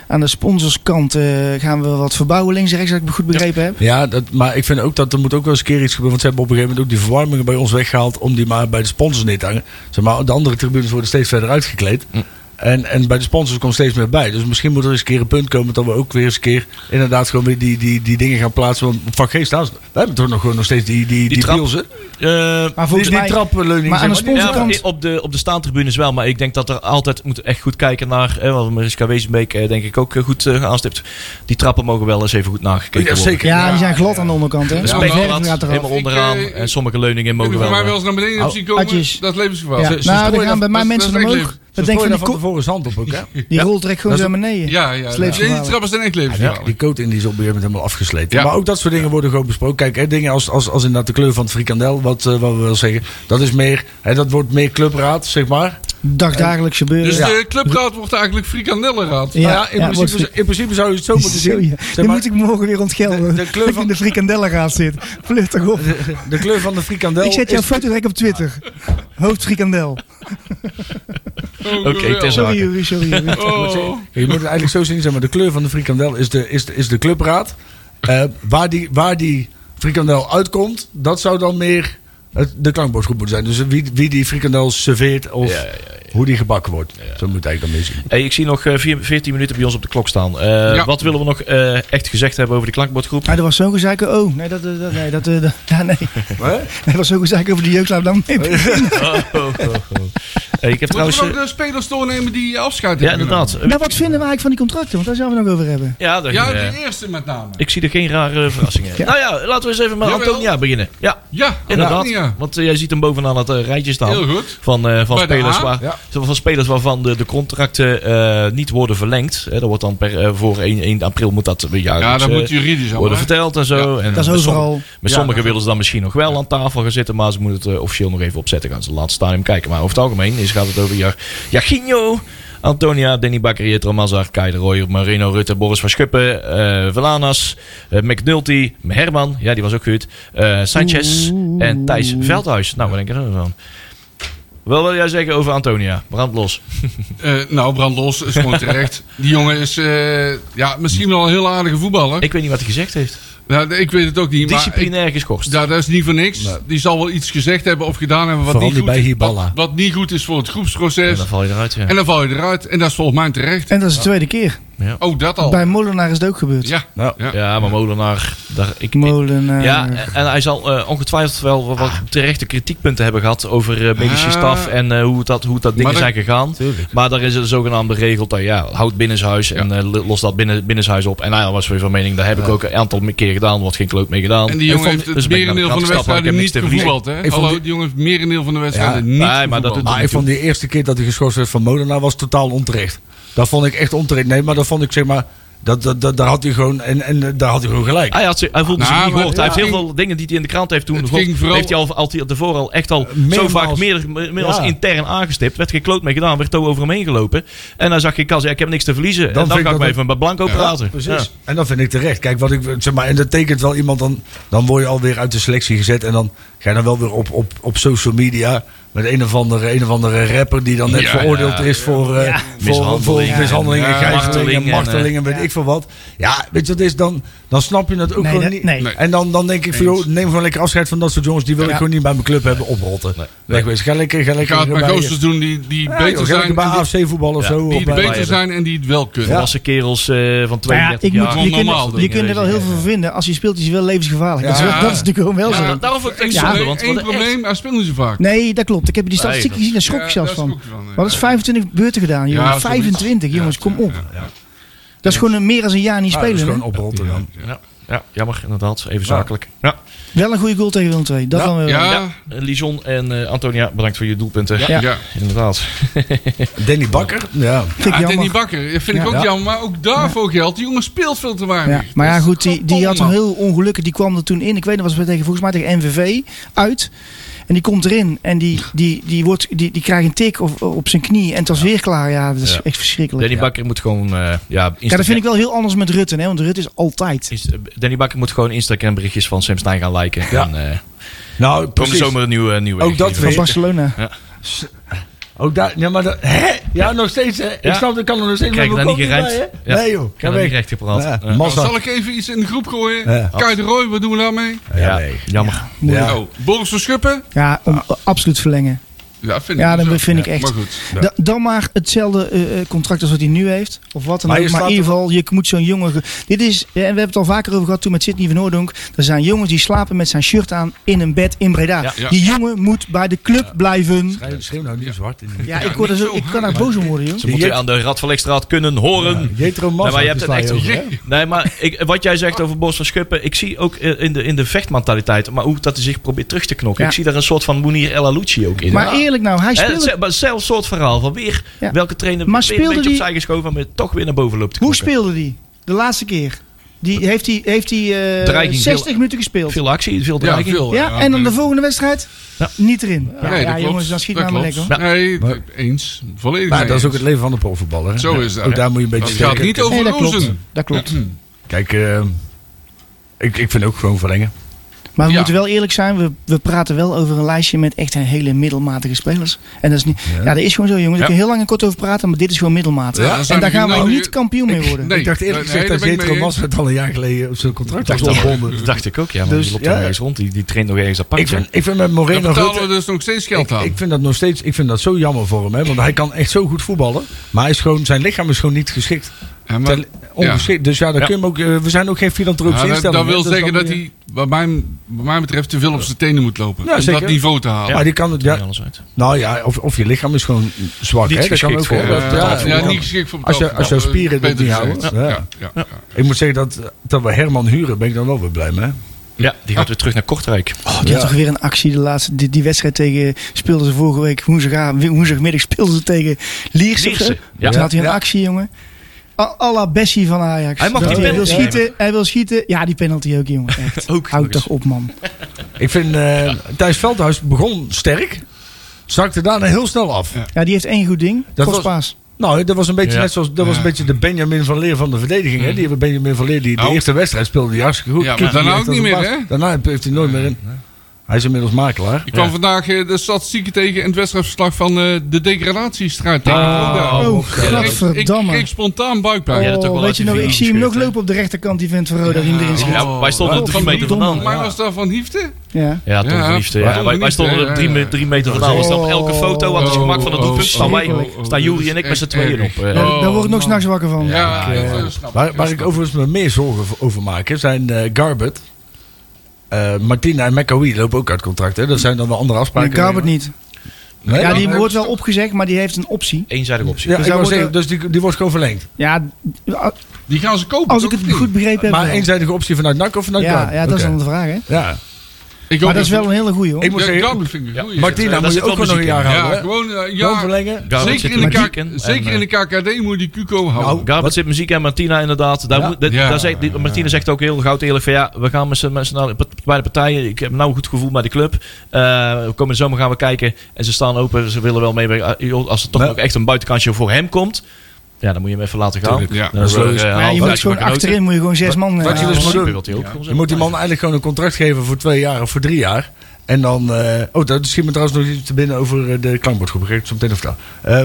[SPEAKER 5] aan de sponsorskant eh, gaan we wat verbouwen links en rechts, als ik het goed begrepen heb.
[SPEAKER 3] Ja, dat, maar ik vind ook dat er moet ook wel eens een keer iets gebeuren. Want ze hebben op een gegeven moment ook die verwarmingen bij ons weggehaald. Om die maar bij de sponsors neer te hangen. Zeg maar, de andere tribunes worden steeds verder uitgekleed.
[SPEAKER 5] Hm.
[SPEAKER 3] En, en bij de sponsors komt steeds meer bij. Dus misschien moet er eens een keer een punt komen dat we ook weer eens een keer inderdaad gewoon weer die, die, die dingen gaan plaatsen. Want van geen staan ze- Wij hebben toch nog gewoon nog steeds die, die, die,
[SPEAKER 2] trap.
[SPEAKER 3] bielsen.
[SPEAKER 2] Eh,
[SPEAKER 5] Maar
[SPEAKER 3] Die,
[SPEAKER 5] volgens
[SPEAKER 3] die
[SPEAKER 5] mij,
[SPEAKER 3] trapleuning.
[SPEAKER 5] maar
[SPEAKER 3] zeg
[SPEAKER 5] aan de
[SPEAKER 2] Ja,
[SPEAKER 5] sponsorkant,
[SPEAKER 2] maar op de, op de staantribunes wel, maar ik denk dat er altijd moet echt goed kijken naar. Hè, wat Mariska Wezenbeek eh, denk ik ook eh, goed eh, aanstipt. Die trappen mogen wel eens even goed nagekeken
[SPEAKER 3] Ja,
[SPEAKER 2] worden.
[SPEAKER 3] zeker.
[SPEAKER 5] ja, die zijn glad aan de onderkant. Hè?
[SPEAKER 4] Ja,
[SPEAKER 5] Bij
[SPEAKER 4] maar-
[SPEAKER 5] verf gaat eraf.
[SPEAKER 2] helemaal onderaan.
[SPEAKER 4] Ik, eh,
[SPEAKER 2] en sommige leuningen
[SPEAKER 4] Kun
[SPEAKER 2] mogen
[SPEAKER 4] je
[SPEAKER 2] wel.
[SPEAKER 4] voor mij
[SPEAKER 2] eh,
[SPEAKER 4] wel eens naar beneden op
[SPEAKER 3] Oh,
[SPEAKER 4] zien komen?
[SPEAKER 5] atjes.
[SPEAKER 4] Dat is levensgevaar.
[SPEAKER 5] Ja.
[SPEAKER 4] Ja,
[SPEAKER 3] ze
[SPEAKER 5] Nou,
[SPEAKER 3] strooien
[SPEAKER 5] dan gaan bij mij
[SPEAKER 4] dat-
[SPEAKER 5] mensen
[SPEAKER 4] dat is
[SPEAKER 5] omhoog.
[SPEAKER 4] leuk.
[SPEAKER 5] Dan denk ik
[SPEAKER 3] van
[SPEAKER 5] van die, ko-
[SPEAKER 3] tevoren eens hand op ook, hè?
[SPEAKER 5] die rol trekt gewoon
[SPEAKER 3] Dat
[SPEAKER 5] zo
[SPEAKER 3] is-
[SPEAKER 5] naar beneden.
[SPEAKER 4] ja, ja.
[SPEAKER 5] Sleep
[SPEAKER 4] Nee, die
[SPEAKER 5] verhalen.
[SPEAKER 4] trappen zijn echt
[SPEAKER 3] Ja,
[SPEAKER 4] levensgevaar.
[SPEAKER 3] die coat in die is op een gegeven moment helemaal afgesleten.
[SPEAKER 4] Ja.
[SPEAKER 3] Maar ook dat soort dingen worden gewoon besproken. Kijk, hè, dingen als, als, als inderdaad de kleur van het frikandel, wat, eh, wat we wel zeggen. Dat is meer, hè, dat wordt meer clubraad, zeg maar.
[SPEAKER 5] Dagdagelijks gebeuren.
[SPEAKER 4] Dus
[SPEAKER 5] ja.
[SPEAKER 4] de clubraad wordt eigenlijk frikandellenraad.
[SPEAKER 5] Ja,
[SPEAKER 3] Nou ja, in,
[SPEAKER 5] ja,
[SPEAKER 3] principe,
[SPEAKER 5] wordt-
[SPEAKER 3] in principe zou je het zo moeten
[SPEAKER 5] Zo,
[SPEAKER 3] zien.
[SPEAKER 5] ja.
[SPEAKER 3] Zeg
[SPEAKER 5] Dan
[SPEAKER 3] maar,
[SPEAKER 5] moet ik morgen weer ontgelden.
[SPEAKER 3] de
[SPEAKER 5] De,
[SPEAKER 3] kleur
[SPEAKER 5] kleur
[SPEAKER 3] van-
[SPEAKER 5] in de frikandellenraad zit. Vlucht toch op.
[SPEAKER 3] De kleur van de frikandel
[SPEAKER 5] Ik zet jouw
[SPEAKER 3] is-
[SPEAKER 5] foto direct op Twitter. Hoofdfrikandel.
[SPEAKER 4] Oh,
[SPEAKER 2] Oké,
[SPEAKER 4] geweldig.
[SPEAKER 2] ter
[SPEAKER 5] Sorry,
[SPEAKER 2] Zaken.
[SPEAKER 5] Jury, sorry. Jury.
[SPEAKER 4] Oh.
[SPEAKER 3] Je moet het eigenlijk zo zien, zeg maar, de kleur van de frikandel is de, is de, is de clubraad. Eh, waar, die, waar die frikandel uitkomt, dat zou dan meer het, de klankbordgroep moeten zijn. Dus wie, wie die frikandel serveert of
[SPEAKER 2] Ja, ja,
[SPEAKER 3] hoe die gebakken wordt. Zo moet het eigenlijk dan meer zien.
[SPEAKER 2] Hey, ik zie nog eh, vier- 14 minuten bij ons op de klok staan. Eh,
[SPEAKER 4] Ja.
[SPEAKER 2] Wat willen we nog eh, echt gezegd hebben over die klankbordgroep?
[SPEAKER 5] Ah, dat was zo'n gezeik. Oh, nee, dat, eh, dat, nee, dat, eh, dat, ja, nee. Dat was zo'n gezeik over de jeugdlaap. Dan nee,
[SPEAKER 2] Oh, oh, oh, oh. Hey, ik heb
[SPEAKER 4] Moeten
[SPEAKER 2] trouwens.
[SPEAKER 4] we ook
[SPEAKER 2] eh,
[SPEAKER 4] de spelers doornemen die eh, afscheid
[SPEAKER 2] ja,
[SPEAKER 4] hebben genomen?
[SPEAKER 2] inderdaad.
[SPEAKER 5] Nou, wat vinden we eigenlijk van die contracten? Want daar zouden we het nog over hebben.
[SPEAKER 2] Ja, dat, eh,
[SPEAKER 4] Ja, de eerste met name.
[SPEAKER 2] ik zie er geen rare eh, verrassingen.
[SPEAKER 5] Ja.
[SPEAKER 2] Nou ja, laten we eens even met
[SPEAKER 4] Jawel.
[SPEAKER 2] Antonia beginnen. Ja,
[SPEAKER 4] Ja,
[SPEAKER 2] inderdaad.
[SPEAKER 4] Antonia.
[SPEAKER 2] Want eh, jij ziet hem bovenaan het eh, rijtje staan.
[SPEAKER 4] Heel goed.
[SPEAKER 2] Van, eh, van,
[SPEAKER 4] Bij de
[SPEAKER 2] spelers
[SPEAKER 4] A,
[SPEAKER 2] waar,
[SPEAKER 3] ja.
[SPEAKER 2] van spelers waarvan de, de contracten eh, niet worden verlengd. Hè, dat wordt dan per, eh, voor 1, 1 april moet dat weer
[SPEAKER 4] Ja,
[SPEAKER 2] jaarlijks,
[SPEAKER 4] dat
[SPEAKER 2] eh,
[SPEAKER 4] moet juridisch allemaal.
[SPEAKER 2] worden
[SPEAKER 4] hè?
[SPEAKER 2] verteld en zo. En
[SPEAKER 5] Dat is
[SPEAKER 2] met som-
[SPEAKER 5] overal.
[SPEAKER 2] Met
[SPEAKER 4] Ja,
[SPEAKER 2] sommigen willen ze dan misschien nog wel aan tafel gaan zitten, maar ze moeten het eh, officieel nog even opzetten. Gaan ze laat stadium kijken. Maar over het algemeen is, gaat het over Ja- Jachinho, Antonia, Danny Bakarietro, Mazar, Kai de Royer, Marino Rutte, Boris van Schuppen, eh Velanas, eh, McNulty, Herman, ja die was ook goed, eh, Sanchez en Thijs Veldhuis. Nou, wat denk je er dan van? Wel wil jij zeggen over Antonia, brand los.
[SPEAKER 4] Eh, nou, brand los is gewoon terecht. Die jongen is eh, ja, misschien wel een heel aardige voetballer.
[SPEAKER 2] Ik weet niet wat hij gezegd heeft.
[SPEAKER 4] Nou, ik weet het ook niet. Maar ik,
[SPEAKER 2] Disciplinair geschorst.
[SPEAKER 4] ja, dat is niet voor niks. Die zal wel iets gezegd hebben of gedaan hebben wat,
[SPEAKER 3] Vooral
[SPEAKER 4] niet
[SPEAKER 3] die
[SPEAKER 4] goed,
[SPEAKER 3] bij
[SPEAKER 4] is,
[SPEAKER 3] Hiballa.
[SPEAKER 4] wat, wat niet goed is voor het
[SPEAKER 2] En
[SPEAKER 4] groepsproces.
[SPEAKER 2] dan val je eruit, ja.
[SPEAKER 4] En dan val je eruit. En dat is volgens mij terecht.
[SPEAKER 5] En dat is de tweede keer.
[SPEAKER 4] Oh, dat al.
[SPEAKER 5] Bij Molenaar is het ook gebeurd.
[SPEAKER 4] Ja.
[SPEAKER 3] Nou,
[SPEAKER 4] ja.
[SPEAKER 2] Ja, maar Molenaar... Daar, ik,
[SPEAKER 5] Molenaar.
[SPEAKER 2] ja, en hij zal eh, ongetwijfeld wel wat- wat terechte kritiekpunten hebben gehad over eh, medische
[SPEAKER 4] Ah.
[SPEAKER 2] staf en eh, hoe, dat, hoe dat dingen
[SPEAKER 4] dat-
[SPEAKER 2] zijn gegaan. Maar daar is een zogenaamde regel dat eh, ja, houd binnenshuis en eh, lo- los dat binnen, binnenshuis op. En hij was weer van mening, daar heb ik ook een aantal keer gedaan, wordt geen kloot mee gedaan.
[SPEAKER 4] En die jongen
[SPEAKER 2] Ik vond-
[SPEAKER 4] heeft het
[SPEAKER 2] dus ben ik naar
[SPEAKER 4] merendeel van de
[SPEAKER 2] kant gestapt,
[SPEAKER 4] wedstrijden
[SPEAKER 2] maar
[SPEAKER 4] niet
[SPEAKER 2] ik heb niks te verliezen.
[SPEAKER 4] gevoetbald. Hè?
[SPEAKER 3] Ik vond
[SPEAKER 4] Hallo,
[SPEAKER 3] die-
[SPEAKER 4] die jongen heeft merendeel van de wedstrijden
[SPEAKER 3] Ja,
[SPEAKER 2] nee,
[SPEAKER 4] niet
[SPEAKER 2] maar dat
[SPEAKER 4] gevoetbald.
[SPEAKER 2] doet-
[SPEAKER 3] Maar ik vond die eerste keer dat hij geschorst werd van Molenaar was totaal onterecht. Dat vond ik echt onterecht. Nee, maar dat vond ik zeg maar. Dat, dat, dat, daar had hij gewoon. En, en eh, daar had hij gewoon gelijk.
[SPEAKER 2] Hij, had, zich- hij voelde
[SPEAKER 4] Nou,
[SPEAKER 2] zich niet
[SPEAKER 4] maar
[SPEAKER 2] gehoord. Hij
[SPEAKER 4] het
[SPEAKER 2] heeft heel
[SPEAKER 4] ging-
[SPEAKER 2] veel dingen die hij in de krant heeft toen
[SPEAKER 4] Het
[SPEAKER 2] gehoord.
[SPEAKER 4] ging vooral-
[SPEAKER 2] Heeft hij al, al die- tevoren al echt al zo
[SPEAKER 3] meermaals-
[SPEAKER 2] vaak meer, meer meer als
[SPEAKER 3] Ja.
[SPEAKER 2] intern aangestipt. Werd geen kloot mee gedaan. Werd toch over hem heen gelopen. En dan zag je Kas, ja, ik heb niks te verliezen.
[SPEAKER 3] Dan
[SPEAKER 2] en
[SPEAKER 3] vind
[SPEAKER 2] dan
[SPEAKER 3] ik
[SPEAKER 2] ga ik
[SPEAKER 3] dat
[SPEAKER 2] maar
[SPEAKER 3] het-
[SPEAKER 2] even met Blanco praten. Ja.
[SPEAKER 3] Precies. En dat vind ik terecht. Kijk, wat ik zeg maar. En dat tekent wel iemand dan. Dan word je alweer uit de selectie gezet. En dan ga je dan wel weer op, op, op social media. Met een of andere, een of andere rapper die dan net
[SPEAKER 4] Ja,
[SPEAKER 3] veroordeeld
[SPEAKER 2] ja.
[SPEAKER 3] is voor, eh, voor, voor
[SPEAKER 2] Mishandeling.
[SPEAKER 3] mishandelingen,
[SPEAKER 4] Ja,
[SPEAKER 3] gijzeling,
[SPEAKER 2] marteling en,
[SPEAKER 3] martelingen, weet
[SPEAKER 5] ja.
[SPEAKER 3] ik veel wat. Ja, weet je wat is dan? Dan snap je het ook
[SPEAKER 5] Nee,
[SPEAKER 3] gewoon
[SPEAKER 5] dat-
[SPEAKER 3] niet.
[SPEAKER 5] nee.
[SPEAKER 4] Nee.
[SPEAKER 3] En dan, dan denk ik van,
[SPEAKER 4] Eens.
[SPEAKER 3] joh, neem gewoon lekker afscheid van dat soort jongens. Die wil ik
[SPEAKER 5] Ja.
[SPEAKER 3] gewoon niet bij mijn club hebben oprotten. Wegwezen. Ga lekker, ga
[SPEAKER 4] Ik
[SPEAKER 3] lekker
[SPEAKER 4] ga het
[SPEAKER 3] bij,
[SPEAKER 4] met goosters doen die, die
[SPEAKER 3] ja, joh,
[SPEAKER 4] beter
[SPEAKER 3] ga lekker
[SPEAKER 4] zijn.
[SPEAKER 3] bij
[SPEAKER 4] en die-
[SPEAKER 3] AFC voetbal of
[SPEAKER 2] Ja,
[SPEAKER 3] zo.
[SPEAKER 4] Die
[SPEAKER 3] of bij-
[SPEAKER 4] beter zijn en die het wel kunnen.
[SPEAKER 2] Volwassen kerels eh, van
[SPEAKER 5] Maar ja,
[SPEAKER 2] 32
[SPEAKER 5] ik moet,
[SPEAKER 2] jaar.
[SPEAKER 5] je, kunt,
[SPEAKER 4] Normaal doen.
[SPEAKER 5] je kunt er wel heel veel van vinden. Als je speelt is hij wel levensgevaarlijk. Dat, is,
[SPEAKER 4] Ja.
[SPEAKER 5] wel- dat is natuurlijk gewoon wel
[SPEAKER 4] Ja,
[SPEAKER 5] zo.
[SPEAKER 4] dat-
[SPEAKER 2] Daarom vond ik het echt
[SPEAKER 5] Ja.
[SPEAKER 2] zonde,
[SPEAKER 4] Eén-
[SPEAKER 2] want
[SPEAKER 4] één
[SPEAKER 2] wat een echt-
[SPEAKER 4] probleem, hij speelde ze vaak.
[SPEAKER 5] Nee, dat klopt. Ik heb die statistieken
[SPEAKER 2] dat-
[SPEAKER 5] gezien. Daar schrok ik
[SPEAKER 4] Ja,
[SPEAKER 5] zelfs
[SPEAKER 4] daar schrok
[SPEAKER 5] van.
[SPEAKER 4] ik van, ja.
[SPEAKER 5] Maar dat is 25 beurten gedaan, jongen.
[SPEAKER 4] Ja, zoiets.
[SPEAKER 5] 25, jongens.
[SPEAKER 4] Ja,
[SPEAKER 5] Kom op.
[SPEAKER 4] ja, ja.
[SPEAKER 5] Dat is gewoon een- meer dan een jaar niet
[SPEAKER 3] Ja, dat is
[SPEAKER 5] spelen. hè?
[SPEAKER 3] gewoon oprotten dan.
[SPEAKER 2] Ja. Ja, jammer, inderdaad. Even zakelijk. Ja.
[SPEAKER 5] Wel een goede goal tegen Willem II. Dat
[SPEAKER 3] Ja.
[SPEAKER 5] dan wel.
[SPEAKER 4] Ja.
[SPEAKER 2] Ja, Lijon en eh, Antonia, bedankt voor je doelpunten.
[SPEAKER 5] Ja.
[SPEAKER 4] Ja.
[SPEAKER 2] Inderdaad.
[SPEAKER 3] Danny Bakker? Ja.
[SPEAKER 5] Vind ik
[SPEAKER 4] Ja, Danny
[SPEAKER 5] jammer.
[SPEAKER 4] Bakker dat vind ik
[SPEAKER 5] Ja.
[SPEAKER 4] ook
[SPEAKER 3] Ja.
[SPEAKER 4] jammer. Maar ook daarvoor geldt, die jongen speelt veel te
[SPEAKER 5] Ja,
[SPEAKER 4] weinig. Dus
[SPEAKER 5] maar ja,
[SPEAKER 4] Dat is
[SPEAKER 5] goed, die, die had
[SPEAKER 4] gewoon
[SPEAKER 5] een heel ongelukkig. Die kwam er toen in. Ik weet nog was het tegen, volgens mij tegen NVV uit. En die komt erin en die, die, die, wordt, die, die krijgt een tik op, op zijn knie. En het was weer klaar. Ja, dat is
[SPEAKER 2] Ja.
[SPEAKER 5] echt verschrikkelijk.
[SPEAKER 2] Danny Bakker moet gewoon... eh, ja,
[SPEAKER 5] Ja,
[SPEAKER 2] Instagram-
[SPEAKER 5] dat vind ik wel heel anders met Rutten, hè? want Rutten is altijd.
[SPEAKER 2] Is- Danny Bakker moet gewoon Instagram berichtjes van Sam Stein gaan liken.
[SPEAKER 3] Ja.
[SPEAKER 2] En, eh,
[SPEAKER 3] Nou,
[SPEAKER 2] kom de
[SPEAKER 3] precies.
[SPEAKER 2] zomer een nieuwe, eh, nieuwe
[SPEAKER 3] Ook dat
[SPEAKER 2] ingeving.
[SPEAKER 5] Van
[SPEAKER 3] Weet-
[SPEAKER 5] Barcelona.
[SPEAKER 3] Ook daar, ja, maar dat, hè? Ja, nog steeds, hè? Ik
[SPEAKER 2] Ja.
[SPEAKER 3] snap, dat kan er nog steeds
[SPEAKER 2] Krijg je
[SPEAKER 3] maar
[SPEAKER 2] dat
[SPEAKER 3] we
[SPEAKER 2] niet
[SPEAKER 3] komen
[SPEAKER 2] gerijmd?
[SPEAKER 3] bij, hè?
[SPEAKER 2] Ja.
[SPEAKER 3] Nee, joh.
[SPEAKER 2] Ik heb
[SPEAKER 3] Ga
[SPEAKER 2] hem
[SPEAKER 3] weg.
[SPEAKER 2] niet recht gepraat.
[SPEAKER 3] Ja,
[SPEAKER 2] Ja.
[SPEAKER 3] massa.
[SPEAKER 4] Zal ik even iets in de groep gooien?
[SPEAKER 3] Ja.
[SPEAKER 4] Kai de Roy, wat doen we daarmee?
[SPEAKER 2] Ja, jammer.
[SPEAKER 5] Moeilijk.
[SPEAKER 3] Ja.
[SPEAKER 4] Oh, Boris Verschuppen?
[SPEAKER 5] Ja, om, absoluut verlengen.
[SPEAKER 4] Ja, vind
[SPEAKER 5] Ja,
[SPEAKER 4] ik
[SPEAKER 5] dat
[SPEAKER 4] dus
[SPEAKER 5] vind
[SPEAKER 4] ook.
[SPEAKER 5] ik echt.
[SPEAKER 4] Maar goed.
[SPEAKER 5] Da- dan maar hetzelfde eh, eh, contract als wat hij nu heeft. Of wat dan
[SPEAKER 3] Maar
[SPEAKER 5] ook.
[SPEAKER 3] je
[SPEAKER 5] Maar in
[SPEAKER 3] slaat
[SPEAKER 5] ieder geval, je moet zo'n jongen... ge- Dit is, eh, en we hebben het al vaker over gehad toen met Sidney van Noordonk. Er zijn jongens die slapen met zijn shirt aan in een bed in Breda.
[SPEAKER 2] Ja.
[SPEAKER 4] Ja.
[SPEAKER 5] Die jongen moet bij de club blijven.
[SPEAKER 3] Schreeuw- Schreeuw nou niet zwart. in.
[SPEAKER 5] Ja, ik, word er
[SPEAKER 4] niet
[SPEAKER 5] zo,
[SPEAKER 4] zo
[SPEAKER 5] ik kan daar boos om worden, joh.
[SPEAKER 2] Ze moeten aan de Rad van Lekstraat kunnen horen.
[SPEAKER 3] Jetro Massa.
[SPEAKER 2] Nee, maar je hebt
[SPEAKER 3] daar
[SPEAKER 2] het echt
[SPEAKER 3] sla je over, hè?
[SPEAKER 2] Nee, maar ik, wat jij zegt over Bos van Schuppen, ik zie ook eh, in de, in de vechtmentaliteit, maar hoe dat hij zich probeert terug te knokken.
[SPEAKER 5] Ja.
[SPEAKER 2] Ik zie daar een soort van Mounir El Alouchi ook in.
[SPEAKER 5] Maar eerlijk nou, hij
[SPEAKER 2] Hè, het
[SPEAKER 5] speelt...
[SPEAKER 2] is hetzelfde soort verhaal van weer
[SPEAKER 5] Ja.
[SPEAKER 2] welke trainer
[SPEAKER 5] Maar
[SPEAKER 2] weer een
[SPEAKER 5] speelde
[SPEAKER 2] beetje
[SPEAKER 5] die-
[SPEAKER 2] opzij geschoven, maar toch weer naar boven loopt. te
[SPEAKER 5] Hoe
[SPEAKER 2] knokken.
[SPEAKER 5] speelde die de laatste keer? Die, heeft hij heeft die, eh,
[SPEAKER 2] Dreiging,
[SPEAKER 5] 60
[SPEAKER 2] veel-
[SPEAKER 5] minuten gespeeld?
[SPEAKER 2] Veel actie, veel
[SPEAKER 4] Ja,
[SPEAKER 2] dreiging.
[SPEAKER 4] veel.
[SPEAKER 5] ja, en dan de volgende wedstrijd?
[SPEAKER 2] Ja.
[SPEAKER 5] Niet erin. Ja,
[SPEAKER 4] Nee, dat
[SPEAKER 5] ja,
[SPEAKER 4] klopt.
[SPEAKER 5] jongens, dan schiet
[SPEAKER 4] Dat
[SPEAKER 5] nou maar lekker.
[SPEAKER 4] klopt.
[SPEAKER 5] hoor.
[SPEAKER 4] Nee, eens. Volledig
[SPEAKER 3] Maar dat is ook
[SPEAKER 4] eens.
[SPEAKER 3] het leven van de profvoetballer. hè?
[SPEAKER 4] Zo is dat.
[SPEAKER 3] Ook daar moet je een
[SPEAKER 4] Het
[SPEAKER 3] beetje
[SPEAKER 4] gaat
[SPEAKER 3] kijken.
[SPEAKER 4] niet over
[SPEAKER 5] Nee, dat klopt.
[SPEAKER 4] Rozen.
[SPEAKER 5] Dat klopt.
[SPEAKER 3] Kijk, eh, ik, ik vind ook gewoon verlengen.
[SPEAKER 5] Maar we
[SPEAKER 4] Ja.
[SPEAKER 5] moeten wel eerlijk zijn, we, we praten wel over een lijstje met echt een hele middelmatige spelers. En dat is niet. Ja, dat is gewoon zo, jongens. Daar kun je heel lang en kort over praten, maar dit is gewoon middelmatig.
[SPEAKER 4] Ja, dan zijn
[SPEAKER 5] en daar
[SPEAKER 4] we
[SPEAKER 5] gaan we
[SPEAKER 4] nou
[SPEAKER 5] niet
[SPEAKER 4] weer-
[SPEAKER 5] kampioen mee worden.
[SPEAKER 4] Nee,
[SPEAKER 3] ik dacht eerlijk
[SPEAKER 4] nee,
[SPEAKER 3] gezegd
[SPEAKER 4] daar
[SPEAKER 3] dat
[SPEAKER 4] ben ik
[SPEAKER 3] Jetro
[SPEAKER 4] mee
[SPEAKER 3] Massa het al een jaar geleden op zijn
[SPEAKER 2] Ik
[SPEAKER 3] contract
[SPEAKER 2] dacht,
[SPEAKER 3] was
[SPEAKER 2] al-
[SPEAKER 3] ontbonden.
[SPEAKER 2] dat dacht ik ook, ja. Maar
[SPEAKER 5] Dus-
[SPEAKER 2] die loopt
[SPEAKER 3] ja.
[SPEAKER 2] er ergens rond. Die, die traint nog ergens apart.
[SPEAKER 3] Ik
[SPEAKER 2] ja.
[SPEAKER 3] vind, ik vind met
[SPEAKER 4] Dan
[SPEAKER 3] Moreno
[SPEAKER 4] betalen we
[SPEAKER 3] goed.
[SPEAKER 4] dus nog steeds geld
[SPEAKER 3] Ik,
[SPEAKER 4] aan.
[SPEAKER 3] ik vind dat nog steeds ik vind dat zo jammer voor hem. Hè? Want hij kan echt zo goed voetballen. Maar hij is gewoon, zijn lichaam is gewoon niet geschikt.
[SPEAKER 4] Ja, maar-
[SPEAKER 3] Tel- ongeschikt. Dus ja, dan
[SPEAKER 2] Ja.
[SPEAKER 3] kun je hem ook, eh, we zijn ook geen filantropische
[SPEAKER 4] Ja, dat,
[SPEAKER 3] instelling.
[SPEAKER 4] dat wil
[SPEAKER 3] hè? Dus
[SPEAKER 4] zeggen
[SPEAKER 3] dan
[SPEAKER 4] dat
[SPEAKER 3] moet je-
[SPEAKER 4] hij, wat mij, wat mij betreft, te veel op zijn tenen moet lopen.
[SPEAKER 3] Ja,
[SPEAKER 4] om
[SPEAKER 3] zeker.
[SPEAKER 4] dat niveau te halen.
[SPEAKER 3] Maar die kan het,
[SPEAKER 2] Ja.
[SPEAKER 3] ja,
[SPEAKER 2] Alles uit.
[SPEAKER 3] nou ja, of, of je lichaam is gewoon zwak.
[SPEAKER 2] Niet
[SPEAKER 3] Hè? Dat kan
[SPEAKER 2] geschikt
[SPEAKER 3] ook.
[SPEAKER 2] voor,
[SPEAKER 3] Hoor.
[SPEAKER 2] eh,
[SPEAKER 3] Dat-
[SPEAKER 4] ja,
[SPEAKER 3] ja,
[SPEAKER 4] ja, niet geschikt voor
[SPEAKER 3] Als je- als je
[SPEAKER 4] betaald
[SPEAKER 3] spieren
[SPEAKER 4] voetbal.
[SPEAKER 3] dat niet
[SPEAKER 4] Beter gezegd.
[SPEAKER 3] houden,
[SPEAKER 4] Ja, ja, ja.
[SPEAKER 3] Ik moet zeggen dat, dat we Herman huren, ben ik dan wel weer blij mee.
[SPEAKER 2] Ja, die
[SPEAKER 3] Ah.
[SPEAKER 2] gaat weer terug naar Kortrijk.
[SPEAKER 5] Oh, die had toch weer een actie de laatste. Die, die wedstrijd tegen speelden ze vorige week woensdag, woensdagmiddag speelden ze tegen Lierse. of zo.
[SPEAKER 2] Lierse, ja.
[SPEAKER 5] Toen had hij een
[SPEAKER 3] Ja.
[SPEAKER 5] actie, jongen. A- à la Bessie van Ajax.
[SPEAKER 2] Hij mag
[SPEAKER 5] Dat
[SPEAKER 2] die
[SPEAKER 5] wil
[SPEAKER 2] penalty
[SPEAKER 5] schieten. Hij wil schieten. Ja, die penalty ook, jongen. Echt.
[SPEAKER 2] Ook nog
[SPEAKER 5] Houd
[SPEAKER 2] eens.
[SPEAKER 5] toch op, man.
[SPEAKER 3] Ik vind eh Thijs Veldhuis begon sterk. Zakte daarna heel snel af.
[SPEAKER 5] Ja, die heeft één goed ding.
[SPEAKER 3] Dat was-
[SPEAKER 5] Kostpaas.
[SPEAKER 3] Nou, dat was een beetje
[SPEAKER 2] Ja.
[SPEAKER 3] net zoals dat was een
[SPEAKER 4] Ja. Mm.
[SPEAKER 3] beetje de Benjamin van Leer van de verdediging. Hè? Die hebben Benjamin van Leer die de
[SPEAKER 4] Nou.
[SPEAKER 3] eerste wedstrijd speelde die hartstikke goed.
[SPEAKER 4] Ja, maar
[SPEAKER 3] Kiepte die
[SPEAKER 4] daarna
[SPEAKER 3] echt
[SPEAKER 4] ook
[SPEAKER 3] als
[SPEAKER 4] niet
[SPEAKER 3] een
[SPEAKER 4] meer,
[SPEAKER 3] baas.
[SPEAKER 4] hè?
[SPEAKER 3] Daarna heeft hij nooit meer in. Hij is inmiddels makelaar.
[SPEAKER 4] Ik kwam vandaag eh, de statistieken tegen en het wedstrijdverslag van eh, de degradatiestrijd tegen
[SPEAKER 2] Ah,
[SPEAKER 4] Roda.
[SPEAKER 2] Oh,
[SPEAKER 5] Oh,
[SPEAKER 4] ik, ik
[SPEAKER 5] gadverdamme.
[SPEAKER 4] kreeg spontaan buikpijn.
[SPEAKER 2] Ja, dat ook wel
[SPEAKER 5] Oh,
[SPEAKER 2] uit
[SPEAKER 5] weet je
[SPEAKER 2] die
[SPEAKER 5] nou, ik
[SPEAKER 2] vier
[SPEAKER 5] zie hem nog
[SPEAKER 2] gescheurd, hè?
[SPEAKER 5] lopen op de rechterkant, die vent van Roda die hem erin schiet.
[SPEAKER 4] Oh,
[SPEAKER 2] Ja, wij stonden er drie meter vandaan.
[SPEAKER 4] Maar was daar van Hiefte?
[SPEAKER 5] Ja.
[SPEAKER 2] Ja, Tom
[SPEAKER 4] Ja,
[SPEAKER 2] van Liefde.
[SPEAKER 4] Tom
[SPEAKER 2] Ja. Wij,
[SPEAKER 4] van
[SPEAKER 2] wij
[SPEAKER 4] Liefde,
[SPEAKER 2] stonden
[SPEAKER 4] ja,
[SPEAKER 2] er drie,
[SPEAKER 4] ja.
[SPEAKER 2] me- drie meter vandaan. Was op elke foto aan het
[SPEAKER 4] Oh,
[SPEAKER 2] gemak van het
[SPEAKER 4] oh,
[SPEAKER 2] doelpunt staan wij,
[SPEAKER 5] verschrikkelijk.
[SPEAKER 2] staan Jury en ik met z'n tweeën op. eh.
[SPEAKER 5] Daar, daar word ik nog
[SPEAKER 4] man.
[SPEAKER 5] s'nachts wakker van.
[SPEAKER 4] Ja,
[SPEAKER 3] Ik, eh,
[SPEAKER 4] dat snap ik.
[SPEAKER 3] Waar,
[SPEAKER 4] dat
[SPEAKER 3] waar ik
[SPEAKER 4] snap
[SPEAKER 3] overigens me meer zorgen v- over maak, hè, zijn eh, Garbert. Eh, Martina en McAwee lopen ook uit contract. Hè? Dat zijn dan wel andere
[SPEAKER 5] Maar
[SPEAKER 3] afspraken.
[SPEAKER 5] Garbert niet.
[SPEAKER 3] Nee?
[SPEAKER 5] Ja, die
[SPEAKER 4] maar-
[SPEAKER 5] wordt wel opgezegd, maar die heeft een optie.
[SPEAKER 2] Eenzijdige optie.
[SPEAKER 3] Ja,
[SPEAKER 5] Dus
[SPEAKER 3] ik
[SPEAKER 5] hij
[SPEAKER 3] wou
[SPEAKER 5] wordt,
[SPEAKER 3] zeggen,
[SPEAKER 5] eh,
[SPEAKER 3] dus die, die wordt gewoon verlengd.
[SPEAKER 5] Ja,
[SPEAKER 4] Die gaan ze kopen.
[SPEAKER 5] als ik
[SPEAKER 4] toch,
[SPEAKER 5] het
[SPEAKER 4] of niet?
[SPEAKER 5] goed begrepen heb.
[SPEAKER 3] Maar
[SPEAKER 5] wel.
[SPEAKER 3] eenzijdige optie vanuit NAC of vanuit
[SPEAKER 5] ja,
[SPEAKER 3] Garbert?
[SPEAKER 5] ja, dat is
[SPEAKER 3] Oké.
[SPEAKER 5] dan de vraag, hè.
[SPEAKER 3] Ja.
[SPEAKER 4] Ik
[SPEAKER 5] Maar dat is wel een hele goeie, hoor.
[SPEAKER 3] Ik moet
[SPEAKER 4] Ja,
[SPEAKER 3] zeggen,
[SPEAKER 4] Gabber vind ik een goeie.
[SPEAKER 3] Martina
[SPEAKER 2] daar
[SPEAKER 3] moet
[SPEAKER 2] zit
[SPEAKER 3] je
[SPEAKER 2] wel
[SPEAKER 3] ook wel nog een
[SPEAKER 2] muziek in.
[SPEAKER 3] jaar
[SPEAKER 4] Ja,
[SPEAKER 3] houden. hè?
[SPEAKER 4] gewoon
[SPEAKER 3] Gewoon
[SPEAKER 4] eh, ja,
[SPEAKER 3] verlengen.
[SPEAKER 2] Garbert
[SPEAKER 4] zeker,
[SPEAKER 2] zit
[SPEAKER 4] in de,
[SPEAKER 2] er
[SPEAKER 4] K-
[SPEAKER 2] muziek in.
[SPEAKER 4] zeker
[SPEAKER 2] En, eh,
[SPEAKER 4] in de KKD moet je die Cuco houden.
[SPEAKER 2] Nou, Gabert zit muziek en Martina inderdaad. Daar
[SPEAKER 3] Ja.
[SPEAKER 2] moet, dat,
[SPEAKER 4] Nou, Ja.
[SPEAKER 2] daar zegt, die- Martina zegt ook heel goud eerlijk van ja, we gaan met z'n met z'n allen- bij de partijen. Ik heb nou een goed gevoel bij de club. Eh, we komen de zomer gaan we kijken en ze staan open. Ze willen wel mee. Eh, joh, Als er toch
[SPEAKER 3] Nee.
[SPEAKER 2] ook echt een buitenkansje voor hem komt, ja, dan moet je hem even laten gaan.
[SPEAKER 4] Tuurlijk, ja.
[SPEAKER 2] Dan is
[SPEAKER 3] Dat
[SPEAKER 2] er, eh,
[SPEAKER 3] is leuk.
[SPEAKER 2] een
[SPEAKER 5] Maar ja,
[SPEAKER 2] half
[SPEAKER 5] je moet
[SPEAKER 2] uurtje
[SPEAKER 5] gewoon
[SPEAKER 2] maar genoten.
[SPEAKER 5] achterin moet je gewoon zes man.
[SPEAKER 3] Wat
[SPEAKER 5] eh,
[SPEAKER 3] je
[SPEAKER 2] Ja,
[SPEAKER 3] dus
[SPEAKER 5] halen.
[SPEAKER 3] moet
[SPEAKER 2] principe
[SPEAKER 3] doen,
[SPEAKER 2] wil hij ook gewoon
[SPEAKER 3] Je
[SPEAKER 2] zijn
[SPEAKER 3] moet die
[SPEAKER 2] blijven.
[SPEAKER 3] man eigenlijk gewoon een contract geven voor twee jaar of voor drie jaar. En dan... eh, oh, dat schiet me trouwens nog iets te binnen over eh, de klankbordgroep. Ik ga ik het zo meteen vertellen.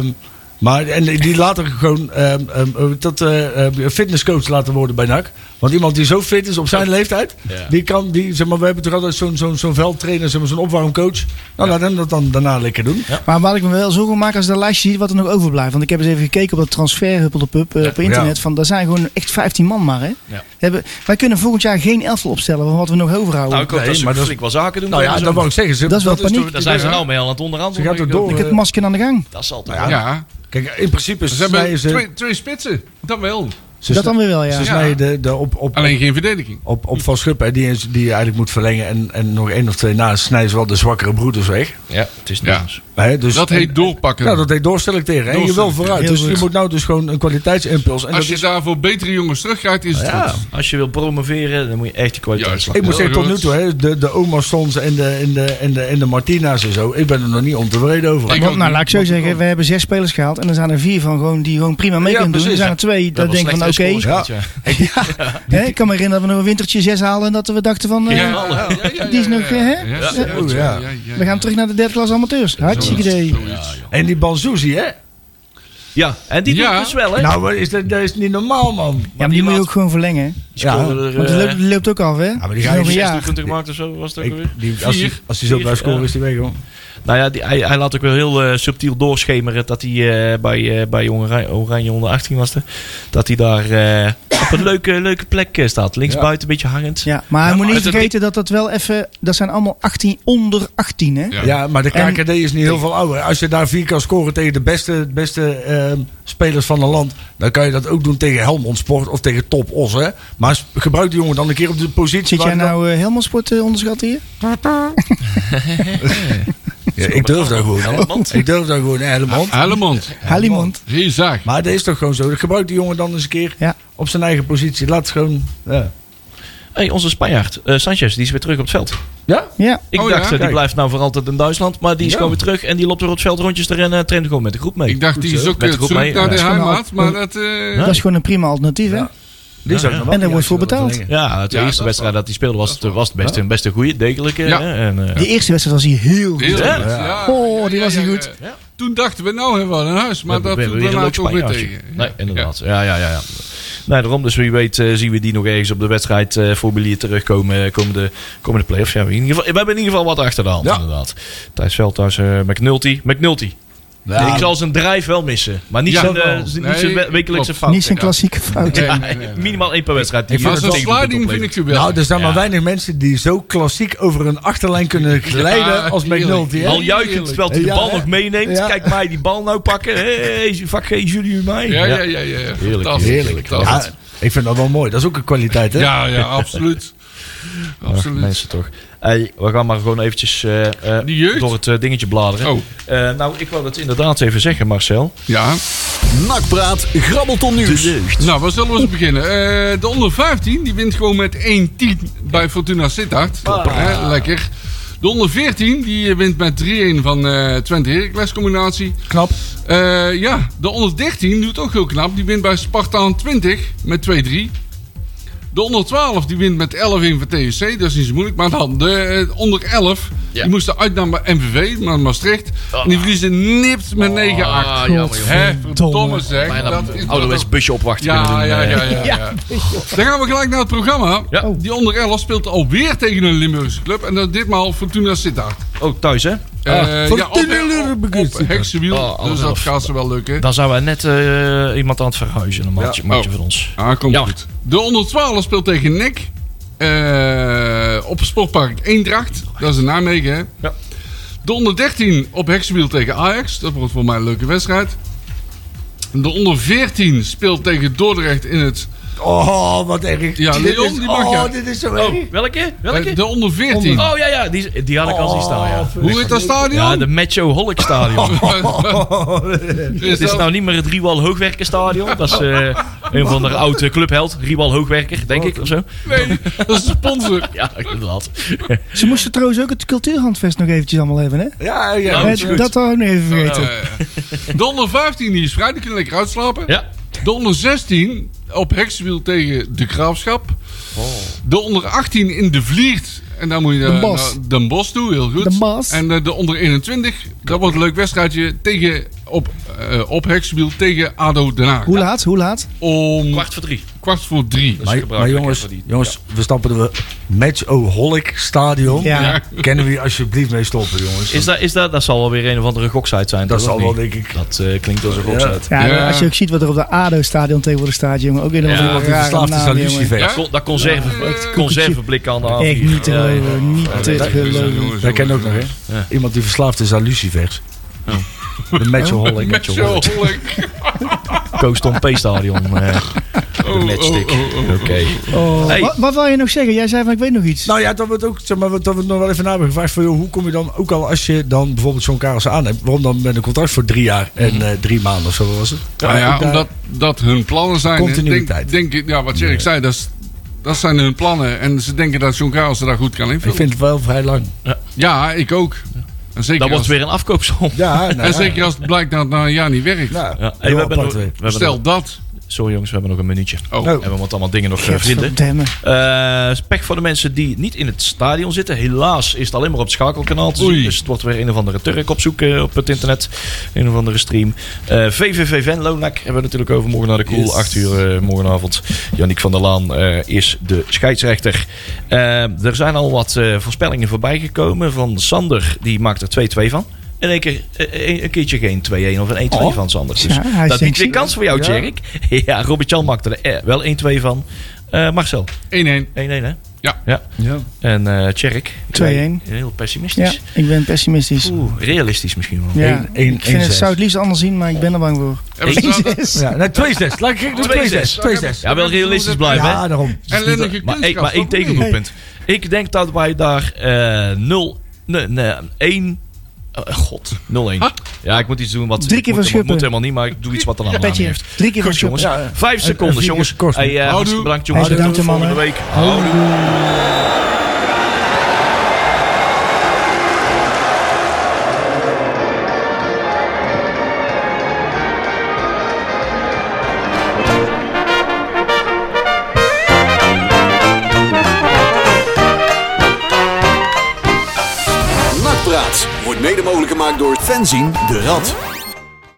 [SPEAKER 3] Ehm, maar en die later gewoon ehm, ehm, eh, tot eh, eh, fitnesscoach laten worden bij NAC. Want iemand die zo fit is op zijn leeftijd,
[SPEAKER 2] Ja.
[SPEAKER 3] die kan, die, zeg maar, we hebben toch altijd zo'n zo'n zo'n veldtrainer, zeg maar, zo'n opwarmcoach. Nou, laat hem dat dan daarna lekker doen.
[SPEAKER 5] Maar wat ik me wel zorgen maak als je dat lijstje ziet wat er nog overblijft. Want ik heb eens even gekeken op dat transferhub op, de pub, eh, op internet. Van, daar zijn gewoon echt 15 man maar. Hè.
[SPEAKER 2] Ja.
[SPEAKER 5] Hebben, wij kunnen volgend jaar geen elftal opstellen van wat we nog overhouden.
[SPEAKER 2] Nou, ik hoop
[SPEAKER 3] Oh, Nee,
[SPEAKER 2] dat ze
[SPEAKER 3] maar dat is-
[SPEAKER 2] flink wel zaken doen.
[SPEAKER 3] Nou ja,
[SPEAKER 2] Zo.
[SPEAKER 3] dat wou ik zeggen. Ze-
[SPEAKER 5] Dat is wel paniek.
[SPEAKER 3] toch-
[SPEAKER 2] Daar zijn ze nou mee aan het onderhandelen.
[SPEAKER 3] Ze gaat er door.
[SPEAKER 5] ik het masker aan de gang.
[SPEAKER 2] Dat zal toch.
[SPEAKER 3] Nou
[SPEAKER 2] ja.
[SPEAKER 4] Ja,
[SPEAKER 3] Kijk, in principe
[SPEAKER 4] ze hebben
[SPEAKER 3] snijden ze...
[SPEAKER 4] twee, twee spitsen. Dat wel.
[SPEAKER 3] ze
[SPEAKER 5] dat dan weer wel, ja.
[SPEAKER 3] Ze snijden de, de op, op,
[SPEAKER 4] Alleen geen verdediging.
[SPEAKER 3] op, op Van Schuppen, hè, die, is- die je eigenlijk moet verlengen. En, en nog één of twee na snijden ze wel de zwakkere broeders weg.
[SPEAKER 2] ja, het is niet
[SPEAKER 4] Ja.
[SPEAKER 2] anders.
[SPEAKER 3] Hè, dus,
[SPEAKER 4] Dat
[SPEAKER 3] en-
[SPEAKER 4] heet doorpakken.
[SPEAKER 3] Ja, dat heet doorselecteren. En je wil
[SPEAKER 4] Doorselecteren.
[SPEAKER 3] vooruit.
[SPEAKER 5] Heel
[SPEAKER 3] Dus je
[SPEAKER 5] goed.
[SPEAKER 3] moet nou dus gewoon een kwaliteitsimpuls. En
[SPEAKER 4] Als
[SPEAKER 3] dat
[SPEAKER 4] je
[SPEAKER 3] is,
[SPEAKER 4] daarvoor betere jongens terugkrijgt, is het
[SPEAKER 3] Ja.
[SPEAKER 4] goed.
[SPEAKER 2] Als je wil promoveren, dan moet je echt die kwaliteit
[SPEAKER 4] Juist.
[SPEAKER 2] pakken.
[SPEAKER 3] ik moet
[SPEAKER 4] Ja,
[SPEAKER 3] zeggen, tot nu
[SPEAKER 4] jongens.
[SPEAKER 3] toe, hè, de, de Omarsons en de, en, de, en, de, en de Martina's en zo. Ik ben er nog niet ontevreden over.
[SPEAKER 4] Ik
[SPEAKER 5] Want,
[SPEAKER 4] ook
[SPEAKER 5] nou,
[SPEAKER 4] niet.
[SPEAKER 5] laat ik zo zeggen, we hebben zes spelers gehaald. En er zijn er vier van gewoon, die gewoon prima mee
[SPEAKER 3] Ja,
[SPEAKER 5] kunnen doen.
[SPEAKER 3] precies.
[SPEAKER 5] Er zijn er twee, dat
[SPEAKER 2] was
[SPEAKER 5] denk ik van
[SPEAKER 2] slechtere
[SPEAKER 5] oké.
[SPEAKER 2] scores,
[SPEAKER 3] Ja.
[SPEAKER 2] weet je.
[SPEAKER 5] Hè, Ik kan me herinneren dat we nog een wintertje zes haalden. En dat we dachten van, eh,
[SPEAKER 4] Ja, ja, ja,
[SPEAKER 5] die is
[SPEAKER 4] ja,
[SPEAKER 5] nog,
[SPEAKER 4] ja.
[SPEAKER 5] eh, hè?
[SPEAKER 4] Ja,
[SPEAKER 5] Ja.
[SPEAKER 4] zeker.
[SPEAKER 3] Oh, ja.
[SPEAKER 4] Ja, ja,
[SPEAKER 5] we gaan
[SPEAKER 4] ja.
[SPEAKER 5] terug naar de derde klas amateurs. Hartstikke idee.
[SPEAKER 4] Zoiets.
[SPEAKER 3] En die Banzuzi, hè?
[SPEAKER 2] Ja, en die
[SPEAKER 4] Ja.
[SPEAKER 2] doet het dus wel, hè?
[SPEAKER 3] Nou, wat is dat, dat is niet normaal, man.
[SPEAKER 5] Ja, maar die moet je ook gewoon verlengen. hè.
[SPEAKER 2] Die scoorde
[SPEAKER 3] ja,
[SPEAKER 2] er,
[SPEAKER 5] Want die
[SPEAKER 2] eh,
[SPEAKER 5] loopt, die loopt ook af, hè?
[SPEAKER 3] maar die
[SPEAKER 5] Dat is
[SPEAKER 3] ga je
[SPEAKER 5] nog een
[SPEAKER 3] niet
[SPEAKER 5] jaar.
[SPEAKER 2] 16 punten gemaakt of zo, was het ook
[SPEAKER 3] Ik-
[SPEAKER 2] alweer?
[SPEAKER 3] die, als, die,
[SPEAKER 4] Vier.
[SPEAKER 3] als die zo
[SPEAKER 2] Vier,
[SPEAKER 3] blijft scoren,
[SPEAKER 2] ja.
[SPEAKER 3] is die weg, hoor.
[SPEAKER 2] Nou ja, die, hij, hij laat ook wel heel eh, subtiel doorschemeren dat hij eh, bij, eh, bij Oranje, Oranje onder 18 was. het, Dat hij daar eh, op een leuke, leuke plek eh, staat. Links
[SPEAKER 3] Ja.
[SPEAKER 2] buiten, een beetje hangend.
[SPEAKER 5] Ja, maar hij
[SPEAKER 2] Ja,
[SPEAKER 5] moet
[SPEAKER 2] maar
[SPEAKER 5] niet
[SPEAKER 2] het-
[SPEAKER 5] vergeten dat dat wel even... Dat zijn allemaal 18 onder 18, hè?
[SPEAKER 4] Ja.
[SPEAKER 3] Ja, maar de
[SPEAKER 5] En-
[SPEAKER 3] KKD is niet heel veel ouder. Als je daar vier kan scoren tegen de beste, beste ehm, spelers van het land, dan kan je dat ook doen tegen Helmond Sport of tegen Top Os. Hè? Maar s- gebruik die jongen dan een keer op de positie.
[SPEAKER 5] Zit
[SPEAKER 3] waar
[SPEAKER 5] jij
[SPEAKER 3] hij
[SPEAKER 5] nou eh helemaal sport eh, onderschat hier?
[SPEAKER 3] dan- Ja, ik durf daar gewoon.
[SPEAKER 2] Helmond.
[SPEAKER 3] Ik durf daar gewoon helemaal.
[SPEAKER 4] Helmond.
[SPEAKER 5] Halimond.
[SPEAKER 4] Hier zag.
[SPEAKER 3] Maar dat is toch gewoon zo. Gebruik die jongen dan eens een keer
[SPEAKER 5] Ja.
[SPEAKER 3] op zijn eigen positie. Laat het gewoon. Ja?
[SPEAKER 2] Hey, onze Spanjaard, eh, Sanchez, die is weer terug op het veld.
[SPEAKER 3] ja?
[SPEAKER 5] Ja.
[SPEAKER 2] Ik
[SPEAKER 4] Oh ja,
[SPEAKER 2] dacht, eh, die
[SPEAKER 3] kijk.
[SPEAKER 2] blijft nou voor altijd in Duitsland. Maar die is
[SPEAKER 3] Ja.
[SPEAKER 2] gewoon weer terug en die loopt weer op het veld rondjes te rennen. En traint gewoon met de groep mee.
[SPEAKER 4] Ik dacht, die
[SPEAKER 2] Goed
[SPEAKER 4] is
[SPEAKER 2] zo.
[SPEAKER 4] ook
[SPEAKER 2] Met
[SPEAKER 4] eh,
[SPEAKER 2] de
[SPEAKER 4] zoek
[SPEAKER 2] groep mee.
[SPEAKER 4] naar de
[SPEAKER 2] ja.
[SPEAKER 4] heimaat, maar dat... eh,
[SPEAKER 5] Dat is gewoon een prima alternatief, hè?
[SPEAKER 3] Ja. Die zou ik nog wel
[SPEAKER 5] En daar
[SPEAKER 3] niet
[SPEAKER 5] wordt voor
[SPEAKER 3] uit willen
[SPEAKER 5] betaald.
[SPEAKER 3] verlengen.
[SPEAKER 2] Ja, de
[SPEAKER 4] Ja, dat is
[SPEAKER 2] eerste wedstrijd dat hij speelde was, het- was het beste, een beste goede, degelijke.
[SPEAKER 4] Ja.
[SPEAKER 2] hè, En, eh,
[SPEAKER 5] Die eerste wedstrijd was hij heel goed.
[SPEAKER 4] Heel
[SPEAKER 2] Ja.
[SPEAKER 4] goed, ja.
[SPEAKER 5] Oh,
[SPEAKER 4] Ja,
[SPEAKER 5] die
[SPEAKER 4] ja,
[SPEAKER 5] was
[SPEAKER 4] ja,
[SPEAKER 5] niet
[SPEAKER 4] ja.
[SPEAKER 5] goed.
[SPEAKER 2] Ja.
[SPEAKER 4] Toen dachten we, nou hebben we wel een huis, maar
[SPEAKER 2] we
[SPEAKER 4] dat
[SPEAKER 2] hebben
[SPEAKER 4] viel
[SPEAKER 2] weer een
[SPEAKER 4] daarna
[SPEAKER 2] leuk
[SPEAKER 4] toch weer
[SPEAKER 2] Spanjaardje.
[SPEAKER 4] tegen.
[SPEAKER 2] Nee, inderdaad. Ja. Ja, ja, ja, Nee, daarom. Dus wie weet eh, zien we die nog ergens op de wedstrijd eh, formulier terugkomen. eh, komende, komende play-offs. Ja, we, in ieder geval, we hebben in ieder geval wat achter de hand,
[SPEAKER 3] Ja.
[SPEAKER 2] inderdaad. Thijs Veldhuis, eh McNulty. McNulty.
[SPEAKER 3] Ja.
[SPEAKER 2] Ik zal zijn drijf wel missen. Maar niet
[SPEAKER 4] Ja,
[SPEAKER 2] zijn, eh,
[SPEAKER 4] wel.
[SPEAKER 2] zijn-
[SPEAKER 4] Nee,
[SPEAKER 2] niet zijn we- wekelijkse
[SPEAKER 4] klopt.
[SPEAKER 2] fout.
[SPEAKER 5] Niet zijn klassieke fout.
[SPEAKER 4] Nee,
[SPEAKER 2] Ja,
[SPEAKER 4] nee, nee, nee.
[SPEAKER 2] Minimaal één per wedstrijd.
[SPEAKER 3] Ik vind
[SPEAKER 4] Maar
[SPEAKER 2] het
[SPEAKER 4] zo'n
[SPEAKER 2] tegen de
[SPEAKER 4] sliding vind
[SPEAKER 2] oplevert.
[SPEAKER 4] ik ze wel.
[SPEAKER 3] Nou, er zijn
[SPEAKER 2] Ja.
[SPEAKER 3] maar weinig mensen die zo klassiek over een achterlijn kunnen glijden
[SPEAKER 4] Ja,
[SPEAKER 3] als
[SPEAKER 4] heerlijk.
[SPEAKER 3] McNulty. hè?
[SPEAKER 2] Al juichend terwijl hij de
[SPEAKER 3] Ja,
[SPEAKER 2] bal
[SPEAKER 3] hè?
[SPEAKER 2] nog meeneemt.
[SPEAKER 3] Ja.
[SPEAKER 2] Kijk mij die bal nou pakken. Hey, fuck geen jullie mij.
[SPEAKER 4] Ja, ja, ja. ja, ja.
[SPEAKER 2] Heerlijk,
[SPEAKER 4] Fantastisch,
[SPEAKER 2] heerlijk.
[SPEAKER 3] Ja,
[SPEAKER 4] fantastisch.
[SPEAKER 3] ik vind dat wel mooi. Dat is ook een kwaliteit, hè?
[SPEAKER 4] Ja, ja, absoluut.
[SPEAKER 2] Ach,
[SPEAKER 4] Absoluut.
[SPEAKER 2] mensen toch. Hey, we gaan maar gewoon eventjes eh, eh,
[SPEAKER 4] Die jeugd?
[SPEAKER 2] door het eh, dingetje bladeren.
[SPEAKER 4] Oh.
[SPEAKER 2] Eh, nou, ik wil dat inderdaad even zeggen, Marcel.
[SPEAKER 4] Ja.
[SPEAKER 1] Nakpraat, grabbelton nieuws.
[SPEAKER 4] Nou, waar zullen we eens beginnen? Eh, de onder 15 die wint gewoon met 1-10 bij Fortuna Sittard.
[SPEAKER 2] Ah.
[SPEAKER 4] Hè, lekker. De onder 14 die eh, wint met 3-1 van eh Twente Heracles combinatie.
[SPEAKER 3] Knap.
[SPEAKER 4] Eh, ja, de onder 13 doet ook heel knap. Die wint bij Spartaan 20 met 2-3. De onder 12 die wint met 11-1 van TSC. Dat is niet zo moeilijk. Maar dan de eh, onder 11.
[SPEAKER 7] Ja.
[SPEAKER 4] Die moesten uit naar MVV, naar Maastricht. En die verliezen nipt met 9-8.
[SPEAKER 7] Ah, jammer, joh.
[SPEAKER 4] Hè, verdomme zeg.
[SPEAKER 7] Bijna
[SPEAKER 4] dat is
[SPEAKER 7] een ouderwets busje opwachten
[SPEAKER 4] ja,
[SPEAKER 7] kunnen doen.
[SPEAKER 4] ja,
[SPEAKER 7] eh.
[SPEAKER 4] ja, ja, ja. Dan gaan we gelijk naar het programma.
[SPEAKER 2] Ja.
[SPEAKER 3] Oh.
[SPEAKER 4] Die onder 11 speelt alweer tegen een Limburgse club. En dat ditmaal Fortuna Sittard.
[SPEAKER 2] Ook Oh, thuis, hè?
[SPEAKER 4] Eh,
[SPEAKER 3] Ah, Fortuna
[SPEAKER 4] ja, op, op,
[SPEAKER 3] Limburgse
[SPEAKER 4] op
[SPEAKER 3] Sittard.
[SPEAKER 4] heksenwiel.
[SPEAKER 2] Oh,
[SPEAKER 4] dus dat
[SPEAKER 2] anderhalf.
[SPEAKER 4] gaat ze wel lukken.
[SPEAKER 2] Dan zijn we net eh, iemand aan het verhuizen. Een maatje,
[SPEAKER 4] Ja.
[SPEAKER 2] maatje
[SPEAKER 4] Oh.
[SPEAKER 2] van ons.
[SPEAKER 4] Ah, komt
[SPEAKER 2] Jammer.
[SPEAKER 4] goed. De onder 12 speelt tegen NEC. eh, op Sportpark Eendracht. Dat is in Nijmegen, hè?
[SPEAKER 2] Ja.
[SPEAKER 4] De onder 13 op Heksenwiel tegen Ajax. Dat wordt voor mij een leuke wedstrijd. De onder 14 speelt tegen Dordrecht in het...
[SPEAKER 3] Oh, wat erg.
[SPEAKER 4] Ja,
[SPEAKER 3] Dit
[SPEAKER 4] Leon,
[SPEAKER 3] is-
[SPEAKER 4] die mag,
[SPEAKER 3] Oh,
[SPEAKER 4] ja.
[SPEAKER 3] dit is zo
[SPEAKER 2] Oh,
[SPEAKER 3] erg.
[SPEAKER 2] welke? Welke?
[SPEAKER 4] eh, De onder 14.
[SPEAKER 2] Oh ja, ja, die, die had ik al zien staan. Ja.
[SPEAKER 4] Hoe heet dat stadion?
[SPEAKER 2] Oh, Ja, de Macho Holic Stadion.
[SPEAKER 4] Is
[SPEAKER 2] Het is
[SPEAKER 4] dat-
[SPEAKER 2] nou niet meer het Riewal Hoogwerken Stadion. Dat is eh, een van de oude clubheld. Riewal Hoogwerker, denk ik, of zo.
[SPEAKER 4] Nee, dat is de sponsor.
[SPEAKER 2] Ja, inderdaad.
[SPEAKER 5] Ze moesten trouwens ook het cultuurhandvest nog eventjes allemaal hebben, hè?
[SPEAKER 3] Ja, ja.
[SPEAKER 2] Nou,
[SPEAKER 5] Eh, dat had ik nog even vergeten.
[SPEAKER 4] Eh, de onder 15 die is vrij, die kunnen lekker uitslapen.
[SPEAKER 2] Ja.
[SPEAKER 4] De onder 16 op Heksenwiel tegen de Graafschap. De onder 18 in de Vliert. En dan moet je
[SPEAKER 5] Den
[SPEAKER 4] naar-
[SPEAKER 5] Bosch.
[SPEAKER 4] naar Den Bos toe, heel goed.
[SPEAKER 5] Den Bosch.
[SPEAKER 4] En eh, de onder 21, dat wordt een leuk wedstrijdje tegen, op, eh op Heksenwiel tegen ADO Den Haag.
[SPEAKER 5] Hoe laat? Hoe laat?
[SPEAKER 4] Om kwart,
[SPEAKER 2] Kwart voor drie.
[SPEAKER 4] voor drie.
[SPEAKER 2] is
[SPEAKER 3] Maar, maar
[SPEAKER 2] gebruikelijk,
[SPEAKER 3] jongens,
[SPEAKER 2] hè, voor die-
[SPEAKER 3] jongens we stappen er match Holic Stadion.
[SPEAKER 5] Ja.
[SPEAKER 4] Ja.
[SPEAKER 3] Kennen we hier alsjeblieft mee stoppen, jongens.
[SPEAKER 2] Is dat, is dat, dat zal wel weer een of andere goksite zijn.
[SPEAKER 3] dat
[SPEAKER 2] toch,
[SPEAKER 3] zal
[SPEAKER 2] of
[SPEAKER 3] wel,
[SPEAKER 2] niet?
[SPEAKER 3] denk ik.
[SPEAKER 2] Dat eh, klinkt als een
[SPEAKER 3] Ja.
[SPEAKER 2] goksite.
[SPEAKER 5] Ja,
[SPEAKER 4] Ja.
[SPEAKER 5] Als je ook ziet wat er op de ADO-stadion tegenwoordig staat, jongen. Ook weer een
[SPEAKER 2] Ja,
[SPEAKER 5] ja,
[SPEAKER 3] Want die
[SPEAKER 5] rare
[SPEAKER 3] verslaafd is dus aan
[SPEAKER 5] naam, jongen.
[SPEAKER 3] Lucifer.
[SPEAKER 4] Ja?
[SPEAKER 2] Kon- Dat conserve, echt conserveblik aan de eh, avond.
[SPEAKER 5] Echt niet te
[SPEAKER 2] Ja,
[SPEAKER 3] eh,
[SPEAKER 2] ja.
[SPEAKER 5] geloven, niet te
[SPEAKER 4] dat-
[SPEAKER 5] geloven.
[SPEAKER 4] jongens,
[SPEAKER 3] Wij kennen ook nog,
[SPEAKER 4] jongens.
[SPEAKER 3] hè? Iemand die verslaafd is aan Lucifers. De match Holic.
[SPEAKER 4] Met zo'n holk.
[SPEAKER 2] Coast on P Stadion. eh
[SPEAKER 3] Oh,
[SPEAKER 2] de matchstick.
[SPEAKER 4] oh, oh, oh, oh.
[SPEAKER 2] Oké.
[SPEAKER 5] Oh,
[SPEAKER 2] Hey.
[SPEAKER 5] wat, wat wil je nog zeggen? Jij zei van, ik weet nog iets.
[SPEAKER 3] Nou ja, dat wordt ook, zeg maar, dat wordt nog wel even naar gevraagd van, joh, hoe kom je dan, ook al als je dan bijvoorbeeld zo'n Karelsen aan hebt, waarom dan met een contract voor drie jaar en eh, drie maanden of zo was het?
[SPEAKER 4] Mm.
[SPEAKER 3] eh,
[SPEAKER 4] Nou ja,
[SPEAKER 3] Ook daar-
[SPEAKER 4] omdat dat hun plannen zijn. hè.
[SPEAKER 3] Continuïteit.
[SPEAKER 4] Denk, denk, ik- ja, wat Jerry zei, dat, is- dat zijn hun plannen. En ze denken dat John Karelsen daar goed kan
[SPEAKER 3] ik
[SPEAKER 4] invullen.
[SPEAKER 3] vind het wel vrij lang.
[SPEAKER 4] Ja, ik ook. En zeker,
[SPEAKER 2] Dat wordt
[SPEAKER 4] als,
[SPEAKER 2] weer een afkoopsom.
[SPEAKER 3] Ja, nou,
[SPEAKER 4] en zeker als het blijkt dat het na een jaar niet werkt.
[SPEAKER 3] Nou,
[SPEAKER 2] Ja, hey,
[SPEAKER 3] heel
[SPEAKER 2] we hebben
[SPEAKER 3] apart
[SPEAKER 2] nog-
[SPEAKER 3] weer.
[SPEAKER 2] we hebben
[SPEAKER 4] Stel
[SPEAKER 2] nog-
[SPEAKER 4] dat.
[SPEAKER 2] sorry jongens, we hebben nog een minuutje.
[SPEAKER 4] Oh.
[SPEAKER 3] Nou,
[SPEAKER 2] En we moeten allemaal dingen nog eh, vinden.
[SPEAKER 5] Godverdamme.
[SPEAKER 2] Eh, pech voor de mensen die niet in het stadion zitten. Helaas is het alleen maar op het schakelkanaal te zien.
[SPEAKER 4] Oei.
[SPEAKER 2] Dus het wordt weer een of andere Turk opzoeken op het internet. Een of andere stream. Eh, VVV Venlo, NAC hebben we het natuurlijk over morgen naar de koel. 8 uur eh, morgenavond. Janniek van der Laan eh, is de scheidsrechter. Eh, er zijn al wat eh, voorspellingen voorbij gekomen van Sander. Die maakt er 2-2 van. In één keer eh, een, een keertje geen 2-1 of een 1-2 van Sander. Dus
[SPEAKER 5] Oh. Ja, hij is
[SPEAKER 2] dat biedt weer
[SPEAKER 5] sexy.
[SPEAKER 2] kans voor jou,
[SPEAKER 3] Ja.
[SPEAKER 2] Jerk. Ja, Robert-Jan maakt er eh, wel 1-2 van. Eh, Marcel,
[SPEAKER 4] 1-1.
[SPEAKER 2] 1-1 hè?
[SPEAKER 4] Ja.
[SPEAKER 2] ja.
[SPEAKER 3] ja.
[SPEAKER 2] En eh Tjerk?
[SPEAKER 5] 2-1.
[SPEAKER 2] Heel
[SPEAKER 5] Ja,
[SPEAKER 2] pessimistisch.
[SPEAKER 5] ik ben pessimistisch.
[SPEAKER 2] Oeh, realistisch misschien wel.
[SPEAKER 5] Ja,
[SPEAKER 3] Eén- één-
[SPEAKER 5] ik vind het,
[SPEAKER 3] één-zes.
[SPEAKER 5] zou het liefst anders zien, maar ik ben er bang voor.
[SPEAKER 4] En we staan-
[SPEAKER 3] Ja, nee, 2-6. Laat ik gek doen, 2-6. 2-6.
[SPEAKER 2] Ja, wel realistisch blijven hè?
[SPEAKER 3] Ja, daarom.
[SPEAKER 4] Ellendige
[SPEAKER 2] Maar één,
[SPEAKER 4] kunstgras,
[SPEAKER 2] maar één
[SPEAKER 4] toch? Nee.
[SPEAKER 2] tegendoelpunt. Ik denk dat wij daar eh 0... Nee, nee, 1... eh, God, 0-1. Ja, ik moet iets doen wat...
[SPEAKER 5] Drie keer
[SPEAKER 2] ik moet, helemaal-
[SPEAKER 5] van Schuppen.
[SPEAKER 2] moet helemaal niet, maar ik doe iets wat er aan de hand
[SPEAKER 5] Petje,
[SPEAKER 2] heeft.
[SPEAKER 5] drie keer
[SPEAKER 2] Goed,
[SPEAKER 5] goed,
[SPEAKER 2] jongens.
[SPEAKER 3] Ja, ja.
[SPEAKER 2] Vijf
[SPEAKER 3] En- en
[SPEAKER 2] seconden,
[SPEAKER 3] vier
[SPEAKER 2] jongens.
[SPEAKER 3] keer kort.
[SPEAKER 2] Hey, eh,
[SPEAKER 4] Houdoe.
[SPEAKER 2] hartstikke bedankt, jongens.
[SPEAKER 5] Hey, bedankt,
[SPEAKER 2] Tot volgende
[SPEAKER 5] mannen.
[SPEAKER 2] week. Houdoe.
[SPEAKER 1] Nakpraat wordt mede mogelijk gemaakt door Fenzin de Rad.